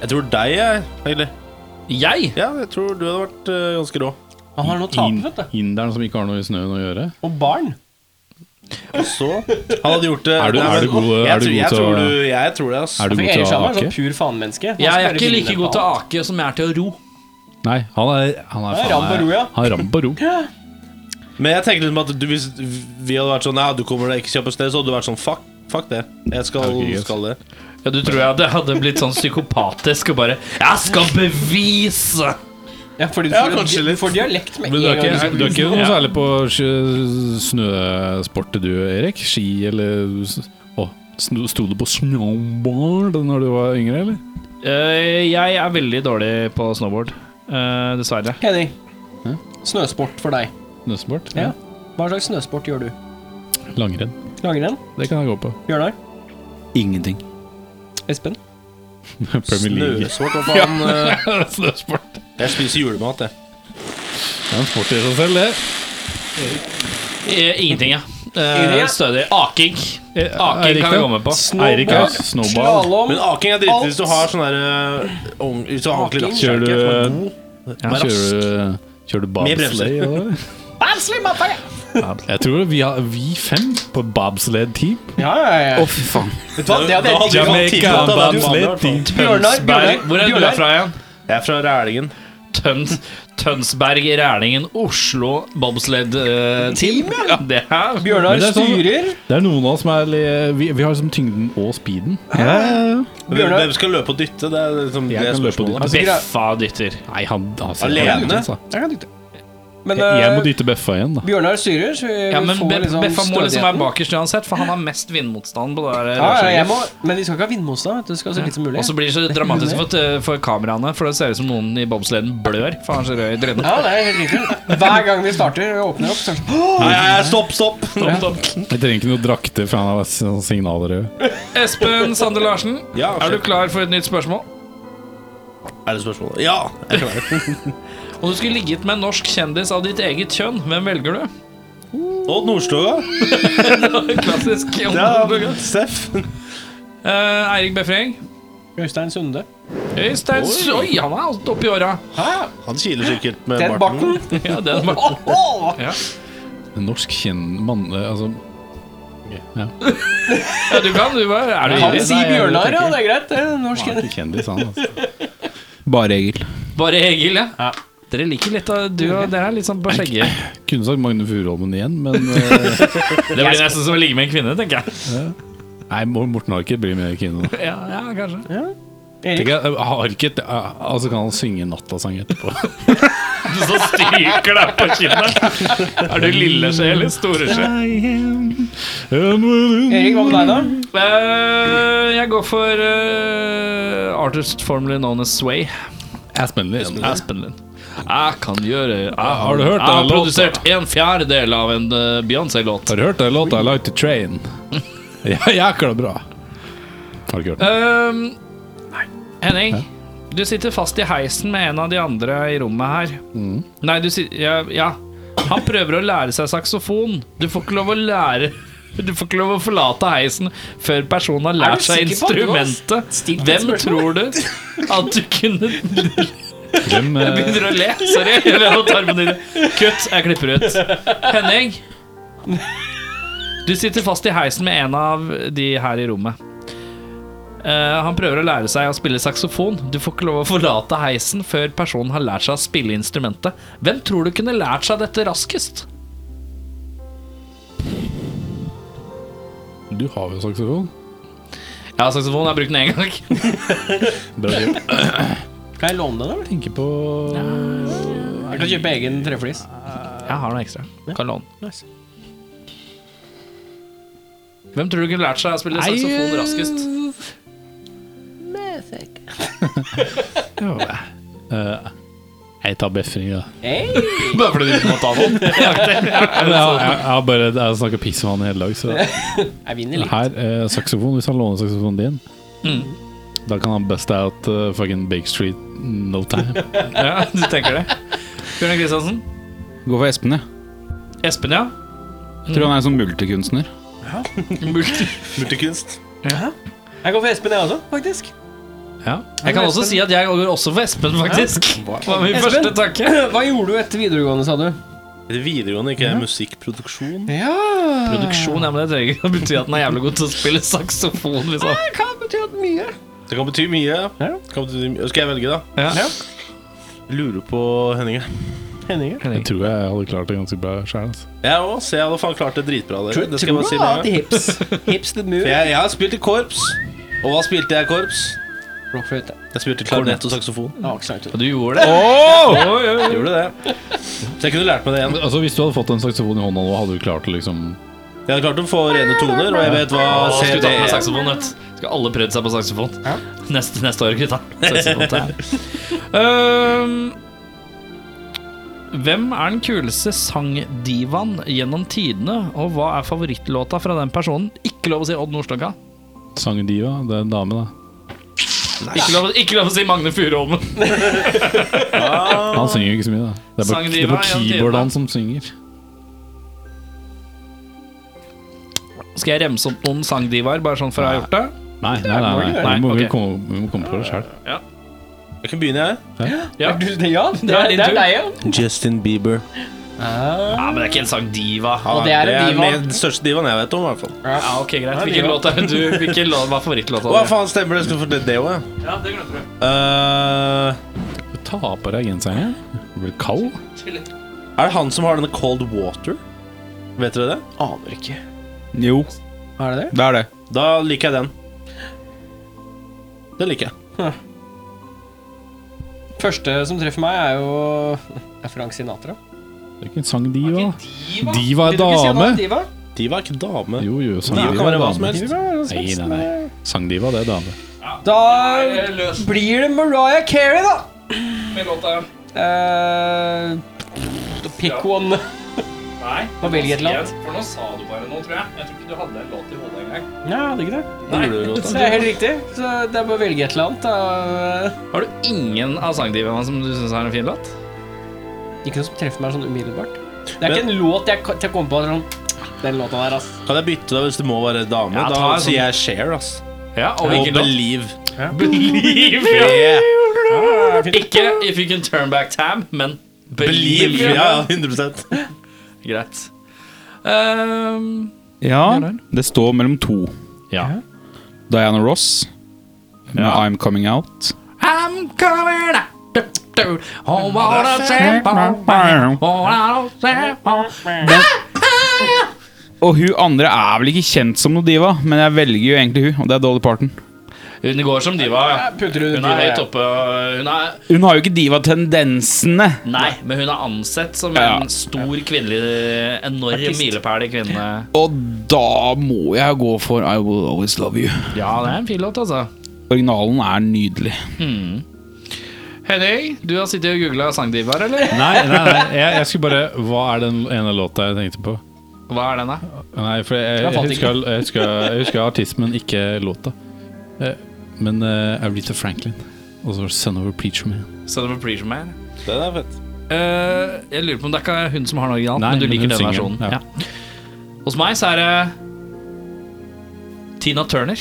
S1: Jeg tror deg, jeg. Egentlig.
S4: Jeg?
S1: Ja, jeg tror du hadde vært eh, ganske rå.
S2: Han har noe å tape, vet du.
S3: Inderen som ikke har noe i snøen å gjøre.
S2: Og barn.
S1: Og så Han hadde gjort det
S3: Er du-
S1: Nei, men-
S3: er du god-
S1: jeg
S3: er
S1: tror-
S3: du god
S1: jeg
S3: til å-
S1: tror du- Jeg tror det, ass.
S3: Er du
S2: For
S3: god til
S2: Erik
S3: å
S2: Shamar er
S3: ake?
S2: sånn pur faenmenneske. Han
S4: Jeg
S2: skal
S4: er
S2: bare
S4: ikke
S2: vinne
S4: like
S2: på
S4: god til å
S2: alt.
S4: ake som jeg er til å ro.
S3: Nei, han er Han er,
S2: Han er
S3: faen
S2: ram på ro, ja.
S3: Han er ram på ro.
S1: Men jeg tenker liksom at du, hvis vi hadde vært sånn Ja, du kommer deg ikke kjappest ned, så hadde du vært sånn Fuck, fuck det. Jeg skal,
S3: Ok, greit.
S1: skal det.
S4: Ja, Du tror jeg det hadde blitt sånn psykopatisk og bare Jeg skal bevise!
S2: Ja, fordi du
S1: Ja,
S2: får,
S1: kanskje litt.
S2: du får dialekt med
S3: Men du er
S2: en gang.
S3: ikke,
S2: du
S3: du er
S2: skal-
S3: ikke noe særlig på sj- snøsport, du, Erik? Ski eller Å, sn- sto du på snowboard da du var yngre, eller?
S4: Eh, jeg er veldig dårlig på snowboard. eh, dessverre.
S2: Henning.
S3: Hæ?
S2: Snøsport for deg.
S3: Snøsport?
S2: Ja. Hva slags snøsport gjør du?
S3: Langrenn.
S2: Langrenn?
S3: Det kan jeg gå på.
S2: Bjørnar?
S6: Ingenting.
S2: Espen?
S3: Premier League.
S1: Snøsvart, hva faen? eh,
S3: Snøsport.
S1: Jeg spiser julemat, jeg.
S3: Det er en sport i seg selv, det.
S4: Eh, Ingenting, ja.
S2: Ingenting, ja. Eh,
S4: Eh, stødig. Aking. Aking kan vi komme på.
S3: Eirik har
S2: Snowboard,
S3: snowball.
S2: slalåm
S1: Men aking er dritt hvis du har sånn der øh, ung- Hvis du har ordentlig
S2: Aking.
S1: rakkjakke.
S3: Kjører du,
S1: Vær rask.
S3: kjører du, kjører du
S1: Med
S3: bobsleigh?
S1: bremser.
S3: eller?
S2: Barnsley, motherfucker!
S3: Jeg tror vi, har, vi fem på bobsled-team.
S2: Ja, ja, ja.
S6: Å, fy faen.
S2: Vet du hva, det hadde
S1: Da hadde
S2: jeg
S1: vi
S2: ikke
S1: fått
S3: Jamaica,
S1: tid til at det hadde vært vanlig, i hvert fall.
S3: bobsled-team.
S2: Bjørnar, Bjørnar,
S4: Hvor er du er fra igjen?
S1: Jeg er fra Rælingen.
S4: Tøns, Tønsberg, Rælingen, Oslo bobsled-team. ja, det er
S2: Bjørnar
S3: Men det er sånn-
S2: styrer.
S3: Det er noen av oss som er li- Vi, vi har liksom tyngden og speeden.
S1: Hvem
S2: Bjørnar-
S1: hvem skal løpe og dytte? Det er liksom
S3: Jeg
S1: det
S3: kan løpe og
S1: spørsmålet.
S3: dytte.
S2: altså,
S4: Beffa dytter.
S3: Nei, han altså,
S1: Alene?
S3: han er altså.
S2: Jeg kan dytte. Men
S3: Jeg jeg må
S2: eh,
S3: dytte Beffa igjen, da.
S2: Bjørnar styrer, så vi
S4: Ja, men
S2: får
S4: Be
S2: liksom
S4: Beffa må liksom
S2: stødigheten.
S4: være bakerst uansett, for han har mest vindmotstand på det der.
S2: Ja, ja, jeg
S4: rørslaget.
S2: må, men vi skal ikke ha vindmotstand. vet du, Det skal så litt som mulig.
S4: Og så blir det så dramatisk for, eh, for kameraene, for det ser ut som noen i bobsleden blør. For han er så rød i trynet.
S2: Ja, det er helt riktig. Hver gang vi starter og åpner opp, så er det sånn,
S1: Nei, nei, nei, stopp, stopp!
S4: Topp, topp.
S3: Jeg trenger ikke noe drakter, for han er sånn signalrød.
S4: Espen Sander Larsen,
S1: Ja,
S4: er du
S1: kjør.
S4: klar for et nytt spørsmål?
S1: Er det spørsmålet? Ja! Jeg er klar.
S4: Om du skulle ligget med en norsk kjendis av ditt eget kjønn, hvem velger du?
S1: Odd Nordstoga.
S4: Klassisk.
S1: Ja,
S4: Ja.
S1: Steff.
S4: Eh, Eirik Befring.
S2: sånn, Øystein Sunde.
S4: Øystein
S1: Oi.
S4: Oi, han er alt oppi åra.
S1: Han kiler sikkert med
S2: Ted
S1: barten.
S2: Barton.
S4: Ja, den var
S2: Åh!
S3: En Norsk kjenn... Mann... eh, Altså
S4: Ja, du kan, du bare. Er du
S2: Kan
S4: ivrig?
S2: si Bjørnar, ja. Det er greit. det er Norsk
S3: han er ikke kjendis, han. Altså.
S6: Bare Egil.
S4: Bare Egil, ja. Dere liker litt av du og dere er litt sånn på skjegget.
S3: Kunne sagt Magne Furuholmen igjen, men eh,
S4: Det blir nesten som å ligge med en kvinne, tenker jeg.
S3: Nei, Morten har ikke blitt med i kino.
S4: Ja, ja kanskje.
S3: Tenk, jeg, jeg har ikke et- Altså kan han synge nattasang etterpå.
S4: Så stryker deg på kinnet. Er du lille skje eller store skje?
S2: Erik, hva med deg, da?
S4: Eh, jeg går for eh, artist formerly known as Sway.
S3: Aspen Lee.
S4: Aspen Lind. Jeg kan gjøre Jeg
S3: har du hørt
S4: jeg har
S3: den låta?
S4: produsert en fjerdedel av en eh, Beyoncé-låt.
S3: Har du hørt den låta 'I Like The Train'? Ja, jækla bra. Har du ikke hørt den?
S4: Ehm, Henning, du sitter fast i heisen med en av de andre i rommet her.
S2: Mm.
S4: Nei, du sitter ja, ja. Han prøver å lære seg saksofon. Du får ikke lov å lære Du får ikke lov å forlate heisen før personen har lært seg
S2: sikker på at du har
S4: instrumentet.
S2: stilt det
S4: Hvem tror du at du kunne
S3: Hvem,
S4: Jeg
S3: eh,
S4: begynner å le. Sorry. Jeg ler og tar med dine. Kutt. Jeg klipper ut. Henning. Du sitter fast i heisen med en av de her i rommet. Eh, han prøver å lære seg å spille saksofon. Du får ikke lov å forlate heisen før personen har lært seg å spille instrumentet. Hvem tror du kunne lært seg dette raskest?
S3: du har jo saksofon.
S4: Ja, saksofon. Jeg har brukt den én gang.
S3: Bra jobb.
S2: Kan jeg låne den, eller?
S3: Tenker på
S2: Jeg kan kjøpe egen treflis.
S4: Jeg har den ekstra. Kan låne den.
S2: Nice.
S4: Hvem tror du kunne lært seg å spille saksofon raskest?
S3: ja, eh, Jeg tar befring, da.
S2: Hey.
S4: Bare fordi du ikke må ta noen?
S3: Jeg, jeg, jeg har bare jeg snakker piss om han hele dag, så
S2: Jeg vinner litt.
S3: her eh, saksofon. Hvis han låner saksofonen din, Mm. da kan han bust out eh, fucking Bake Street no time.
S4: Ja, du tenker det. Bjørnar Kristiansen.
S6: Gå for Espen, jeg.
S4: Espen, ja.
S6: Tror han er en sånn multikunstner.
S1: Multikunst.
S2: Jeg går for Espen, jeg også, faktisk.
S4: Jeg kan også si at jeg går også for Espen, faktisk. Var min
S2: Espen?
S4: første tanke.
S2: Hva gjorde du etter videregående, sa du?
S1: Det er videregående, ikke musikkproduksjon.
S2: Ja
S4: Produksjon, ja, men det trenger ikke å bety at den er jævlig god til å spille saksofon. Liksom.
S2: Kan bety at mye.
S1: Det kan bety mye.
S2: Ja.
S1: Kan bety mye. Skal jeg velge, da?
S4: Ja.
S1: Lurer på Henning. jeg.
S2: Henninger.
S3: Jeg tror jeg hadde klart det ganske bra sjøl. Altså.
S1: Jeg òg. Se, jeg hadde faen klart det dritbra. Dere. Det skal jeg bare si med
S2: du
S1: en
S2: at
S1: gang.
S2: hips Hips the move.
S1: For jeg, jeg har spilt i korps. Og hva spilte jeg i korps?
S2: Rockfløyte.
S1: Jeg spilte klarinett og saksofon.
S2: Ah, ikke sant.
S4: Og du gjorde det.
S1: Jeg gjorde det. Så jeg kunne lært meg det igjen.
S3: Altså, hvis du hadde fått en saksofon i hånda nå, hadde du klart å liksom
S1: Jeg hadde klart å få rene toner, og jeg vet hva
S4: Å, skulle
S1: CD
S4: tatt med saksofon, vet du. Skal alle prøvd seg på saksofon? Neste, neste år, gutta. Saksofon til her. Øhm, hvem er den kuleste sangdivaen gjennom tidene, og hva er favorittlåta fra den personen? Ikke lov å si Odd Nordstoga.
S3: Sangdiva, det er en dame, da.
S4: Ikke lov, ikke lov å si Magne Furuholmen.
S3: Han synger jo ikke så mye, da. Det er bare, det
S4: Sangdiva,
S3: er bare
S4: ja,
S3: keyboard
S4: diva.
S3: han som synger.
S4: Skal jeg remse opp noen sangdivaer, bare sånn for å ha gjort det?
S3: Nei, nei, nei, nei.
S4: Nei,
S3: Vi, må, vi,
S4: ok.
S3: komme, vi må komme på det sjøl.
S1: Jeg kan begynne, jeg.
S4: Ja.
S2: Er du, det, ja, det
S4: er
S2: er,
S4: din
S2: det er
S4: tur.
S2: deg, ja.
S1: Justin Bieber.
S4: Ja, men det er ikke en sangdiva.
S1: Ja,
S2: det er en diva.
S1: den største divaen jeg vet om. i hvert fall
S4: Ja, ok, greit. Hvilken låt er det du Hvilken låt var favorittlåta
S1: Hva
S4: di?
S1: faen stemmer det? Skal få det det òg, ja.
S4: Ja, det glemte du.
S1: Eh,
S3: Du tar på deg genseren igjen. Du blir kald.
S1: er det han som har denne Cold Water? Vet dere det?
S2: Aner ikke.
S6: Jo,
S2: Er det det?
S6: det er det.
S1: Da liker jeg den. Den liker jeg.
S2: Første som treffer meg, er jo er Frank Sinatra.
S3: Det er ikke en sang diva. Diva er dame.
S2: Diva?
S1: Diva er ikke dame.
S3: Jo, jo,
S1: Diva
S3: sangdiva
S1: kan
S3: er
S1: være hva som
S3: dame.
S1: helst.
S3: Nei, nei, nei. Sangdiva, det er dame.
S2: Da blir det Mariah Carey, da. Eh, pick one.
S4: Nei,
S2: Må velge et eller annet.
S4: For nå sa du bare noe, tror jeg. Jeg tror ikke du hadde en låt i hodet engang.
S2: Ja, det er ikke det.
S1: Julelåta.
S2: Så det er helt riktig. Så det er bare å velge et eller annet. Da.
S4: Har du ingen av sangdivaene som du syns er en fin låt?
S2: Ikke noe som treffer meg sånn umiddelbart. Det er
S1: Men-
S2: ikke en låt jeg kan- til å komme på. Sånn, den låta der, ass.
S1: Kan jeg bytte da hvis det må være dame?
S4: Ja, ta
S1: da
S4: en sånn-
S1: sier jeg Share, ass.
S4: Ja, og
S1: Og
S4: hvilken låt?
S1: Believe.
S4: Believe!
S1: Yeah.
S2: Ah,
S4: Ikke If You Can Turn Back Time, men Believe.
S1: Believe. Ja, ja, 100
S4: Greit. Ehm,
S6: Ja, det står mellom to.
S3: Ja.
S6: Diana Ross med I'm Coming Out.
S4: I'm coming out. Du, du. Oh, what a sample.
S6: Og
S4: Oh, what a sample.
S6: hun andre er vel ikke kjent som noe diva, men jeg velger jo egentlig hun, og det er Dolly Parton.
S4: Hun går som diva.
S2: Jeg putter
S4: Hun er høyt oppe. og Hun er
S6: Hun har jo ikke divatendensene.
S4: Nei, men hun er ansett som
S6: Ja.
S4: en stor kvinnelig Enorm milepæl i kvinne.
S6: Og da må jeg gå for I Will Always Love You.
S4: Ja, det er en fin låt, altså.
S6: Originalen er nydelig.
S4: Henning, du har sittet og googla sangdivaer, eller?
S3: Nei, nei, nei. Jeg, jeg skulle bare Hva er den ene låta jeg tenkte på?
S4: Hva er den, da?
S3: Nei, for jeg, jeg,
S2: falt
S3: husker, jeg, husker, jeg husker artisten, men ikke låta. Eh, Men eh, Aretha Franklin. Og så var det 'Son of a Preacher Man'.
S4: Son of a Preacher Man.
S1: Den er fett.
S4: Eh, jeg lurer på om det er ikke hun som har den originalen,
S3: Nei,
S4: men du
S3: men
S4: liker
S3: hun
S4: den
S3: synger
S4: versjonen.
S3: den, ja.
S4: Ja. Hos meg så er det Tina Turner.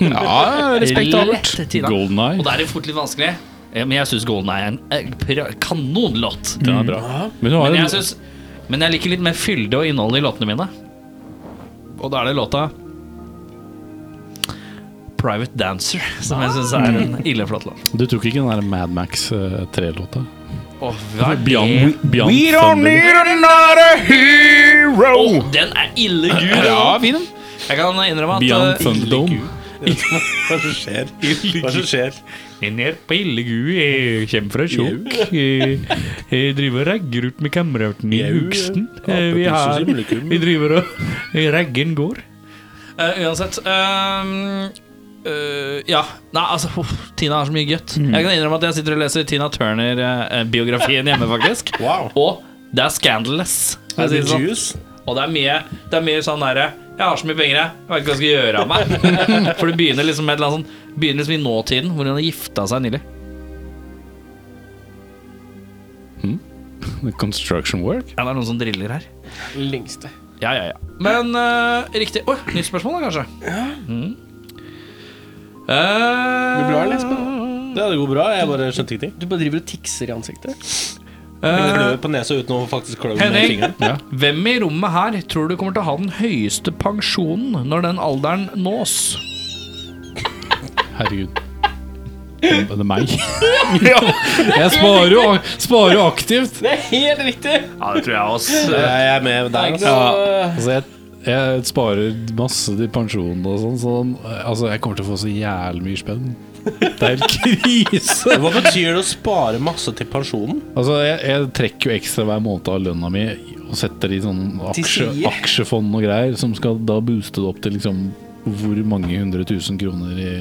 S6: Ja, respektabelt.
S4: Lett Tina.
S3: Golden Eye.
S4: Og det er jo fort litt vanskelig. Eh, Men jeg syns Golden er en eh, pra- kanonlåt. Mm.
S3: Den er bra. Men hun har
S4: Men
S3: en
S4: jeg, synes, men jeg liker litt mer fylde og innhold i låtene mine. Og da er det låta Private Dancer, som jeg syns er
S3: Ah.
S4: en illeflott låt.
S3: Du tok ikke den der Mad Max eh, 3-låta?
S4: Åh, hva er
S6: Eh,
S4: det?
S3: Beyond, Beyond Thunder.
S6: another hero.
S4: Åh, den er ille gul!
S6: Ja, fin den.
S4: Jeg kan innrømme at
S3: Beyond
S4: eh,
S3: Thunderdome.
S1: Hva er det som skjer? Hva er det som skjer?
S4: Ned på Illegu, jeg kommer fra Tjokk. Jeg, jeg driver og ragger ut med kameraten i
S1: Jau.
S4: Hugsten. Eh, Vi, har, vi driver og Raggen går. Eh, uansett ehm, eh, Ja. Nei, altså uff, Tina har så mye gøtt. Jeg kan innrømme at jeg sitter og leser Tina Turner-biografien hjemme, faktisk.
S1: Wow.
S4: Og det er scandalous. for å
S1: Er
S4: si
S1: det
S4: det sånn.
S1: juice?
S4: Og det er mye, det er mye sånn derre Jeg har så mye penger, jeg. Jeg vet ikke hva jeg skal gjøre av meg. For det begynner liksom med et eller annet sånn Begynner liksom i nåtiden, hvor hun har gifta seg nylig.
S3: Oh, Construction Work.
S4: Ja, det er noen som driller her.
S2: Lengste.
S4: Ja, ja, ja. Men eh, riktig Oi, nytt spørsmål, da, kanskje? Ja. Mm. Eh,
S2: Blir bra, eller, Espen?
S1: sånn. Ja, det går bra. Jeg bare skjønte ingenting.
S2: Du bare driver og tikser i ansiktet.
S1: Jeg
S4: eh,
S1: klør på nesa uten å faktisk klø med
S4: Henning,
S1: fingeren.
S4: hvem i rommet her tror du kommer til å ha den høyeste pensjonen når den alderen nås?
S3: Herregud. Det er meg. Jeg sparer jo, sparer jo aktivt.
S2: Det er helt riktig!
S4: Ja, det tror jeg også.
S1: Jeg er med
S2: Det er
S1: der,
S2: ikke
S1: altså.
S2: noe
S3: Altså, jeg, jeg sparer masse til pensjon og sånn, så altså, jeg kommer til å få så jævlig mye spenn. Det er helt krise.
S1: Hva betyr det å spare masse til pensjonen?
S3: Altså, jeg, jeg trekker jo ekstra hver måned av lønna mi og setter i sånn aksje,
S2: side.
S3: aksjefond og greier, som skal da booste det opp til liksom hvor mange hundre tusen kroner i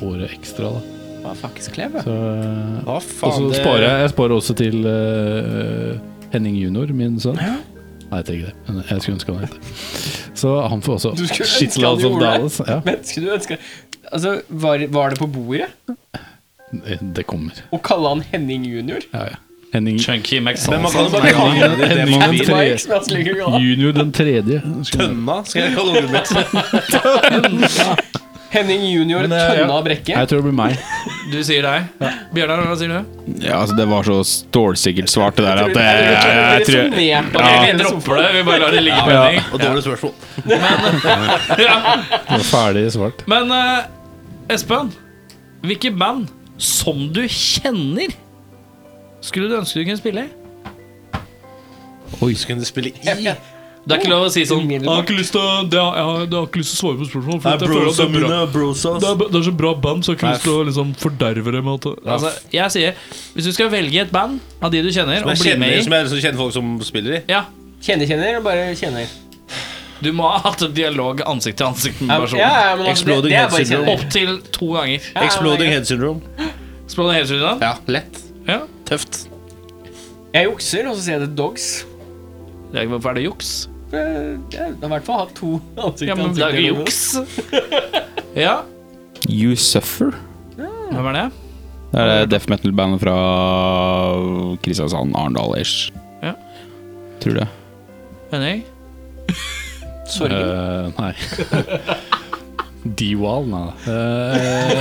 S3: året ekstra, da.
S2: Hva faktisk klev, jeg.
S3: Så, eh,
S1: Hva
S3: og så
S1: faen? det-
S3: sparer jeg, jeg sparer også til eh, Henning junior, min sønn. Nei, jeg trenger ikke det. Men jeg skulle ønske han het det. Så han får også
S2: Du skulle ønske han
S3: shitloads of
S2: gjorde
S3: dollars. altså. Ja,
S2: Men skulle du ønske Altså, var, var det på bordet
S3: det kommer.
S2: å kalle han Henning junior?
S3: Ja, ja. Henning
S4: Chunky
S1: Men man
S4: McSalsa.
S1: kan jo bare kalle det det
S3: Henning
S1: man
S3: den
S1: vil.
S3: tredje.
S2: Mike som jeg også liker godt.
S3: Junior den tredje.
S1: Tønna, skal jeg kalle ungen mitt.
S2: Henning junior
S1: Men, eh,
S2: tønna
S1: ja.
S2: av brekke.
S3: Jeg tror det blir meg.
S4: Du sier deg. Bjørnar, hva sier du?
S6: Ja, altså, det var så stålsikkert svart, det der, at det,
S2: Jeg
S6: jeg, jeg,
S2: tror
S6: tror
S2: vi resonerte
S4: Ok,
S2: om
S4: vi
S2: hele sofaen.
S4: dropper det. Vi bare lar det ligge på Henning.
S1: Og dårlig spørsmål.
S3: Det var Ferdig svart.
S4: Men eh, Espen, hvilke band som du kjenner, skulle du ønske du kunne spille i?
S1: Oi, så kunne de spille i
S2: Ja,
S4: Det er ikke lov å si sånn
S2: Umiddelbart.
S4: Jeg har ikke lyst til å, det har, jeg har, jeg har ikke lyst til å svare på spørsmål. For
S1: Nei,
S4: jeg føler at
S1: brosa
S4: det, er bra.
S1: mine, brosas.
S4: Det, er, det er så bra band, så jeg har ikke
S1: Nei,
S4: lyst til å liksom forderve det med at altså, Jeg sier, hvis du skal velge et band av de du kjenner,
S1: Som
S4: og
S1: jeg
S4: bli
S1: kjenner,
S4: med i
S1: som jeg liksom kjenner folk som spiller i.
S4: ja,
S2: Kjenner, kjenner, og bare kjenner.
S4: Du må ha hatt en dialog ansikt til ansikt med
S2: Ja,
S4: personen.
S2: ja, men altså, det,
S1: Exploding
S2: det er
S1: head
S2: bare
S1: syndrome.
S2: kjenner.
S4: Opptil to ganger.
S2: Ja, ja,
S1: Exploding
S2: men-
S1: Head Syndrome.
S4: Språk hele tiden.
S1: Ja, lett.
S4: Ja.
S1: Tøft.
S2: Jeg jukser, og så sier jeg det dogs.
S4: Det er ikke bare juks.
S2: Eh, Jeg har i hvert fall hatt to ansikt til
S4: Ja, men
S2: ansikt
S4: det er jo
S2: gjennom det.
S4: juks. Ja.
S6: You Suffer?
S4: Hvem er det?
S6: Det er det death metal-bandet fra Kristiansand, Arendal-ish.
S4: Ja.
S6: Tror det.
S4: Henning?
S2: Sorgen.
S3: Eh, nei. D-Wall, nei. Eh,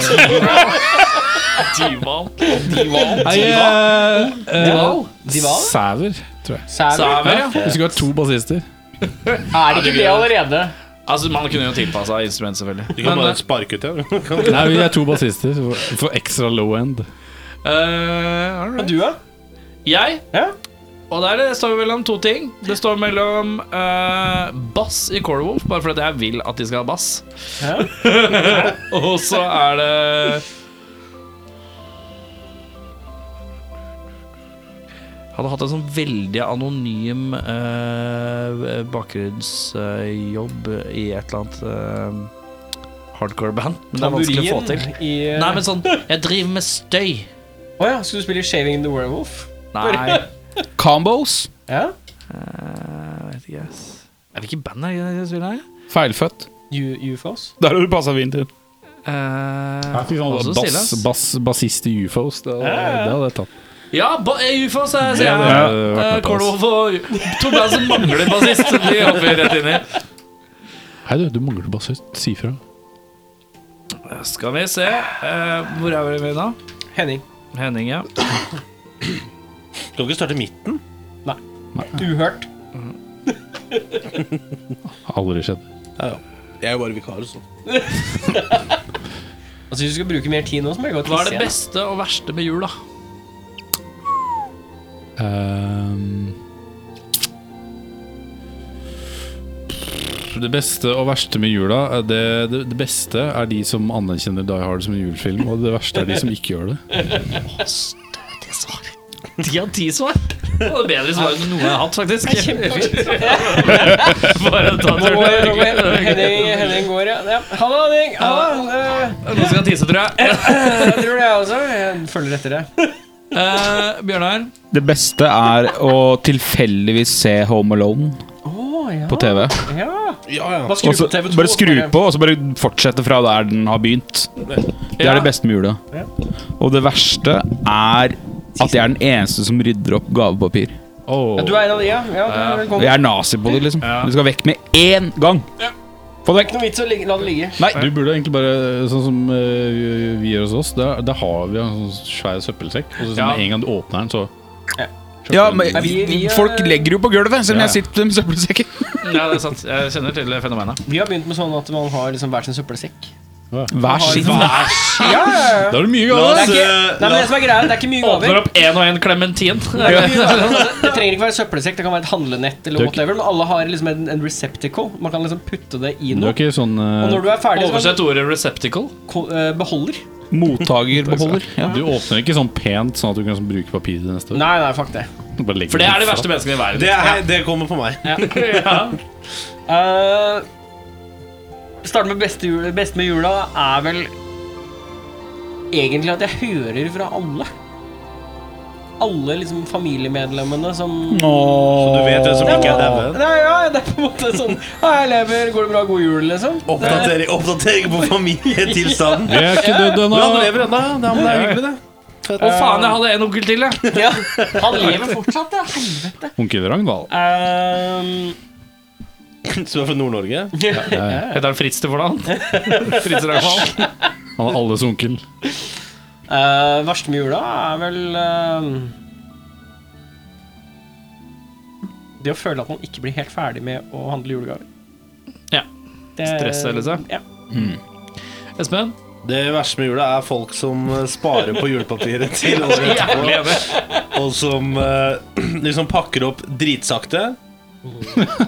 S4: Dival.
S3: nei eh, eh,
S2: Dival? Dival?
S3: Sæver, tror jeg.
S2: Sæver?
S4: Sæver, ja.
S3: Vi skulle hatt to bassister.
S2: Er det ikke det allerede?
S4: Altså, man kunne jo tilpassa instrument, selvfølgelig.
S1: Du kan
S4: Men,
S1: bare sparke ut, ja. Du eh, kan-
S3: Nei, vi er to bassister for- for ekstra low end.
S4: eh, all right.
S2: Og du, da?
S4: Jeg
S2: Ja?
S4: Og der det står mellom to ting. Det står mellom eh, bass i Corewolf, bare fordi jeg vil at de skal ha bass.
S2: Ja.
S4: Og så er det Jeg Hadde hatt en sånn veldig anonym eh, bakgrunnsjobb i et eller annet eh, hardcore band. Men det er vanskelig å få til.
S2: Tamburin i eh,
S4: Nei, men sånn Jeg driver med støy.
S2: Å ja, skal du spille Shaving the Werewolf?
S4: Nei. Eh,
S6: Combos?
S2: Ja?
S4: Jeg Eh, vet ikke, ass. Er det ikke band her? Jeg spiller her?
S6: Feilfødt.
S2: U- UFOs?
S6: Der har du passa fint inn.
S4: Uh,
S3: sånn Altså, Bass, bass, bassist i UFOs. Det, det hadde jeg tatt.
S4: Ja, ba eh, UFO, sa jeg. sier jeg.
S3: Ja, det
S4: Eh,
S3: hadde vært noe
S4: Cornwall og to band som mangler bassist. De hopper vi rett inn i.
S3: pass. Hei, du, du mangler bassist. Si fra.
S4: Skal vi se. eh, hvor er vi nå?
S2: Henning.
S4: Henning, ja.
S1: Skal vi ikke starte i midten?
S2: Uhørt.
S3: Aldri skjedd.
S1: Jeg er jo bare vikar, så.
S2: Altså, Hvis du skal bruke mer tid nå, så må jeg gå og
S4: Hva
S2: tisse
S4: er det
S2: igjen.
S4: beste og verste med jul, da?
S3: Ehm. Det beste og verste med jula eh, det, det, det beste er de som anerkjenner Die Hard som en julefilm, og det verste er de som ikke gjør det.
S4: Stødig svar. Ti av ti svar. Det var bedre svar enn noe jeg har hatt, faktisk. Bare ta
S2: Nå går jeg- nå går
S4: turen.
S2: jeg- Henning, Henning går, ja. ja. Ha det, Henning. Ha det. Eh,
S4: Nå skal jeg tisse, tror jeg.
S2: Jeg tror det, jeg også. Jeg følger etter deg.
S4: Eh, Bjørnar.
S6: Det beste er å tilfeldigvis se Home Alone
S2: Å, ja.
S6: på TV.
S2: Ja.
S1: Ja, ja.
S2: Bare skru
S6: Og så
S2: på TV2.
S6: bare skru på, og så bare fortsette fra der den har begynt. Det er det beste med jula.
S2: Ja.
S6: Og det verste er at jeg er den eneste som rydder opp gavepapir.
S2: Ja, du er en av de, ja. ja, du er
S4: Eh,
S2: velkommen.
S6: Og jeg er nazi på det, liksom. Det skal vekk med én gang. Få det
S2: Ikke
S6: vekk.
S2: noe vits å ligge, la det ligge.
S3: Du burde egentlig bare, sånn som eh, vi- vi gjør hos oss, da, da har vi en sånn svær søppelsekk, og så
S4: Ja.
S3: med en gang du åpner den, så
S6: Ja, men
S2: Nei, vi- vi er-
S6: folk legger jo på gulvet, selv om
S3: Ja.
S6: jeg sitter med søppelsekken.
S4: Ja, det er sant. Jeg kjenner til fenomenet.
S2: Vi har begynt med sånn at man har liksom hver sin søppelsekk.
S6: Vær
S2: Har-
S6: sin
S2: Ja, ja, ja.
S3: Da er det mye
S1: La oss,
S2: Det er ikke,
S1: eh,
S2: nei, men
S1: la
S2: det som er greia, det er ikke mye gaver.
S4: Åpner opp én og én klementin.
S2: Det er ikke mye gaver. Altså, det trenger ikke være søppelsekk, det kan være et handlenett eller whatever. Men alle har liksom en, en receptacle. Man kan liksom putte det i
S3: Du er
S2: noe.
S3: ikke sånn eh,
S2: Og når du er ferdig, så kan
S4: Oversett ordet 'receptacle'.
S2: du ko- eh, beholder.
S6: mottagerbeholder. Ja.
S3: Du åpner ikke sånn pent, sånn at du kan sånn, bruke papiret til neste år.
S2: Nei, nei, fuck det.
S3: Bare legger
S4: For det er de
S3: fra.
S4: verste menneskene i verden.
S1: Det, er, det kommer på meg.
S2: Uh, Starte med beste, jul, beste med jula er vel egentlig at jeg hører fra alle. Alle liksom familiemedlemmene som
S1: Så du vet hvem som ikke er
S2: Ja,
S1: dauen.
S2: Nei, ja, det er på en måte sånn Ja, jeg lever, går det bra, god jul, liksom.
S1: Oppdatering, oppdatering på familietilstanden.
S3: Vi er ikke døde
S1: Men han
S3: ennå!
S1: lever ennå. ja. Det er- men det er hyggelig, det. fett.
S4: Å faen, jeg hadde en onkel til, jeg.
S2: Ja. Han lever fortsatt, ja. Helvete.
S3: Onkel Ragnvald.
S2: Ehm,
S1: Som er fra Nord-Norge.
S4: Heter han Fritz til hvordan? Fritz Ragnvald.
S3: Han er alles onkel.
S2: eh, verste med jula er vel ehm, Det å føle at man ikke blir helt ferdig med å handle julegaver.
S4: Ja.
S2: Det-
S4: Stresset, liksom.
S2: Ja.
S4: Espen?
S1: Det verste med jula er folk som eh, sparer på julepapiret til året
S4: Jævlig
S1: etterpå,
S4: enig.
S1: og som eh, liksom pakker opp dritsakte.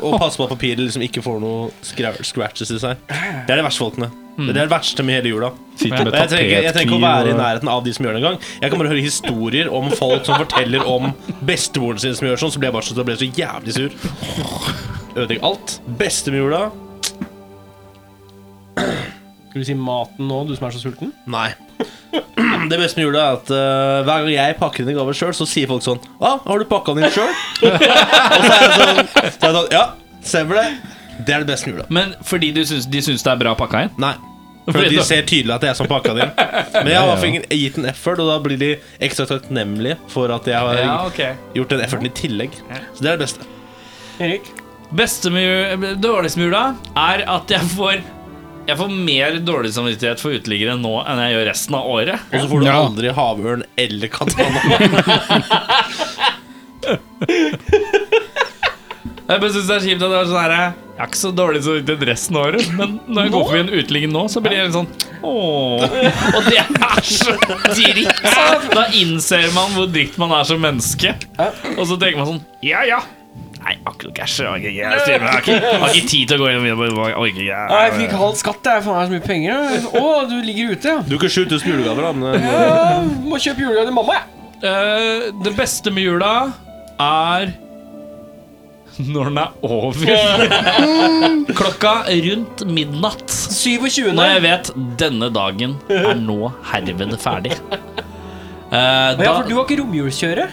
S1: og passer på at papiret liksom ikke får noe skra- scratches i seg. Det er de verste folkene. Det er det verste med hele jula.
S3: Sitter med
S1: Og Jeg trenger, ikke- jeg trenger ikke å være i
S3: tapetkniv. og-
S1: nærheten av de som gjør det engang. Jeg kommer til å høre historier om folk som forteller om bestemoren sin som gjør sånn, så blir jeg bare så, så, blir jeg så jævlig sur. Ødelegger alt. Beste med jula?
S2: Skal du si maten nå, du som er så sulten?
S1: Nei. Det beste med jula er at eh, hver gang jeg pakker inn en gave sjøl, så sier folk sånn ah, 'Har du pakka den inn sjøl?' Og så er jeg sånn, så er jeg sånn Ja, stemmer det. Det er det beste med jula.
S4: Men fordi du syns, de syns det er bra pakka inn?
S1: Nei. For de ser tydelig at det er jeg som pakka den inn. Men jeg har i hvert fall ingen- gitt en effort, og da blir de ekstra takknemlige for at jeg har
S4: Ja, ok
S1: gjort den efforten i tillegg. Så det er det beste.
S2: Erik?
S4: Beste med jul- Dårligste med jula er at jeg får jeg får mer dårlig samvittighet for uteliggere nå enn jeg gjør resten av året.
S1: Og så får du
S6: Ja.
S1: aldri havørn eller katana.
S4: Jeg bare synes det er kjipt at det er sånn her Jeg er ikke så dårlig samvittighet resten av året, men når jeg går forbi en uteligger nå, så blir jeg litt sånn Åh. Og det er så dritt! sant? Da innser man hvor dritt man er som menneske. Og så tenker man sånn Ja, ja. Nei, akkurat cash. Jeg har ikke- jeg har ikke- jeg har ikke jeg har ikke tid til å gå inn og orker ikke.
S2: Nei, jeg fikk halv skatt, jeg. Faen, jeg har så mye penger. Å, du ligger ute, ja.
S1: Du har ikke 7000 julegaver, da. Men,
S2: Jeg må kjøpe julegave til mamma, jeg.
S4: Eh, det beste med jula er når den er over. Klokka rundt midnatt.
S2: 27.
S4: Når jeg vet denne dagen er nå herved ferdig. Eh,
S2: Ja,
S4: da,
S2: for du har ikke romjulskjøret?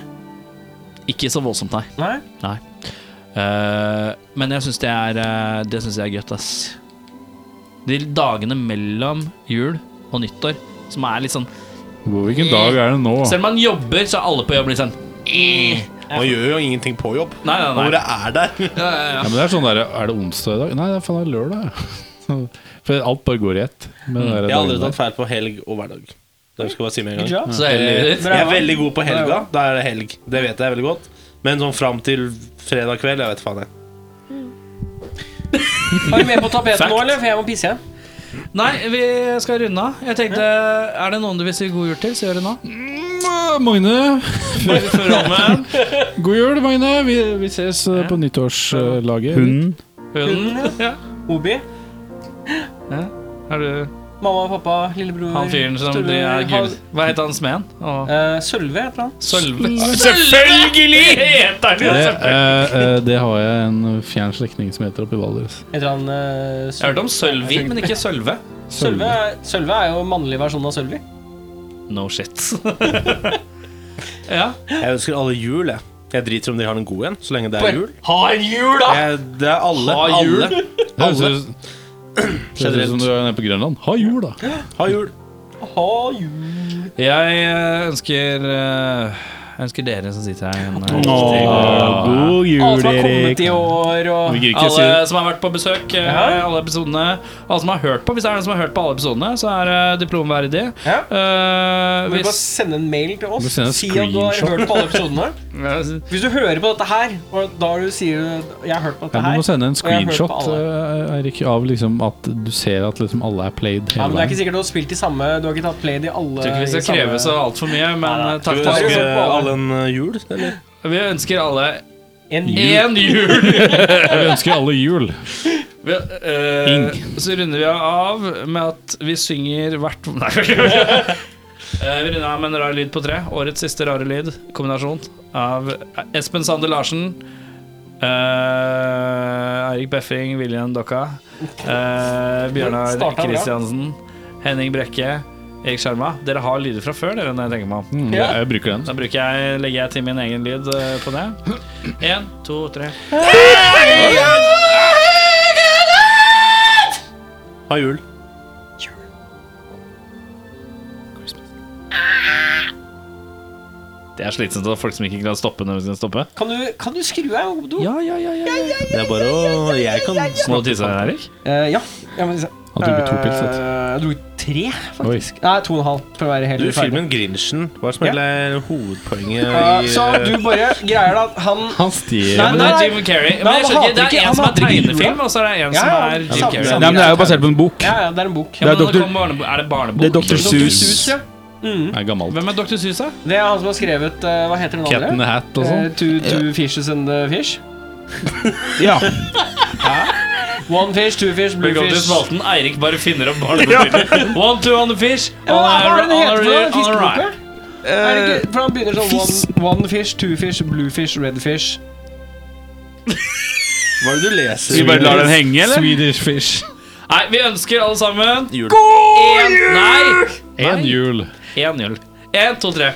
S4: ikke så voldsomt, nei.
S2: Nei.
S4: Eh, men jeg syns det er eh, Det synes jeg er gøtt, ass. De dagene mellom jul og nyttår som er litt sånn
S3: Hvor- Hvilken dag er det nå?
S4: Selv om man jobber, så er alle på jobb litt sånn eh.
S1: man gjør jo ingenting på jobb.
S4: Nei, nei, nei.
S1: Ordet er der.
S4: Ja, ja, ja.
S3: Ja, men det Er sånn der, er det onsdag i dag? Nei, det er faen det er lørdag. ja. For alt bare går i ett.
S4: Mm.
S3: med den der
S1: Jeg har aldri
S3: dagen der.
S1: tatt feil på helg og hverdag. Det skal jeg bare si med en
S2: Good
S1: gang.
S2: job.
S4: Så det er litt-
S1: Jeg er veldig god på helga. Da er det helg. Det vet jeg veldig godt. Men sånn fram til fredag kveld, jeg vet faen jeg.
S2: Har du mer på tapetet
S4: Fact.
S2: nå, eller? For jeg må pisse igjen.
S4: Nei, vi skal runde av. Jeg tenkte, Er det noen du vil si god jul til, så gjør det nå.
S3: Ah, Magne,
S4: Før rammen.
S3: god jul, Magne. Vi, vi ses eh, på nyttårslaget.
S6: Hunden.
S4: Hunden. Ja.
S2: Obi,
S4: Er du
S2: mamma og pappa, lillebror
S4: han fyren som
S2: store-
S4: driver er gull...
S2: han-
S4: Hva heter han smeden? Og
S2: Eh, Sølve, et eller annet.
S4: Sølve. Selvfølgelig heter
S3: Det,
S4: han det!
S3: eh, eh, det har jeg en fjern slektning som heter oppe i Valdres.
S2: Heter han eh,
S4: Jeg hørte
S2: Sølve?
S4: om Sølvi, men ikke Sølve.
S2: Sølve er, Sølve er jo mannlig versjon av Sølvi.
S4: No shit. ja.
S1: Jeg ønsker alle jul, jeg. Jeg driter om de har en god en, så lenge det er jul.
S2: Ha en jul, da!
S1: Jeg, det er alle.
S4: Ha jul.
S1: Alle.
S3: Det høres ut- det høres ut som du er nede på Grønland. Ha jul, da!
S1: Ha jul.
S2: Ha jul.
S4: Jeg eh, ønsker eh, Jeg ønsker dere som sitter her, en eh,
S6: god
S2: Alle som har kommet i år, og
S4: Alle som har vært på besøk, eh, alle episodene Alle som har hørt på, Hvis det er noen som har hørt på alle episodene, så er det diplomverdig.
S2: Ja.
S4: Eh,
S2: Vil du bare
S4: hvis,
S2: sende en mail til
S3: Du
S2: oss?
S3: sender en
S2: Si at du har
S3: screenshot.
S2: hørt på alle episodene.
S4: eh,
S2: Hvis du hører på dette her, og da du sier du 'jeg har hørt på
S3: Ja,
S2: dette
S3: du
S2: her'
S3: må sende
S2: og
S3: en
S2: jeg har hørt på
S3: screenshot
S2: alle.
S3: eh, Eirik, av liksom at du ser at liksom alle er played
S2: Ja, men
S3: hele
S2: Det er ikke
S3: veien.
S2: sikkert du har spilt de samme Du har ikke tatt played i alle
S4: tror ikke vi skal
S2: i samme-
S4: kreve så altfor mye, men eh,
S1: Skal
S4: takk til
S1: vi
S4: alle.
S1: ønske alle en eh, jul, eller?
S4: Vi ønsker alle
S2: En jul.
S4: én jul!
S3: Jeg ønsker alle jul.
S4: Vi, eh, så runder vi av med at vi synger hvert Nei. Eh, Vi runder av med en rar lyd på tre. Årets siste rare lyd. Kombinasjon av Espen Sander Larsen, eh, Eirik Beffing, William Dokka, eh, Bjørnar
S2: Starta bra.
S4: Kristiansen, Henning Brekke, Erik Skjerma. Dere har lyder fra før, dere, når jeg tenker meg om.
S3: Mm,
S2: Ja.
S3: Jeg bruker den.
S4: Da bruker jeg, legger jeg til min egen lyd eh, på det. Én, to, tre.
S1: Ha jul.
S2: Merry Christmas.
S4: Det er slitsomt at folk som ikke kan stoppe når de skal stoppe.
S2: Kan du, kan du skru av og gå på do?
S4: Ja, ja, ja, ja, ja.
S1: Det er bare å Jeg kan
S4: Må du tisse, Erik?
S2: Eh, ja. ja men,
S3: Han tok to pils. vet du.
S2: Jeg dro tre, faktisk.
S3: Oi.
S2: Nei, to og en halv. For å være helt
S1: Du,
S2: rettferdig.
S1: filmen Grinchen Hva er det som egentlig er hovedpoenget
S2: Eh,
S1: i
S2: så du bare greier da at han
S3: Han stjel
S2: Nei,
S4: Men det er Jim Carrey. Men
S2: han
S4: jeg skjønner ikke,
S2: hater
S4: Det
S2: ikke- han
S4: er en som er
S2: hater jula.
S4: tegnefilm, og så er det en
S2: Ja,
S4: som
S2: ja,
S4: er Jim
S2: samme-
S4: Carrey.
S2: samme.
S6: Nei, men Det er jo basert på en bok.
S2: Ja, ja, det er en bok.
S4: Ja, men
S6: Det er
S4: det
S6: Dr.
S4: kom barnebo- er det barnebok?
S6: Det er Dr.
S2: Sus,
S6: Sus.
S2: ja.
S3: er gammelt.
S4: Hvem er Dr. Sus, da?
S2: Det er han som har skrevet eh, Hva heter den
S3: Cat in
S2: andre?
S3: the Hat og
S2: Uh,
S3: sånn.
S2: two, two fishes and the fish.
S6: Ja.
S2: One fish, two fish, blue fish.
S4: Spalten Eirik bare finner opp barneboktittelen. One, two on the fish.
S2: Ja, hva er det den heter for noe?
S4: on the right.
S2: Fiskeboka? Er det ikke- For han begynner sånn one, one fish, two fish, blue fish, red fish.
S1: Hva er det du
S6: Vi
S1: leser?
S6: bare lar den henge, eller?
S3: Swedish Fish.
S4: Nei, vi ønsker alle sammen
S1: Jul.
S4: en, Nei!
S3: Én jul.
S4: Én jul. Én, to, tre.